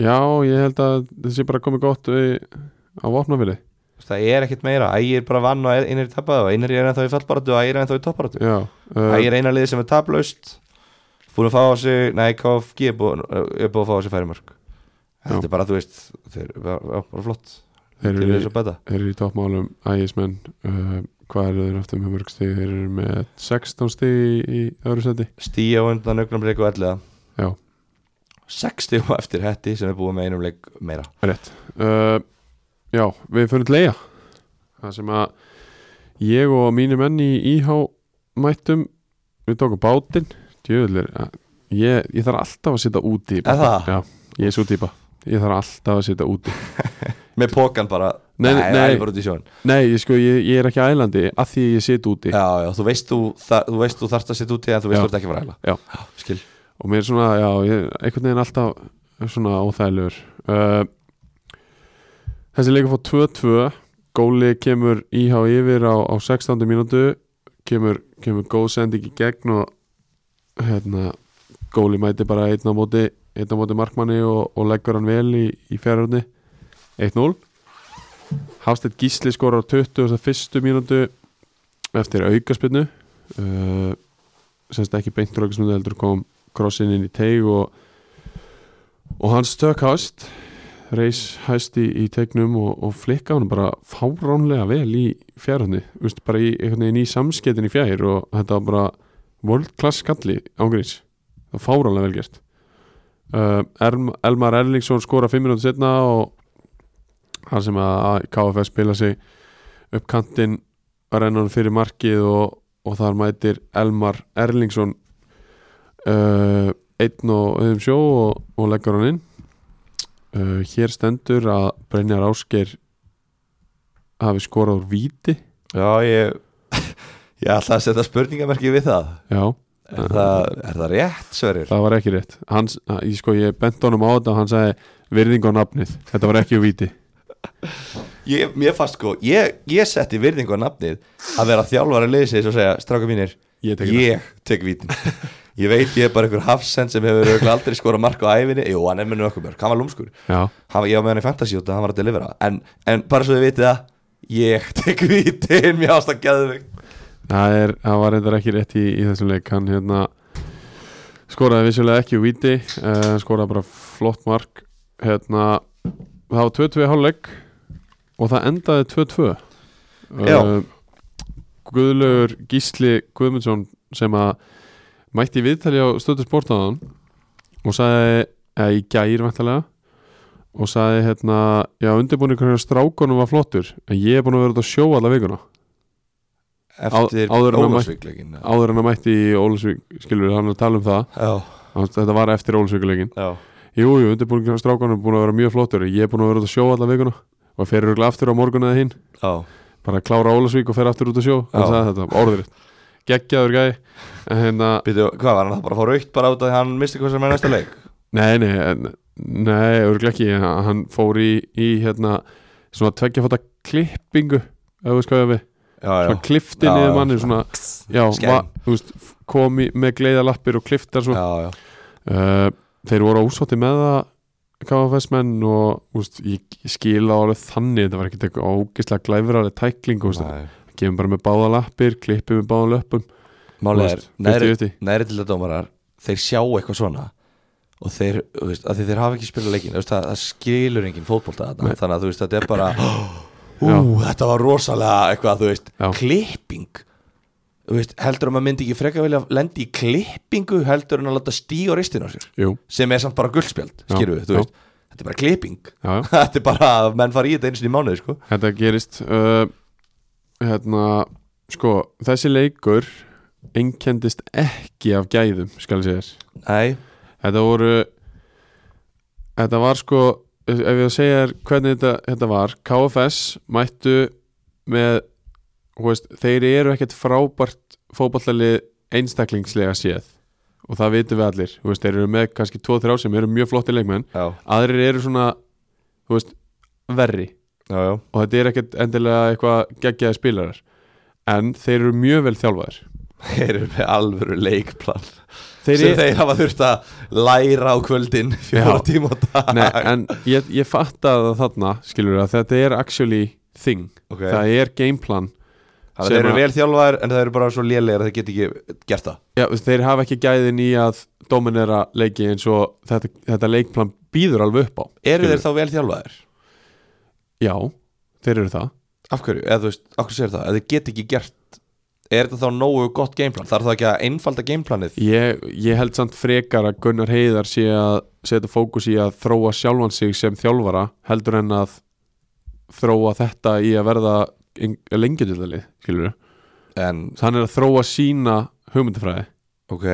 Speaker 1: Já, ég held að þetta sé bara komið gott við, á vopnafili
Speaker 2: Það er ekkit meira, ægir bara vann og einir í tappaðu og einir er ennþá í fallbaratu og ægir er ennþá í topparatu
Speaker 1: Já, uh,
Speaker 2: Ægir er eina liðið sem er taplaust Fúr að fá á sig, nei KFG er búið er búið að fá á sig færimörk Þetta er bara, þú veist, þeir eru bara já, bara flott
Speaker 1: þeir
Speaker 2: Þeir eru
Speaker 1: eru,
Speaker 2: svo betta
Speaker 1: þeir eru í toppmálum ægismenn, uh, hvað eru þeir aftur með mörg stig, þeir eru með 16 stig í, í öðru seti
Speaker 2: Stíja og undan augnablik og elliða
Speaker 1: Já.
Speaker 2: 60 og eftir hetti sem er búið með einum leik meira
Speaker 1: Rétt uh, Já, við fyrir leia Það sem að ég og mínu menn í íhá mættum Við tókum bátinn Djöðlir, ég, ég þarf alltaf að sitja úti í
Speaker 2: Er það?
Speaker 1: <laughs> Já, ég er svo típa Ég þarf alltaf að sitja úti
Speaker 2: Með pókan bara,
Speaker 1: Nei, nei,
Speaker 2: það
Speaker 1: nei.
Speaker 2: er bara út í sjón
Speaker 1: Nei, ég, sko, ég, ég er ekki ælandi að því ég sit úti
Speaker 2: Já, já, þú veist þú, það, þú veist þú þarft að setja út í en þú veist
Speaker 1: Já.
Speaker 2: þú ert ekki að fara að
Speaker 1: Já.
Speaker 2: hæla Já, Skil
Speaker 1: og mér er svona, já, ég, einhvern veginn alltaf svona óþægilegur uh, þessi leikur fór 2-2 góli kemur íhá yfir á, á 16. mínútu kemur, kemur góð sending í gegn og hérna góli mæti bara einn á móti einn á móti markmanni og, og leggur hann vel í, í fjárhörni 1-0 Hafstedt Gísli skorar á 21. mínútu eftir aukaspinnu uh, semst ekki beintur aukaspinnu heldur kom krossin inn í teig og, og hann stök hæst reis hæst í, í teignum og, og flikka hann bara fáránlega vel í fjárhunni Vist, bara í, einhvern veginn í samskettin í fjær og þetta var bara world class skalli ángríns og fáránlega vel gert uh, Elm, Elmar Erlingsson skora 5 minútur setna og hann sem að KFS spila sig upp kantinn renna hann fyrir markið og, og þar mætir Elmar Erlingsson uh, einn og öðum sjó og, og leggur hann inn uh, hér stendur að Brynjar Ásker hafi skorað úr víti
Speaker 2: Já, ég Ég ætla að setja spurningamerki við það
Speaker 1: já,
Speaker 2: Er það, er það rétt, Sverir?
Speaker 1: það var ekki rétt Hans, að- ég, sko, ég bent honum á þetta og hann sagði virðing á nafnið, þetta var ekki úr víti
Speaker 2: Ég, mér fannst sko, ég, ég setti virðingu á nafnið að vera þjálfari liðsins og segja, stráka mínir,
Speaker 1: Ég tek þetta."
Speaker 2: ég tek vítin
Speaker 1: <laughs>
Speaker 2: Ég veit ég er bara einhver hafsend sem hefur örugglega aldrei skorað mark á æfinni Jú, hann er með nökkum mörg, hann var lúmskur
Speaker 1: já,
Speaker 2: hann, Ég var með hann í fantasy út og hann var að delivera En, en bara svo þið vitið það, ég <laughs> tek vítin, mér ást að geða mig
Speaker 1: það, er, það var reyndar ekki rétt í, í þessum leik hann hérna skoraði vissulega ekki úr víti uh, skoraði bara flott mark hérna, það var 2-2 hálfleik og það endaði 2-2
Speaker 2: Já.
Speaker 1: Eh, Guðlaugur Gísli Guðmundsson sem að mætti í viðtali á stöðu sportaðan og sagði, eða í gær vantalega og sagði hérna já undirbúinu hvernig strákunum var flottur en ég er búin að vera út að sjó alla vikuna
Speaker 2: Eftir
Speaker 1: áður en hann mætti-
Speaker 2: Ólafsvíkleikin
Speaker 1: áður en að mætti í Ólusvík skilur hann er að tala um það
Speaker 2: Já,
Speaker 1: Hann- þetta var eftir Ólusvíkuleikin
Speaker 2: já
Speaker 1: jú, jú, undirbúinu hvernig strákunum er búin að vera mjög flottur ég er búin að vera út að sjó alla vikuna og fer örugglega aftur á morgun eða hinn
Speaker 2: Já,
Speaker 1: bara klára Ólusvík og fer aftur út að sjó hann
Speaker 2: Já.
Speaker 1: sagði þetta, orðuritt geggjaður gæi en hérna
Speaker 2: býtu, hvað var hann það bara að fá raukt bara út að hann misti hvað sem er næsta leik
Speaker 1: Nei, nei, en- nei, örgulega ekki Hann hann fór í, í hérna svona tveggjafata klippingu ef við skoðum við,
Speaker 2: Já, já,
Speaker 1: svona klifti
Speaker 2: Já,
Speaker 1: niður
Speaker 2: já,
Speaker 1: manni svona, já,
Speaker 2: Skæn.
Speaker 1: va, þú veist f- kom í, með gleiða lappir og kliftar svo.
Speaker 2: já, já.
Speaker 1: uh, þeir voru ósótti með það KFS menn og þú veist, ég ég skil á alveg þannig þetta var ekkert eitthvað ógislega glæfraleg tækling þú veist,
Speaker 2: Nei.
Speaker 1: gefum bara með báða lappir klippum með báða löpum
Speaker 2: Málið
Speaker 1: Þú
Speaker 2: er,
Speaker 1: veist,
Speaker 2: næri,
Speaker 1: 50-50.
Speaker 2: næri til þetta dómarar þeir sjá eitthvað svona og þeir, þú veist, að þeir hafa ekki spilað leikin veist, það, það skilur enginn fótbolta þarna þannig að þú veist, þetta er bara
Speaker 1: <clears throat>
Speaker 2: <gasps> ú, þetta var rosalega eitthvað, þú veist
Speaker 1: Já.
Speaker 2: klipping þú veist, heldur að maður myndi ekki freka vilja lendi í klippingu heldur en að láta stíga ristin á sér
Speaker 1: Jú,
Speaker 2: sem er samt bara guldspjald,
Speaker 1: Já,
Speaker 2: skilur við, þú
Speaker 1: já.
Speaker 2: veist þetta er bara klipping,
Speaker 1: já, já
Speaker 2: þetta er bara að menn fara í þetta einu sinni í mánuði, sko
Speaker 1: Þetta gerist uh, Hérna Sko, þessi leikur einkendist ekki af gæðum skal ég segja þér
Speaker 2: Nei,
Speaker 1: Þetta voru Þetta var sko Ef ég segja þér hvernig þetta, þetta var KFS mættu með þú veist, Þeir eru ekkert frábært fótballalið einstaklingslega séð og það vitum við allir Þú veist, Þeir eru með kannski 2-3 sem eru mjög flotti leikmenn
Speaker 2: já,
Speaker 1: aðrir eru svona þú veist, verri
Speaker 2: já, já
Speaker 1: og þetta er ekkert endilega eitthvað geggjaði spilarar en þeir eru mjög vel þjálfaðir
Speaker 2: Þeir eru með alvöru leikplan
Speaker 1: Þeir
Speaker 2: sem
Speaker 1: eru-
Speaker 2: þeir hafa þurft að læra á kvöldin fjóra
Speaker 1: Já.
Speaker 2: tíma á dag
Speaker 1: Nei, en ég, ég fatt að þarna skilur að þetta er actually thing
Speaker 2: Ok.
Speaker 1: það er gameplan
Speaker 2: Þannig að
Speaker 1: sem
Speaker 2: þeir eru
Speaker 1: að-
Speaker 2: vel þjálfaðir en þeir eru bara svo lélegir að þeir geta ekki gert það
Speaker 1: Já, þeir hafa ekki gæðin í að dominera leiki eins og þetta, þetta leikplan býður alveg upp á
Speaker 2: Eru
Speaker 1: skilurðu.
Speaker 2: þeir þá vel þjálfaðir?
Speaker 1: Já, þeir eru það
Speaker 2: Af hverju? Eða þú veist, af hverju segir það? Eða þeir geta ekki gert Er þetta þá nógu gott gameplan? Þarf það ekki að einfalda gameplanið?
Speaker 1: Ég, ég held samt frekar að Gunnar Heiðar sé að setja fókus í að þróa sjálfan sig sem þjálfara heldur en að þróa þetta í að verða lengjadildalið, skilur við
Speaker 2: En,
Speaker 1: Hann er að þróa sína hugmyndafræði
Speaker 2: ok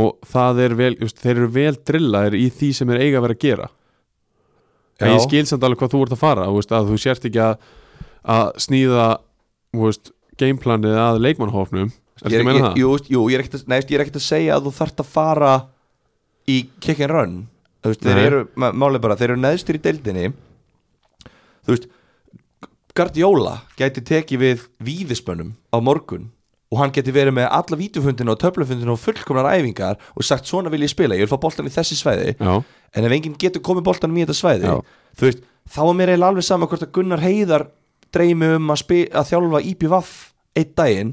Speaker 1: og það er vel, just, þeir eru vel drillaðir í því sem er eiga að vera að gera
Speaker 2: Já,
Speaker 1: en ég skil samt alveg hvað þú ert að fara þú veist, að þú sért ekki að, að snýða þú veist, gameplanið að leikmannhófnum Ertu
Speaker 2: ég,
Speaker 1: að
Speaker 2: ég,
Speaker 1: meina
Speaker 2: ég,
Speaker 1: það?
Speaker 2: jú, veist, jú, ég er ekkert að, nei, veist, ég er ekkert að segja að þú þarft að fara í kick and run Þú veist, þeir
Speaker 1: Nei.
Speaker 2: eru, ma- málið er bara, þeir eru neðstir í deildinni þú veist Gardiola gæti tekið við víðispönnum á morgun og hann geti verið með alla vítufundina og töflufundina og fullkomnar æfingar og sagt svona vil ég spila, ég vil fá boltan í þessi svæði
Speaker 1: Já,
Speaker 2: en ef enginn getur komið boltanum í þetta svæði
Speaker 1: Já.
Speaker 2: þú veist, þá er mér eiginlega alveg sama hvort að Gunnar Heiðar dreymi um að, spi, að þjálfa IPVAF einn daginn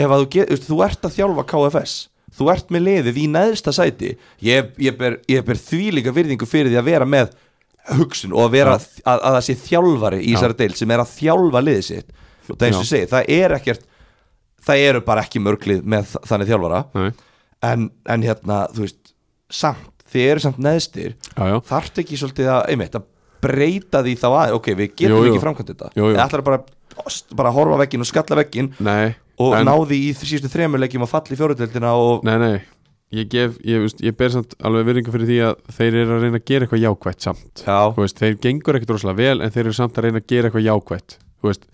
Speaker 2: ef að þú, get, þú veist, þú ert að þjálfa KFS þú ert með liðið í neðsta sæti ég, ég, ber, ég ber því líka virðingu fyrir því að vera með hugsun og að vera að, að, það sé þjálfari í
Speaker 1: Já.
Speaker 2: þessari deil sem er að þjálfa liðið sitt og það er eins
Speaker 1: Já.
Speaker 2: og ég segi, það er ekkert það eru bara ekki mörglið með þ- þannig þjálfara
Speaker 1: nei,
Speaker 2: en, en hérna, þú veist samt, þið eru samt neðstir
Speaker 1: já, já
Speaker 2: þarft ekki svolítið að, einmitt, að breyta því þá að, ok, við getum
Speaker 1: Jú, jú.
Speaker 2: ekki framkvæmt þetta
Speaker 1: Jú, jú.
Speaker 2: það ætlar bara, ost, bara að horfa á vegginn og skalla vegginn
Speaker 1: Nei,
Speaker 2: og
Speaker 1: en-
Speaker 2: ná því í þ- síðustu þremur leikjum að falla í fjóruðöldina og
Speaker 1: Nei, nei, ég gef, ég, veist, ég ber samt alveg virðingu fyrir því að þeir eru að reyna að gera eitthvað jákvætt samt
Speaker 2: já,
Speaker 1: Þú veist, þeir gengur ekkert rosalega vel en þeir eru samt að reyna að gera eitthvað jákvætt Þú veist,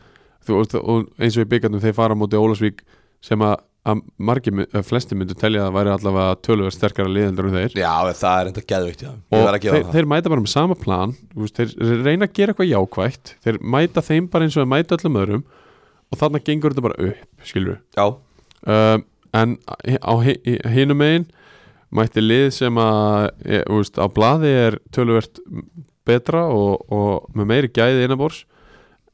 Speaker 1: þú, og, og eins og í byggandum þeir fara á móti Ólasvík sem að, að margir, my- eh, flestir myndu telja að væri allavega töluvert sterkara liðendur en þeir
Speaker 2: já, það er enda geðveikt já. ég
Speaker 1: og
Speaker 2: verð að gefa
Speaker 1: þeir,
Speaker 2: þeir, það
Speaker 1: þeir mæta bara með sama plan þú veist, þeir reyna að gera eitthvað jákvætt þeir mæta þeim bara eins og þeir mæta öllum öðrum og þarna gengur þetta bara upp skilur
Speaker 2: já,
Speaker 1: um, en á hinum megin mætti lið sem að e, þú veist, á blaði er töluvert betra og, og með meiri gæði innabors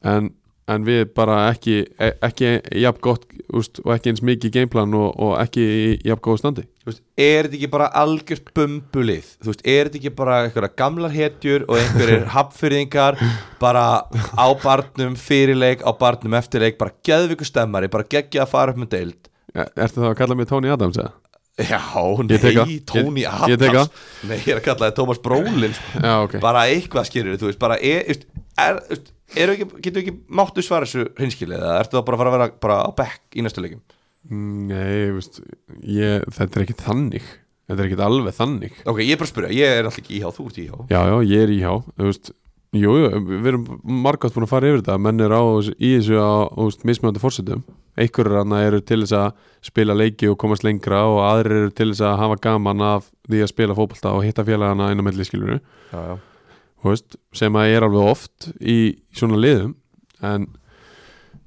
Speaker 1: en, en við bara ekki e- ekki jafn gott úst, og ekki eins mikið gameplan og, og ekki í jafn góðu standi
Speaker 2: þú veist, er þetta ekki bara algjört bumbulið, þú veist, er þetta ekki bara einhverja gamlar hetjur og
Speaker 1: <laughs>
Speaker 2: einhverjir hapfyrðingar, bara á barnum fyrirleik, á barnum eftirleik, bara geðviku stemmari, bara geggja að fara upp með deild
Speaker 1: Er- E, Ertu þá að kalla mig Tony Adams eða?
Speaker 2: Já,
Speaker 1: Ég tek það.
Speaker 2: nei, Tony
Speaker 1: Ég-
Speaker 2: Adams
Speaker 1: ég tek það.
Speaker 2: Nei, ég er að kalla það Thomas Brolin
Speaker 1: Já, ok
Speaker 2: Bara eitthvað skýrir, þú veist Bara, er, er, er, þú veist, eru ekki, getur ekki máttu svara þessu hinskilið Eða ertu það bara að fara að vera bara á bekk í næstu leikum
Speaker 1: Nei, þú veist, ég, þetta er ekkit þannig Þetta er ekkit alveg þannig
Speaker 2: Ok, ég er bara að spyrja, ég er alltaf ekki íhá, þú ert íhá
Speaker 1: Já, já, ég er í hjá Þú veist, jú, jú, við erum margátt búin að fara yfir þetta Menn eru á, þessu- í þessu á þú veist, mismjöndi fórsetum Einhverjur annað eru til þess að spila leiki og komast lengra og aðrir eru til þess að hafa gaman af því að spila fótbolta og hitta félagana inn á milli skilurinu
Speaker 2: Já, já
Speaker 1: þú veist, sem að er alveg oft í svona liðum en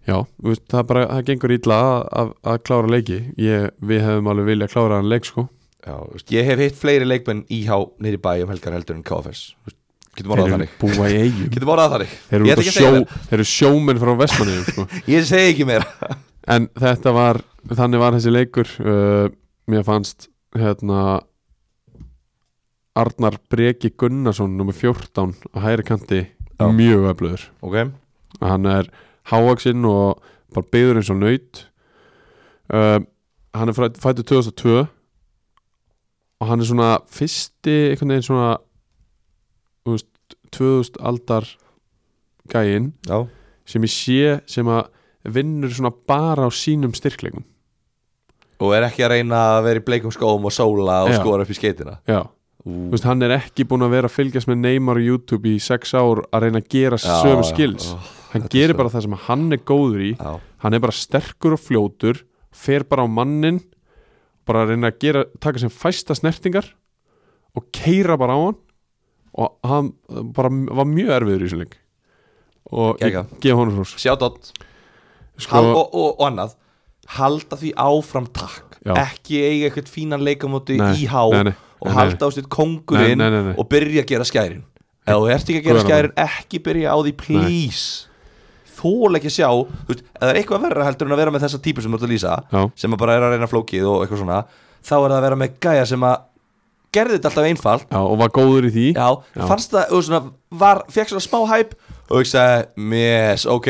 Speaker 1: já, þú veist, það bara það gengur illa að, að, að klára leiki ég, við hefum alveg viljað klára hann leik sko
Speaker 2: Já, þú veist, ég hef hitt fleiri leikmenn íhá niður í bæ um helgar heldur en KFS Þú veist, Getum
Speaker 1: þeir
Speaker 2: orðað
Speaker 1: eru
Speaker 2: þannig
Speaker 1: búa í eigum
Speaker 2: <laughs> Getum orðað þannig
Speaker 1: þeir eru,
Speaker 2: Ég
Speaker 1: út á
Speaker 2: ætla ekki að
Speaker 1: sjó,
Speaker 2: segja meira.
Speaker 1: þeir eru sjómenn frá vestmanniðum sko.
Speaker 2: Ég segi ekki meira
Speaker 1: en þetta var, þannig var þessi leikur uh, mér fannst hérna Arnar Breki Gunnarsson nummer 14 á hægri kanti
Speaker 2: Já.
Speaker 1: mjög öflugur
Speaker 2: Ok,
Speaker 1: hann er hávaksinn og bara byggður eins og nöyt um, hann er fættu 2002 og hann er svona fyrsti einhvern veginn svona þú veist, 2000 aldar gæinn
Speaker 2: já
Speaker 1: sem ég sé sem að vinnur svona bara á sínum styrkleikum
Speaker 2: Og er ekki að reyna að vera í bleikum skóum og sóla og
Speaker 1: Já.
Speaker 2: skora upp í skeitina
Speaker 1: já,
Speaker 2: Ú,
Speaker 1: þú veist, hann er ekki búin að vera að fylgjast með Neymar á YouTube í 6 ár að reyna að gera
Speaker 2: Já,
Speaker 1: sömu
Speaker 2: já,
Speaker 1: skills
Speaker 2: ó,
Speaker 1: hann
Speaker 2: þetta er
Speaker 1: gerir
Speaker 2: svo-
Speaker 1: bara það sem hann er góður í
Speaker 2: Já,
Speaker 1: hann er bara sterkur og fljótur fer bara á mannin bara að reyna að gera, taka sem fæsta snertingar og keira bara á hann og hann bara var mjög erfiður í þessum leik og ég
Speaker 2: Geggjað.
Speaker 1: gef honum hrós
Speaker 2: sjátt
Speaker 1: sko,
Speaker 2: Hal, og, og, og annað halda því áfram takk
Speaker 1: Já.
Speaker 2: ekki eiga eitthvað fínan leikamóti
Speaker 1: Nei,
Speaker 2: í há
Speaker 1: nei, nei,
Speaker 2: og
Speaker 1: nei,
Speaker 2: halda á sitt kongurinn
Speaker 1: Nei, nei, nei, nei.
Speaker 2: og byrja að gera skærin ef þú ert ekki að gera
Speaker 1: Guðanám.
Speaker 2: skærin ekki byrja á því, please þól ekki að sjá þú veist, ef það er eitthvað verra heldur en að vera með þessa típur sem þú ert að lýsa
Speaker 1: Já.
Speaker 2: sem að bara er að reyna flókið og eitthvað svona þá er það að vera með gæja sem að gerði þetta alltaf einfalt
Speaker 1: Já, og var góður í því
Speaker 2: já,
Speaker 1: Já.
Speaker 2: fannst það, og svona, var, fekk svona smá hæp og ég sagði, yes, ok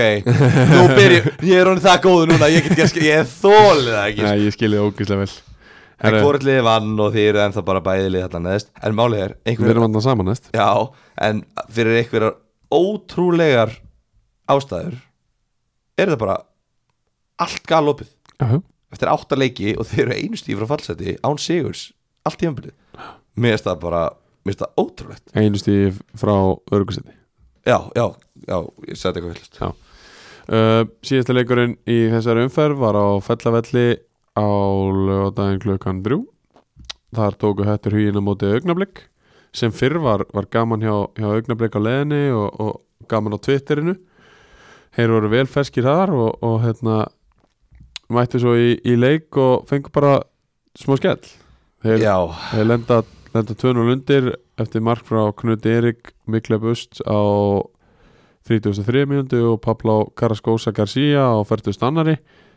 Speaker 2: nú
Speaker 1: <laughs>
Speaker 2: byrjum, ég er honum það góð núna ég get ekki, ég þóli það ekki
Speaker 1: Nei, ég skilði það ógislega vel
Speaker 2: en
Speaker 1: Herru,
Speaker 2: hvortlið vann og þið eru ennþá bara bæðilið þarna neðst, en málið er
Speaker 1: við
Speaker 2: einhver,
Speaker 1: erum andan saman næst
Speaker 2: já, en fyrir einhverjar ótrúlegar ástæður er það bara allt galopið
Speaker 1: Já,
Speaker 2: eftir átta leiki og þeir eru einu stíf frá fallseti án sigurs, allt í ömbilið mér finnst það bara, mér finnst það ótrúlegt
Speaker 1: einu stíð frá örgusetti
Speaker 2: já, já, já, ég sagði eitthvað villast
Speaker 1: uh, Síðasta leikurinn í þessari umferð var á fellavelli á lögadaginn klukkan 3 Þar tóku hættur hugin á móti augnablik sem fyrr var, var gaman hjá, hjá augnablik á leðinni og, og gaman á Twitterinu Þeir voru vel ferskir þar og, og hérna mættu svo í, í leik og fengu bara smá skell Þeir,
Speaker 2: já,
Speaker 1: Þeir lenda, lenda 2-0 undir eftir mark frá Knut Erik Mikla Bust á 33 minúti og Pablo Carrascosa Garcia á 40 annari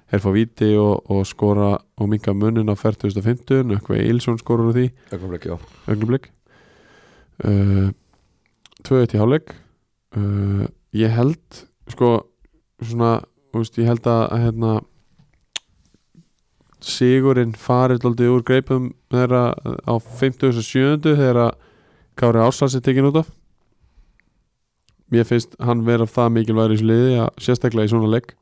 Speaker 1: Þeir fá viti og, og skora og minka munin á 40.50 Nökkvei Ilsson skorur úr því
Speaker 2: augnablik, já
Speaker 1: augnablik uh, 2-1 í hálfleik uh, ég held sko svona þú veist, ég held að, að hérna Sigurinn farið aldrei úr greipum þeirra á 57. þegar að Kári Árslands er tekin út af mér finnst hann vera það mikilvægur í þessu liði að sérstaklega í svona leik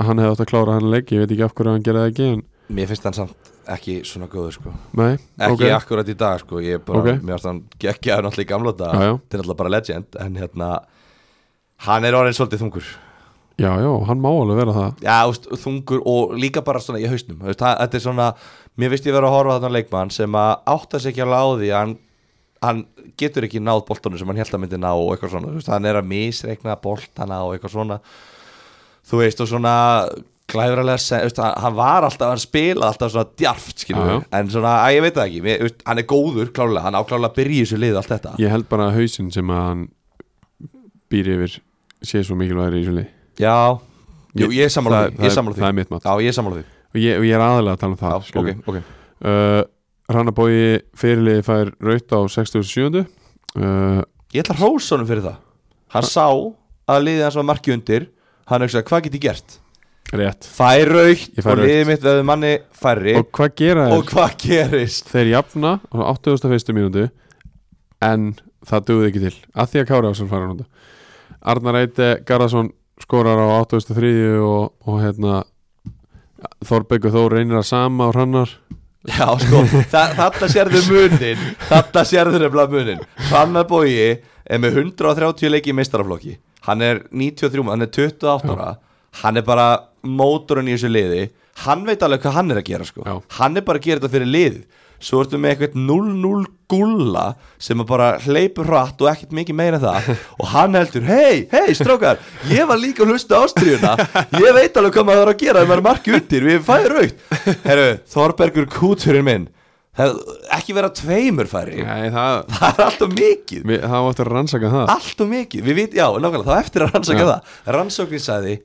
Speaker 1: að hann hefði átt að klára hann leik ég veit ekki af hverju hann gerði það ekki en
Speaker 2: mér finnst hann samt ekki svona góður sko
Speaker 1: nei,
Speaker 2: ekki
Speaker 1: ok,
Speaker 2: akkurat í dag sko ég er bara,
Speaker 1: Ok.
Speaker 2: mér finnst hann ekki að náttúrulega í gamla dag
Speaker 1: já, já.
Speaker 2: þetta er náttúrulega bara legend en hérna hann er orðin svolítið þungur
Speaker 1: já, já, hann má alveg vera það
Speaker 2: já, úst, þungur og líka bara svona í hausnum úst, það, þetta er svona, mér veist ég vera að horfa þarna á leikmann sem að átta sig ekki alveg á því að hann, hann getur ekki náð boltanum sem hann held að myndi ná og eitthvað svona úst, hann er að misreikna boltana og eitthvað svona þú veist og svona glæfralega, se- þú veist, hann hann var alltaf hann spilaði alltaf svona djarft skilur
Speaker 1: Já,
Speaker 2: við, en svona, að ég veit það ekki mér, þú veist, hann er góður klálega, hann áklálega að byrja í þessu lið allt þetta
Speaker 1: Ég held bara að hausinn sem að hann býr yfir sé svo mikilvægur í þessu lið
Speaker 2: Já, Jú, ég er sammála
Speaker 1: Það-
Speaker 2: því,
Speaker 1: það
Speaker 2: ég er
Speaker 1: er-
Speaker 2: sammála því
Speaker 1: Það er mitt mat
Speaker 2: Já, ég er sammála því
Speaker 1: og ég, og ég er aðalega að tala um
Speaker 2: Já,
Speaker 1: það
Speaker 2: ok,
Speaker 1: skilur.
Speaker 2: ok
Speaker 1: uh, Rannabói fyrirliði fær raut á 67 uh,
Speaker 2: Ég ætla að hrósa honum fyrir það Hann sá að liðið hans var marki undir Hann hugsaði, hvað get ég gert?
Speaker 1: Rétt
Speaker 2: Fær
Speaker 1: Ég
Speaker 2: raukt
Speaker 1: fær
Speaker 2: og liðið mitt veður manni færri
Speaker 1: Og
Speaker 2: Eh, og,
Speaker 1: hvað gera þeir?
Speaker 2: hvað gerist?
Speaker 1: Þeir jafna á 81. mínútu en það dugði ekki til að því að Kári Ásson fara hann Arnar Eite Garðarsson skorar á 83. og, og hérna Þorbeggur Þór reynir að sama á hrannar
Speaker 2: Já, sko, þa þarna sérðu munin Þarna sérðu nefnilega munin Fannar Bógi er með 130 leiki í meistaraflokki Hann er 93, hann er 28 ára Hann er bara mótorinn í þessu liði Hann veit alveg hvað hann er að gera sko
Speaker 1: Já.
Speaker 2: Hann er bara að gera þetta fyrir liðið Svo ertu með eitthvað 0-0 gulla sem að bara hleypur hratt og ekkert mikið meira en
Speaker 1: <laughs>
Speaker 2: það og hann heldur, hei, hei strákar ég var líka að hlusta ástríðuna ég veit alveg hvað maður er að gera ef maður er markið undir, við fæðum raukt Herru, Þorbergur kúturinn minn það, ekki vera tveimur færi
Speaker 1: Nei, það
Speaker 2: það er alltaf mikið
Speaker 1: Við, það var eftir að rannsaka það
Speaker 2: allt og mikið, við vit, já, nákvæmlega, þá eftir að rannsaka
Speaker 1: Já.
Speaker 2: það rannsóknin sagði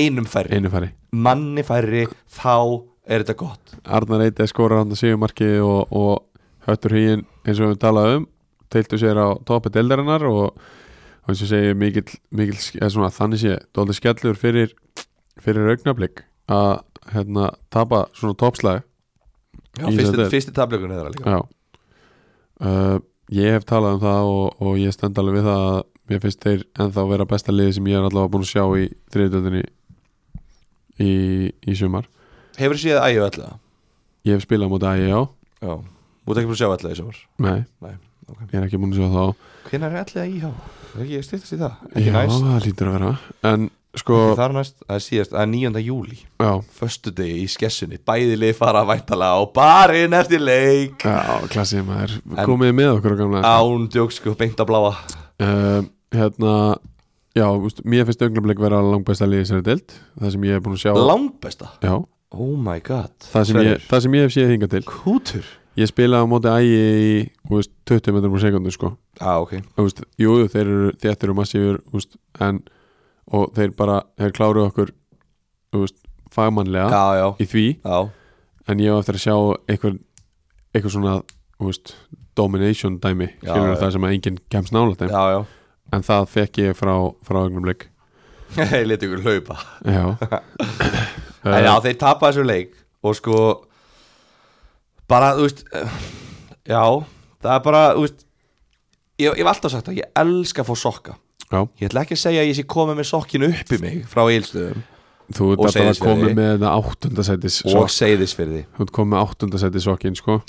Speaker 2: einum færri,
Speaker 1: einu færi
Speaker 2: manni færri þá er þetta gott
Speaker 1: Arnar Eiti skorar hann að síðu markið og, og höttur hýin eins og við talaðum um teiltu sér á topi deildarinnar og og eins og segir mikill, mikill ske- eða svona, þannig sé, dóldi skellur fyrir fyrir augnablík að hérna, tapa svona toppslag
Speaker 2: já,
Speaker 1: Í
Speaker 2: fyrsti,
Speaker 1: þetta er-
Speaker 2: fyrsti tablegun eða líka
Speaker 1: Já uh, Ég hef talað um það og, og ég stend alveg við það að mér finnst þeir ennþá vera besta liði sem ég er allavega búin að sjá í þriðutöndinni í, í sumar
Speaker 2: hefur séð ægjum alltaf
Speaker 1: Ég hef spilað á móti E að ég á
Speaker 2: Já, þú ert ekki búin að sjá allega í sumar
Speaker 1: Nei,
Speaker 2: Nei, ok.
Speaker 1: ég er ekki búin að sjá þá
Speaker 2: Hvenær er allega í hjá? Er ekki styrtast í það? Ekki
Speaker 1: Já,
Speaker 2: næst,
Speaker 1: það lítur að vera En sko,
Speaker 2: ekki þar næst, það er síðast, það er 9. júli
Speaker 1: já,
Speaker 2: Föstudegi í skessunni, bæði leið fara væntalega á barinn eftir leik
Speaker 1: já klassið maður
Speaker 2: En-
Speaker 1: Komið með okkur á gamla
Speaker 2: Án djóksku, beint að bláa
Speaker 1: um, Hérna, já, úst, mér finnst augnablik vera langbæsta liði sér deild Það sem ég hef búin að sjá
Speaker 2: Langbesta,
Speaker 1: Já,
Speaker 2: oh my god
Speaker 1: það sem, ég,
Speaker 2: Sverrir.
Speaker 1: það sem ég hef séð hingað til
Speaker 2: Kútur
Speaker 1: ég spilaði á móti ægi í þú veist, 20 metrum á sekundu sko
Speaker 2: ah, ok
Speaker 1: Þú veist, jú, jú, þeir eru þéttir og massífur þú veist, en, og þeir bara þeir kláruðu okkur þú veist, fagmannlega
Speaker 2: Já, já,
Speaker 1: í því
Speaker 2: já,
Speaker 1: en ég á eftir að sjá eitthvað, eitthvað svona þú veist, domination dæmi
Speaker 2: Já,
Speaker 1: skilur
Speaker 2: já.
Speaker 1: það sem að enginn kemst nála þeim
Speaker 2: já, já.
Speaker 1: en það fekk ég frá, frá ögnum leik
Speaker 2: <laughs> Ég leti ykkur hlaupa
Speaker 1: já,
Speaker 2: <laughs> En
Speaker 1: Eh,
Speaker 2: já, þeir tapa þessu leik Og sko Bara, þú veist eh, Já, það er bara, þú veist Ég, ég hef alltaf sagt það, ég elska að fá sokka
Speaker 1: já.
Speaker 2: Ég ætla ekki að segja að ég sé komið með sokkinu upp í mig Frá eilstöðum
Speaker 1: þú
Speaker 2: Og
Speaker 1: ert alltaf að
Speaker 2: Seyðisfirði.
Speaker 1: koma með þetta áttundasætis
Speaker 2: Og
Speaker 1: sokk
Speaker 2: segðis fyrir því
Speaker 1: þú ert komið með áttundasætis sokkin sko.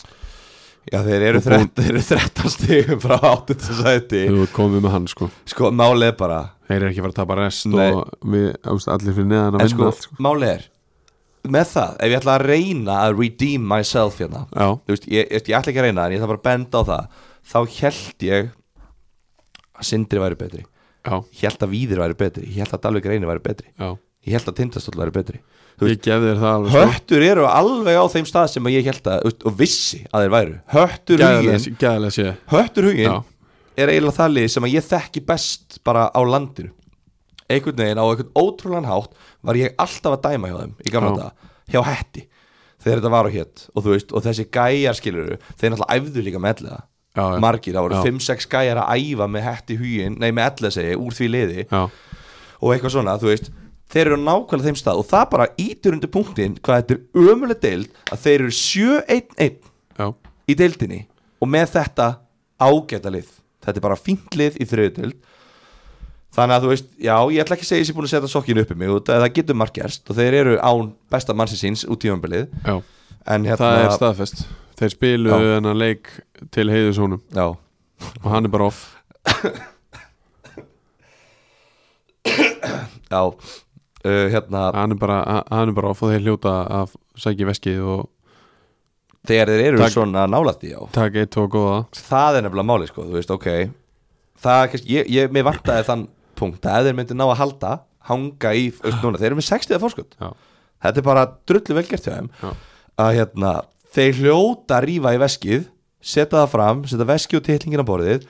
Speaker 2: Já, þeir eru,
Speaker 1: Og búin-
Speaker 2: þrett, þeir eru 13 stigum frá 8. sæti
Speaker 1: þú ert komið með hann sko.
Speaker 2: Sko, málið er bara
Speaker 1: þeir eru ekki að fara að tapa rest
Speaker 2: Nei.
Speaker 1: og við þú veist, allir fyrir neðan að
Speaker 2: En
Speaker 1: vinna
Speaker 2: sko,
Speaker 1: allt, sko.
Speaker 2: málið er Með það, ef ég ætla að reyna að redeem myself hérna
Speaker 1: já,
Speaker 2: þú veist, ég, ég, ég ætla ekki að reyna en ég ætla bara að benda á það þá held ég að Sindri væri betri
Speaker 1: já,
Speaker 2: ég held að Víðir væri betri, ég held að Dalvik Reyni væri betri
Speaker 1: já
Speaker 2: ég held að Tindastóll væri betri Þú
Speaker 1: ég gef þér það alveg sko.
Speaker 2: Höttur eru alveg á þeim stað sem ég held að þú veist, og vissi að þeir væru Höttur hugin,
Speaker 1: Gæðlega- gæðlega sé
Speaker 2: höttur
Speaker 1: já,
Speaker 2: hugin er eiginlega það lið sem að ég þekki best bara á landinu einhvern veginn á einhvern ótrúlan hátt var ég alltaf að dæma hjá þeim í gamla
Speaker 1: Já.
Speaker 2: þetta, hjá hetti þegar þetta var á hétt og þú veist, og þessi gæjar skilur þeir náttúrulega æfðu líka með ellega
Speaker 1: já, já.
Speaker 2: margir, það voru
Speaker 1: Já.
Speaker 2: 5-6 gæjar að æfa með hetti hugin, nei með ellega segi ég, úr því liði
Speaker 1: já,
Speaker 2: og eitthvað svona, þú veist þeir eru á nákvæmlega þeim stað og það bara ítur undir punktin hvað þetta er ömulega deild að þeir eru 7-1-1
Speaker 1: já,
Speaker 2: í deildinni og með þetta ágæta lið þetta er bara fínt lið í þriðu deild þannig að þú veist, já, ég ætla ekki að segja að ég sé búin að setja sokkinu upp í mig og það, það getur margjast og þeir eru án besta mannsinsins út í ömbilið
Speaker 1: já.
Speaker 2: en hérna,
Speaker 1: það er staðfest þeir spilu
Speaker 2: Já.
Speaker 1: þennan leik til heiðusónum
Speaker 2: já,
Speaker 1: og hann er bara off
Speaker 2: já uh, hérna,
Speaker 1: hann er bara, hann er bara off og þeir hljóta að sækja veskið og
Speaker 2: þegar þeir eru
Speaker 1: Takk.
Speaker 2: svona nálætti, já,
Speaker 1: taka eitt og góða
Speaker 2: það er nefnilega máli sko, þú veist, ok það, er kannski, ég, ég, mér vantaði þann punkt að ef þeir myndi ná að halda, hanga í þú veist, núna, þeir eru með 60 fórskot
Speaker 1: já,
Speaker 2: þetta er bara drullu velgert hjá þeim
Speaker 1: Já.
Speaker 2: að hérna, þeir hljóta að rífa í veskið, setja það fram setja veskið og titlingin á borðið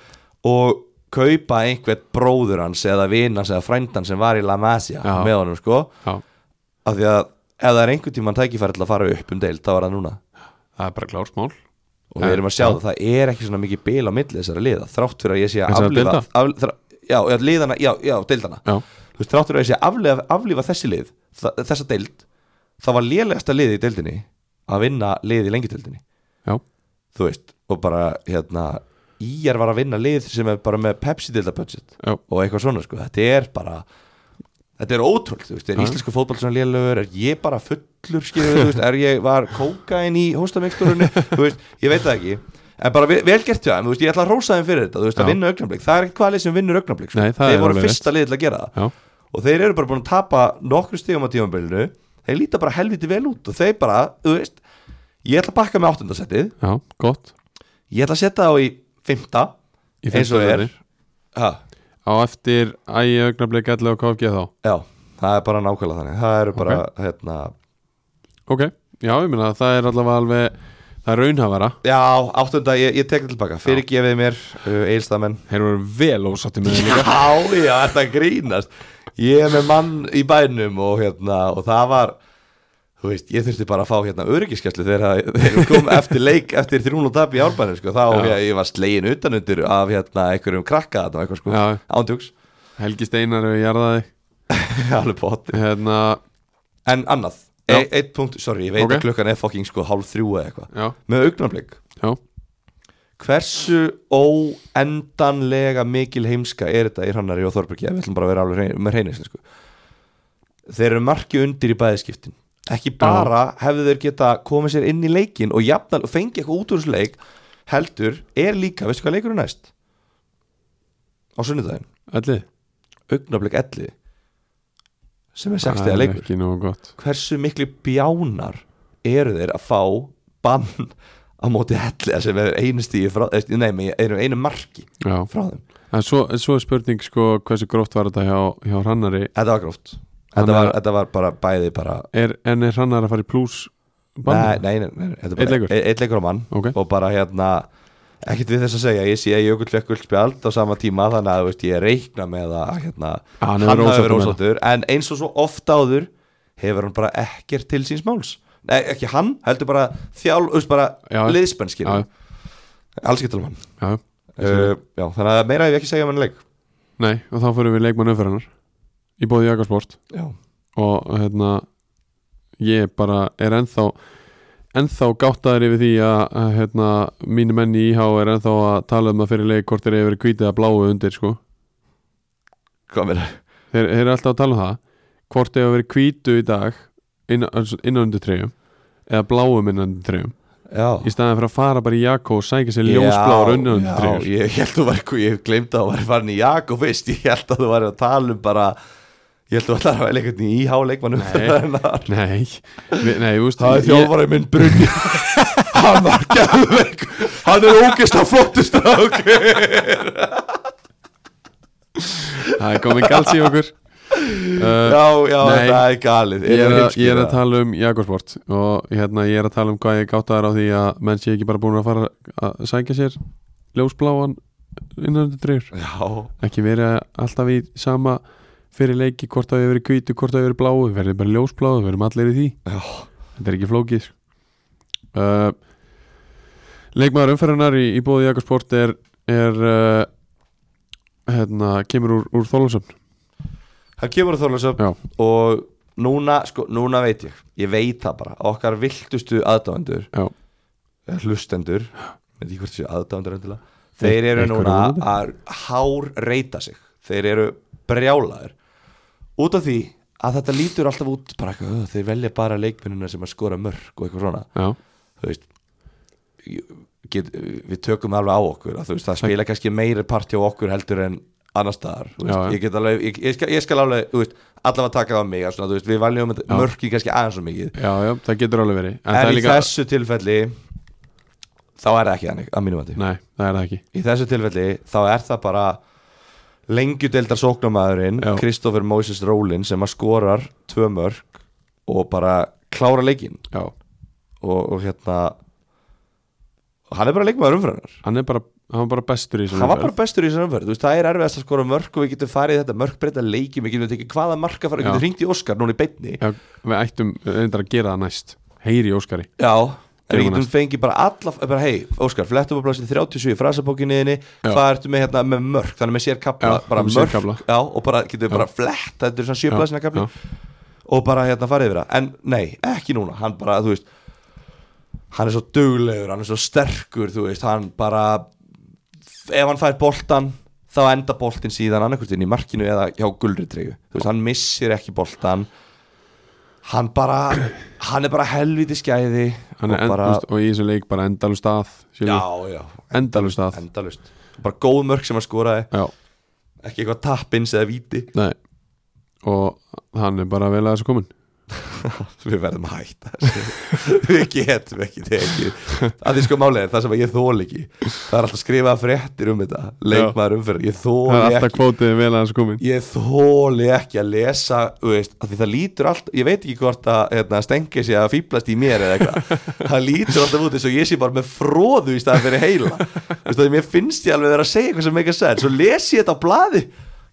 Speaker 2: og kaupa einhvern bróður hans eða vinans eða frændan sem var í La Masia
Speaker 1: Já.
Speaker 2: með honum sko
Speaker 1: já,
Speaker 2: af því að ef það er einhvern tímann tækifæri til að fara upp um deild þá er það núna
Speaker 1: það er bara klársmál
Speaker 2: og við
Speaker 1: Já.
Speaker 2: erum að sjá það, það er ekki svona mikið bil á milli þessara liða, þrátt fyrir að ég sé að
Speaker 1: Þessara
Speaker 2: aflifa,
Speaker 1: deilda?
Speaker 2: af, þrá, já, já, liðana, já, já, deildana
Speaker 1: já,
Speaker 2: þú veist, þráttur að ég sé að aflifa, aflifa þessi lið þa- þessa deild, það var lélegasta lið í deildinni að vinna lið í lengjudeildinni,
Speaker 1: já,
Speaker 2: þú veist og bara, hérna, íjar var að vinna lið sem er bara með Pepsi deilda budget
Speaker 1: já,
Speaker 2: og eitthvað svona, sko, þetta er bara þetta er ótrúld, þú veist, er
Speaker 1: Já.
Speaker 2: íslensku fótball svona lélegur, er ég bara fullur skilur, þú veist, er ég, var kókain í hóstamikturinu, þú veist, ég veit það ekki en bara vel, vel gert hjá þeim, þú veist, ég ætla að rósa þeim fyrir þetta, þú veist, að
Speaker 1: Já.
Speaker 2: vinna augnablik það er ekkert hvað lið sem vinnur augnablik, sko.
Speaker 1: Nei, það
Speaker 2: þeir
Speaker 1: er
Speaker 2: voru
Speaker 1: alveg
Speaker 2: fyrsta lið til að gera það
Speaker 1: já,
Speaker 2: og þeir eru bara búin að tapa nokkru stigum á tímabilinu þeir líta bara helviti vel út og þeir bara, þú veist ég ætla að bakka með áttundasettið
Speaker 1: já, gott
Speaker 2: ég ætla að setja þá í fymta
Speaker 1: Í
Speaker 2: eins og
Speaker 1: fimmta
Speaker 2: er
Speaker 1: sæti.
Speaker 2: ha,
Speaker 1: á eftir ægi augnablik allir og KFG þá
Speaker 2: já, það er bara nákvæmlega þannig það eru bara, hérna
Speaker 1: ok, já, ég meina að það er allavega alveg það er raunhafara
Speaker 2: já, áttunda, ég, ég tek það tilbaka fyrirgefið mér, uh, eilstamenn
Speaker 1: þeir eru vel ósátti með þeim líka.
Speaker 2: já, já, þetta grínast ég er með mann í bænum og hérna, og það var þú veist, ég þurfti bara að fá hérna öryggiskeslu þegar það- þegar við kom eftir leik eftir þrún og tap í árbænum, sko, þá
Speaker 1: Já.
Speaker 2: ég, ég var slegin utanundur af hérna einhverjum krakka þarna og eitthvað, sko,
Speaker 1: Já.
Speaker 2: ándjúks
Speaker 1: Helgi Steinar hefur jarðaði
Speaker 2: <laughs> alveg bótt,
Speaker 1: hérna,
Speaker 2: en annað
Speaker 1: Já.
Speaker 2: e eitt punkt, sorry, ég veit
Speaker 1: Ok.
Speaker 2: að klukkan er fucking sko hálf þrjú eða eitthvað,
Speaker 1: já,
Speaker 2: með augnarblik
Speaker 1: já,
Speaker 2: hversu óendanlega mikil heimska er þetta í hrannari og Þorbergi við ætlum bara að vera alveg hrein, með reynist sko. þeir eru marki undir í bæðiskiptin ekki bara hefðu þeir geta komið sér inn í leikin og jafnal og fengi eitthvað út úr þessu leik heldur er líka, veistu hvað leikur er næst á sunnudaginn
Speaker 1: allir
Speaker 2: augnablik elli sem er
Speaker 1: Það
Speaker 2: 60
Speaker 1: er
Speaker 2: leikur
Speaker 1: ekki nógu gott
Speaker 2: hversu miklu bjánar eru þeir að fá bann á móti helliða sem er einu stíði frá, eh, nei, með einu, einu marki
Speaker 1: já.
Speaker 2: frá þeim.
Speaker 1: En svo, en svo er spurning sko hversu gróft var þetta hjá, hjá Rannari
Speaker 2: Þetta var gróft
Speaker 1: Þannig
Speaker 2: þetta var,
Speaker 1: að-
Speaker 2: þetta var bara bæði bara
Speaker 1: er, en er hann að fara í pluss
Speaker 2: Nei,
Speaker 1: bann?
Speaker 2: nei, nei, nei, þetta er
Speaker 1: Einn
Speaker 2: bara-
Speaker 1: leikur?
Speaker 2: e- einn leikur á mann
Speaker 1: Ok.
Speaker 2: og bara hérna ekkert við þess að segja, ég sé að Jökull fekk guldspjald á sama tíma þannig að þú veist, ég reikna með að hérna,
Speaker 1: Ah, hann
Speaker 2: hann
Speaker 1: hefur
Speaker 2: hafi
Speaker 1: verið
Speaker 2: verið
Speaker 1: ósáttur
Speaker 2: ósáttur en eins og svo oft áður hefur hann bara ekkert til síns máls Nei, ekki hann, heldur bara þjál, þú veist, bara
Speaker 1: Já.
Speaker 2: liðspennskir
Speaker 1: Já,
Speaker 2: alls getur mann
Speaker 1: já,
Speaker 2: uh, já, þannig að meira hef ég ekki að segja um hann leik
Speaker 1: nei, og þá fyrir við leikmann umferðanar í bóði Jakasport
Speaker 2: já,
Speaker 1: og hérna ég bara er ennþá ennþá gáttaður yfir því að að, hérna, mínu menn í IH er ennþá að tala um að fyrir leik hvort þeir eru verið kvítið að bláu undir sko.
Speaker 2: hvað meira
Speaker 1: þeir, þeir eru alltaf að tala um það hvort þeir eru verið kvítu í dag inn, innan undir treyjum eða bláum innan undir treyjum
Speaker 2: já,
Speaker 1: í staðan fyrir að fara bara í Jakko og sækja sér ljósbláur
Speaker 2: Já,
Speaker 1: innan undir treyjum
Speaker 2: Já, ég held þú var, ég glemdi að þú var farin í Jakob fyrst, ég held að þú var að tala um bara ég held þú var að vera einhvern í íhá leikmann umferðarinnar
Speaker 1: Nei, við- nei, þú veist
Speaker 2: það er
Speaker 1: ég-
Speaker 2: þjálfarið minn <laughs> Brynja hann var gæðveik hann er ógist að flottist okay.
Speaker 1: <laughs> Það er komin gals í okkur uh,
Speaker 2: <laughs> já, já,
Speaker 1: Nei.
Speaker 2: það er galið
Speaker 1: ég, er að, ég er að tala um Jakobsport og hérna ég er að tala um hvað ég gáttaðar á því að menn sé ekki bara búin að fara að sækja sér ljósbláan innan undir treyjur
Speaker 2: já,
Speaker 1: ekki verið alltaf í sama fyrir leiki, hvort að við verið kvítu, hvort að við verið bláu við verðum bara ljósbláu, við verðum allir í því
Speaker 2: já,
Speaker 1: þetta er ekki flókið sko. uh, leikmaður umferðunar í, í bóði Jakobsport er, er uh, hérna, kemur úr, úr Þólasöfn
Speaker 2: hann kemur að þorlega
Speaker 1: já,
Speaker 2: og núna, sko, núna veit ég ég veit það bara, okkar viltustu aðdáendur
Speaker 1: Já.
Speaker 2: eða hlustendur veit ég hvort þessu aðdáendur endilega þeir eru
Speaker 1: einhverju
Speaker 2: núna
Speaker 1: vonandi.
Speaker 2: að hár reyta sig þeir eru brjálaður út af því að þetta lítur alltaf út bara eitthvað, "Ugh, þeir velja bara leikmennina sem að skora mörg og eitthvað svona
Speaker 1: já,
Speaker 2: þú veist ég- get, við tökum alveg á okkur að, þú veist, það spila kannski meiri part hjá okkur heldur en annars staðar þú veist,
Speaker 1: Já, já.
Speaker 2: ég, get alveg, ég, ég, skal, ég skal alveg þú veist, allavega taka það á mig að svona, þú veist, við valjum
Speaker 1: Já.
Speaker 2: mörki kannski aðeins svo mikið en,
Speaker 1: já, já, það getur alveg verið en, það er
Speaker 2: í
Speaker 1: líka,
Speaker 2: þessu tilfelli þá er það ekki þannig að mínum andi
Speaker 1: nei, það er það ekki
Speaker 2: í þessu tilfelli þá er það bara lengjudeldar sóknamaðurinn
Speaker 1: Já.
Speaker 2: Kristoffer Moses Rólin sem að skorar tvö mörk og bara klára leikinn
Speaker 1: já,
Speaker 2: og, og hérna hann er bara leikmaður umfranar
Speaker 1: hann er bara, hann var bara bestur í þessum
Speaker 2: hann var
Speaker 1: umferð.
Speaker 2: bara bestur í þessari umferð þú veist, það er erfiðast að skora mörk og við getum farið í þetta mörkbreyta leiki, við getum tekið hvaða marka farið,
Speaker 1: Já.
Speaker 2: við getum hringt í Óskar núna í beinni já,
Speaker 1: já, við ættum reyndar að gera það næst heyri í Óskari,
Speaker 2: en við
Speaker 1: Gerum
Speaker 2: getum
Speaker 1: næst.
Speaker 2: fengið bara alla, eh, bara hei, Óskar, flettum á plásin 37 í frasabókinniðinni, hvað ertu með hérna með mörk, þannig með sér kapla,
Speaker 1: Já,
Speaker 2: bara
Speaker 1: með
Speaker 2: mörk,
Speaker 1: sérkafla.
Speaker 2: já, og bara getum við bara flett, þetta er
Speaker 1: Já,
Speaker 2: svona sjöblæsina kapli
Speaker 1: já.
Speaker 2: og bara hérna farið yfir það en nei, ekki núna, hann bara, þú veist hann er svo duglegur hann er svo sterkur, þú veist, hann bara ef hann fær boltan þá enda boltin síðan annarkvist inn í markinu eða hjá gulritreyju, þú veist, hann missir ekki boltan hann bara, <clears throat> hann er bara helviti skæði
Speaker 1: hann
Speaker 2: og
Speaker 1: er
Speaker 2: bara,
Speaker 1: endalust og í þessu leik bara endalust að
Speaker 2: já, já
Speaker 1: endalust að,
Speaker 2: endalust, bara góð mörg sem hann skoraði
Speaker 1: já,
Speaker 2: ekki eitthvað tappins eða víti
Speaker 1: nei og hann er bara vel að þessu komin
Speaker 2: við verðum að hætta þessu. <laughs> við getum ekki tekið að því sko málega er það sem ég þól ekki það er alltaf skrifað fréttir um þetta leikmaður umferð,
Speaker 1: það
Speaker 2: ég
Speaker 1: er
Speaker 2: þóli
Speaker 1: alltaf
Speaker 2: ekki
Speaker 1: kvótið vel að þessu komin
Speaker 2: ég þóli ekki að lesa þú veist, að því það lítur allt, ég veit ekki hvort að hérna, stengi sig að fýblast í mér
Speaker 1: <laughs>
Speaker 2: eða eitthvað, það lítur alltaf út eins og ég sé bara með fróðu í staðan fyrir heila Þú veist, að mér finnst ég alveg vera að segja eitthvað sem eitthvað sér, svo les ég þetta á blaði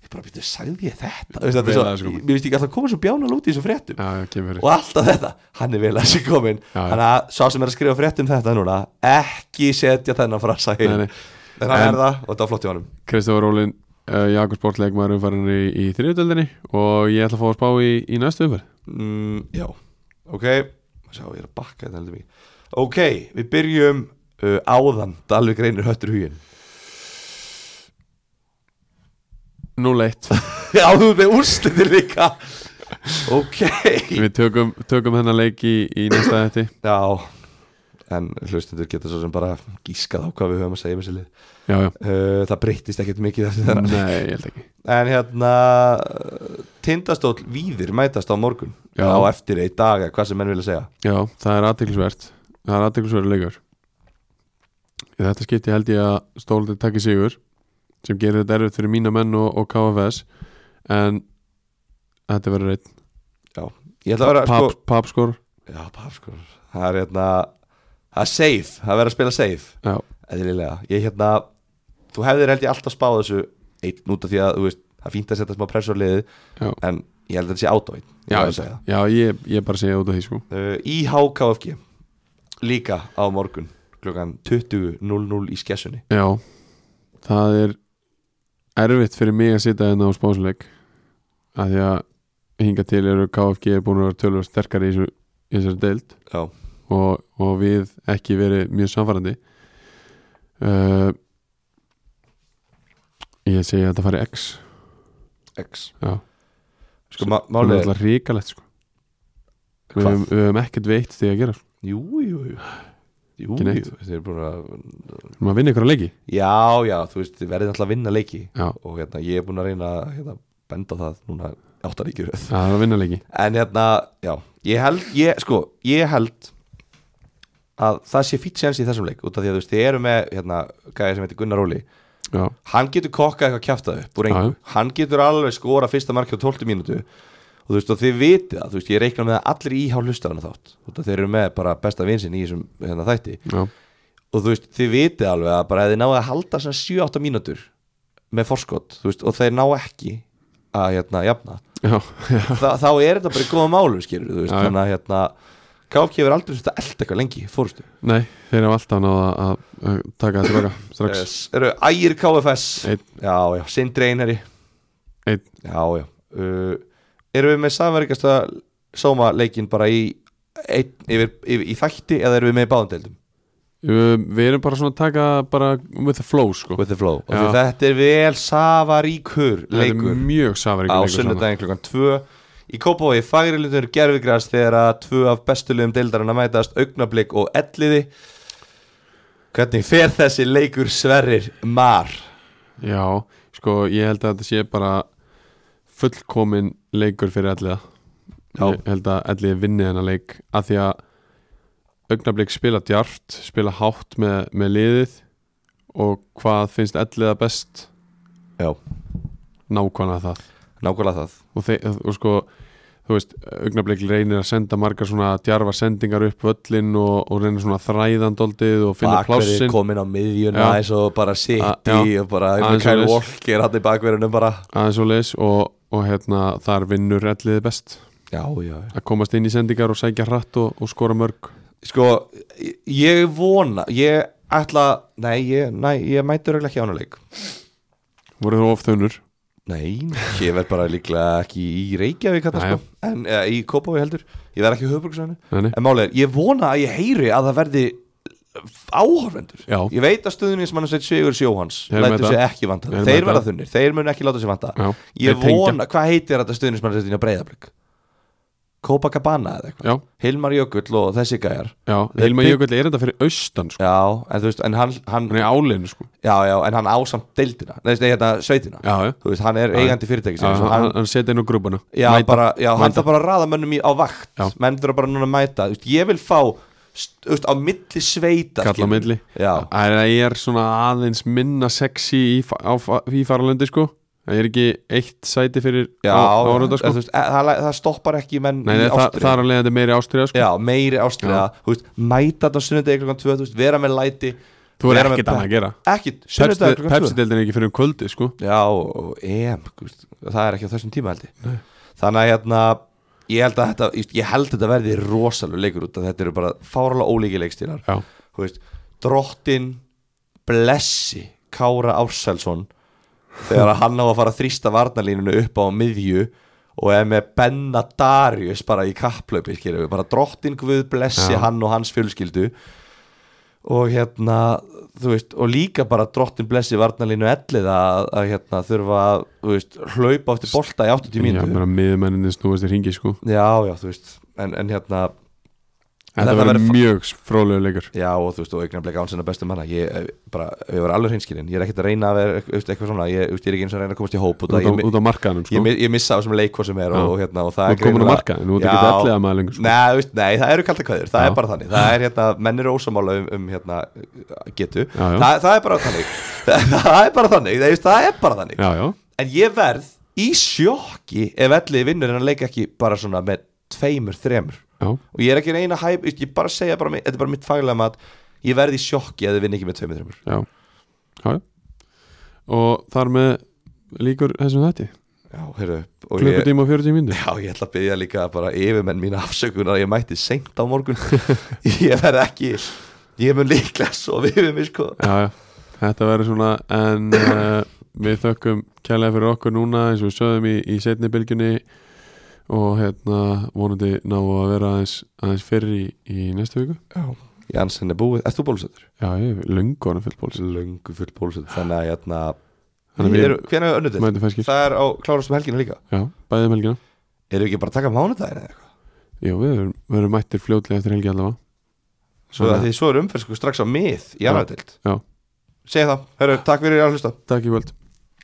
Speaker 2: ég bara býttu, sagði ég þetta Þú veist,
Speaker 1: Vel
Speaker 2: þetta er
Speaker 1: að þessu
Speaker 2: svo,
Speaker 1: komin.
Speaker 2: mér veist ekki alltaf koma svo bjána lúti í þessum fréttum
Speaker 1: já, já, kemur fyrir
Speaker 2: og alltaf þetta, hann er vel að sér komin
Speaker 1: Já, já.
Speaker 2: þannig að sá sem er að skrifa frétt um þetta núna ekki setja þennan frasa heim
Speaker 1: Nei, nei.
Speaker 2: þannig að
Speaker 1: En-
Speaker 2: er það og þetta var flott í honum
Speaker 1: Kristofur Rólin, uh, Jakob Sportleikmaður umfærin í, í þriðutöldinni og ég ætla að fá að spá í, í næstu umfærin
Speaker 2: mm, já, ok sjá, ég er að bakka þetta heldur mikið ok, við byrjum uh, áðan Dalvik reynir höttur hugin
Speaker 1: 0-1,
Speaker 2: <laughs> já, þú erum með úrslitir líka ok
Speaker 1: <laughs> við tökum, tökum hennar leik í, í næsta þetta
Speaker 2: já, en hlustendur geta svo sem bara gískað á hvað við höfum að segja með sér lið
Speaker 1: já, já,
Speaker 2: uh, það breytist ekkert mikið eftir þennan
Speaker 1: nei, ég held ekki
Speaker 2: En hérna uh, Tindastóll víðir mætast á morgun
Speaker 1: Já.
Speaker 2: Á eftir eitt dag, eða hvað sem menn vilja segja
Speaker 1: Já, það er aðtiklisvert Það er aðtiklisverður leikur Í þetta skipti held ég að stólið takki sigur sem gerir þetta erfitt fyrir mína menn og, og KFS en þetta verður einn
Speaker 2: Ég ætla að vera
Speaker 1: Pap,
Speaker 2: sko,
Speaker 1: pap skor
Speaker 2: Já, pap sko Það er hérna Það er safe, það verður að spila safe
Speaker 1: Já,
Speaker 2: eðlilega, ég hérna þú hefðir held ég alltaf spáð þessu einn út af því að, þú veist, það er fínt að setja smá pressur liðið,
Speaker 1: já,
Speaker 2: en ég held að þetta sé átáin
Speaker 1: já, já, ég, ég bara segja út af því sko
Speaker 2: uh, í HKFG líka á morgun klukkan 20.00 í skessunni
Speaker 1: Já, það er erfitt fyrir mig að sitja hérna á spásleik að því að hinga til eru KFG er búin að vera tölvöld sterkari í þessu- í þessari deild
Speaker 2: já,
Speaker 1: og, og við ekki verið mjög samfærandi uh, Ég segi að þetta fari X
Speaker 2: x
Speaker 1: Já,
Speaker 2: sko, ma
Speaker 1: það er
Speaker 2: málið er,
Speaker 1: alltaf ríkalegt sko Við
Speaker 2: hvað?
Speaker 1: höfum, við höfum ekkert veitt því að gera sko.
Speaker 2: Jú, jú, jú Jú,
Speaker 1: Ekki neitt.
Speaker 2: jú, þeir eru búin að
Speaker 1: Við höfum að vinna ykkur að leiki
Speaker 2: Já, já, þú veist, þið verðið alltaf að vinna leiki
Speaker 1: Já,
Speaker 2: og hérna, ég er búin að reyna að hérna, benda á það núna áttaríkjur
Speaker 1: það er að vinna leiki
Speaker 2: En hérna, já, ég held, ég, sko, ég held að það sé fýtt séns í þessum leik út af því að þú veist, þið eru með, hérna, gæði sem heitir Gunnar Óli,
Speaker 1: Já,
Speaker 2: hann getur kokkað eitthvað kjaftaði upp úr engu,
Speaker 1: Já.
Speaker 2: hann getur alveg skora fyrsta marki á 12 mínútu og þú veist, og þið vitið það, þú veist, ég reikna með að allir íhá hlustaðan þátt, út af þeir eru með bara besta vinsinn í þessum hérna, þætti
Speaker 1: já,
Speaker 2: og þú veist, þið vitið alveg að bara ef þið náðu að halda svona 7-8 mínútur með forskot, þú veist, og þeir ná ekki að, hérna,
Speaker 1: <laughs>
Speaker 2: jafna
Speaker 1: já, já,
Speaker 2: Þa, þá er þetta bara í góða málu skilur þú veist,
Speaker 1: Já, já.
Speaker 2: þannig að hérna KFG hefur aldrei þetta elda eitthvað lengi, fórstu
Speaker 1: nei, þeir eru alltaf náða að að taka þetta baka strax
Speaker 2: yes. eru ægir KFS
Speaker 1: Einn.
Speaker 2: já, já, sindri einari
Speaker 1: Einn.
Speaker 2: já, já uh, eru við með samverkast að sóma leikinn bara í einn, yfir, yfir, í þætti eða eru við með í báðandeildum
Speaker 1: um, Við erum bara svona að taka bara with the flow sko
Speaker 2: with the flow, og
Speaker 1: Já.
Speaker 2: því þetta er vel safaríkur
Speaker 1: Þetta
Speaker 2: leikur
Speaker 1: er mjög safaríkur
Speaker 2: á
Speaker 1: leikur saman.
Speaker 2: sunnudaginn klukkan 2 í Kópavogi fagrilindur gerfigræs þegar að tvö af bestulegum deildarinn að mætast augnablík og elliði hvernig fer þessi leikur sverrir mar
Speaker 1: Já, sko, ég held að þetta sé bara fullkomin leikur fyrir alliða
Speaker 2: Já.
Speaker 1: Ég held að alliði vinni þennan leik að því að augnablik spila djart, spila hátt með, með liðið og hvað finnst alliða best
Speaker 2: Já.
Speaker 1: nákvæmlega það
Speaker 2: nákvæmlega það
Speaker 1: og, þe og sko þú veist, augnablik reynir að senda margar svona djarfa sendingar upp völlin og, og reynir svona þræðandoldið og finna
Speaker 2: bakverðir
Speaker 1: plássin
Speaker 2: komin á miðjuna
Speaker 1: Já.
Speaker 2: eins og bara
Speaker 1: A-
Speaker 2: City
Speaker 1: já.
Speaker 2: og bara
Speaker 1: Aðeins
Speaker 2: Kyle
Speaker 1: svoleiðis.
Speaker 2: Walker hann í bakverðinum bara
Speaker 1: aðeins og leis og, og hérna þar vinnur elliði best
Speaker 2: já, já, já
Speaker 1: að komast inn í sendingar og sækja hratt og, og skora mörg
Speaker 2: sko, ég- ég vona ég ætla, nei, ég, nei, ég mætur ekki á hann leik
Speaker 1: voru þú of þunur
Speaker 2: Nei, ég verð bara líklega ekki í Reykjavík hérna
Speaker 1: Jæja.
Speaker 2: sko En eða, í Kópaví heldur, ég verð ekki í höfbruksvæðinu
Speaker 1: Nei, nei.
Speaker 2: En málið er, ég vona að ég heyri að það verði áhorfendur
Speaker 1: Já.
Speaker 2: Ég veit að stöðunni sem hann sveit Sigur Sjóhans
Speaker 1: Erum
Speaker 2: Lætur
Speaker 1: þetta.
Speaker 2: sig ekki vanta
Speaker 1: Erum
Speaker 2: það, þeir
Speaker 1: þetta.
Speaker 2: verða þunnir, þeir mun ekki láta sig vanta
Speaker 1: Já,
Speaker 2: Ég
Speaker 1: þeir tengja.
Speaker 2: vona, hvað heitir þetta stöðunni sem hann sveit Breiðablík? Kópakabana eða eitthvað
Speaker 1: já,
Speaker 2: Hilmar Jökull og þessi gæjar
Speaker 1: já,
Speaker 2: Þeir
Speaker 1: Hilma
Speaker 2: tengja.
Speaker 1: Jökull er þetta fyrir austan sko.
Speaker 2: Já, en þú veist, en hann, hann
Speaker 1: hann er áleinu sko.
Speaker 2: Já, já, en hann ásamt deildina Nei, nei, hérna, sveitina
Speaker 1: já, já,
Speaker 2: Þú veist, hann er
Speaker 1: Já.
Speaker 2: eigandi fyrirtæki
Speaker 1: já, hann, hann setja inn á grúbana
Speaker 2: Já,
Speaker 1: Mæta.
Speaker 2: bara, já hann
Speaker 1: mæta.
Speaker 2: þarf bara að raða mönnum í, á vakt
Speaker 1: Já.
Speaker 2: menn þurfa bara núna að mæta Þú veist, ég vil fá st- þú veist, á milli
Speaker 1: kalla
Speaker 2: sveita
Speaker 1: á
Speaker 2: skilur.
Speaker 1: milli
Speaker 2: já,
Speaker 1: Það er- ég er svona aðeins minna sexy í, fa- á, fa- í faralöndi sko Það er ekki eitt sæti fyrir
Speaker 2: já,
Speaker 1: á, árunda
Speaker 2: en
Speaker 1: sko
Speaker 2: þú veist, e- það, það stoppar ekki menn
Speaker 1: Nei,
Speaker 2: í
Speaker 1: nei það,
Speaker 2: ástríðu.
Speaker 1: það er alveg þetta meiri ástriða sko
Speaker 2: já, meiri ástriða þú veist, mæta þetta á sunnudegi klokkan 2 þú veist, vera með læti
Speaker 1: Þú er
Speaker 2: vera með
Speaker 1: ekkert
Speaker 2: pe-
Speaker 1: annað að gera
Speaker 2: ekkit, sunnudegi klokkan 2
Speaker 1: Pepsi-deildin er ekki fyrir um kvöldi sko
Speaker 2: já, og EM, þú veist, það er ekki á þessum tíma held ég þannig að hérna ég held að þetta, ég veist, ég held að þetta verði rosalega leikur út að þetta eru bara fáralega ólíki leikstílar
Speaker 1: Já,
Speaker 2: þú veist, drottin blessi Kára Ársælsson þegar að hann á að fara að þrýsta varnalínunu upp á miðju og er með Benna Darius bara í kapplaupi, skiljum við, bara drottin Guð blessi
Speaker 1: Já.
Speaker 2: hann og hans fjölskyldu og hérna þú veist, og líka bara drottin blessi varnalínu ellið að, að hérna, þurfa að, þú veist, hlaupa eftir bolta í 80
Speaker 1: ég
Speaker 2: mínútu
Speaker 1: meina miðmenninni snúast í ringi sko
Speaker 2: já, já, þú veist, en, en hérna
Speaker 1: Þetta
Speaker 2: Þetta
Speaker 1: verður
Speaker 2: verður fa-
Speaker 1: mjög frólega leikur
Speaker 2: Já og þú veist og augnablik án sinna bestu manna ég eh, bara, ég var alveg hreinskilinn ég er ekkert að reyna að vera eitthvað, eitthvað svona ég, þú veist, ég er ekki eins og að reyna að komast í hóp og
Speaker 1: Út
Speaker 2: það,
Speaker 1: á,
Speaker 2: ég,
Speaker 1: út á markaðanum
Speaker 2: ég,
Speaker 1: sko Þú
Speaker 2: ég, ég missa á sem leik hvað sem er
Speaker 1: Já.
Speaker 2: og, og, hérna, og það
Speaker 1: ert komin á
Speaker 2: greinilega-
Speaker 1: markaðan, þú ert ekki
Speaker 2: Já.
Speaker 1: allega maður lengur sko
Speaker 2: Nei, þú veist, nei, það eru kalda kvæður, það
Speaker 1: Já.
Speaker 2: er bara þannig það er hérna, menn eru ósamála um, um hérna, getu,
Speaker 1: Já, já.
Speaker 2: Þa, það er bara þannig <laughs> það er bara þannig, það, veist, það er bara þannig
Speaker 1: Já, já,
Speaker 2: en ég verð í sjokki ef ellið vinnur en hann leik ekki bara svona með tveimur, þremur
Speaker 1: já,
Speaker 2: og ég er ekki að reyna að hæp, ég bara segja bara, mi- þetta er bara mitt faglega mat ég verði í sjokki að þið vinna ekki með tveimur, þremur
Speaker 1: já, já. og þar með líkur þessum þetta
Speaker 2: já, heyrðu, og ég,
Speaker 1: klukkutíma og 40 mínútur
Speaker 2: já, ég ætla að byggja líka bara yfirmenn mína afsökunar að ég mætti seint á
Speaker 1: <laughs>
Speaker 2: morgun ég verð ekki ég mun líklega svo við mig sko
Speaker 1: já, já, þetta verður svona <coughs> en uh, við þökkum kærlega fyrir okkur núna eins og við sögum í, í setni bylgjunni og hérna vonandi ná að vera aðeins, aðeins fyrir í, í næstu viku
Speaker 2: já, Janssen er búið, ert þú bólusettur?
Speaker 1: já, ég hef löngu orðin fyrir bóls
Speaker 2: löngu full bólusettur, þannig að hérna,
Speaker 1: þannig að
Speaker 2: eru, hvernig er önnur
Speaker 1: við
Speaker 2: til?
Speaker 1: mætum fæskir,
Speaker 2: það er á klárast um helgina líka
Speaker 1: já, bæðið um helgina
Speaker 2: erum við ekki bara að taka mánudaginn eða eitthvað
Speaker 1: já, við erum, við erum mættir fljótlega eftir helgi allavega
Speaker 2: svo,
Speaker 1: Þannig
Speaker 2: að
Speaker 1: að-
Speaker 2: því, svo er umferð sko strax á mið í
Speaker 1: Já.
Speaker 2: annaðild
Speaker 1: já,
Speaker 2: segja það, Heru, takk fyrir að hlusta
Speaker 1: takk í völd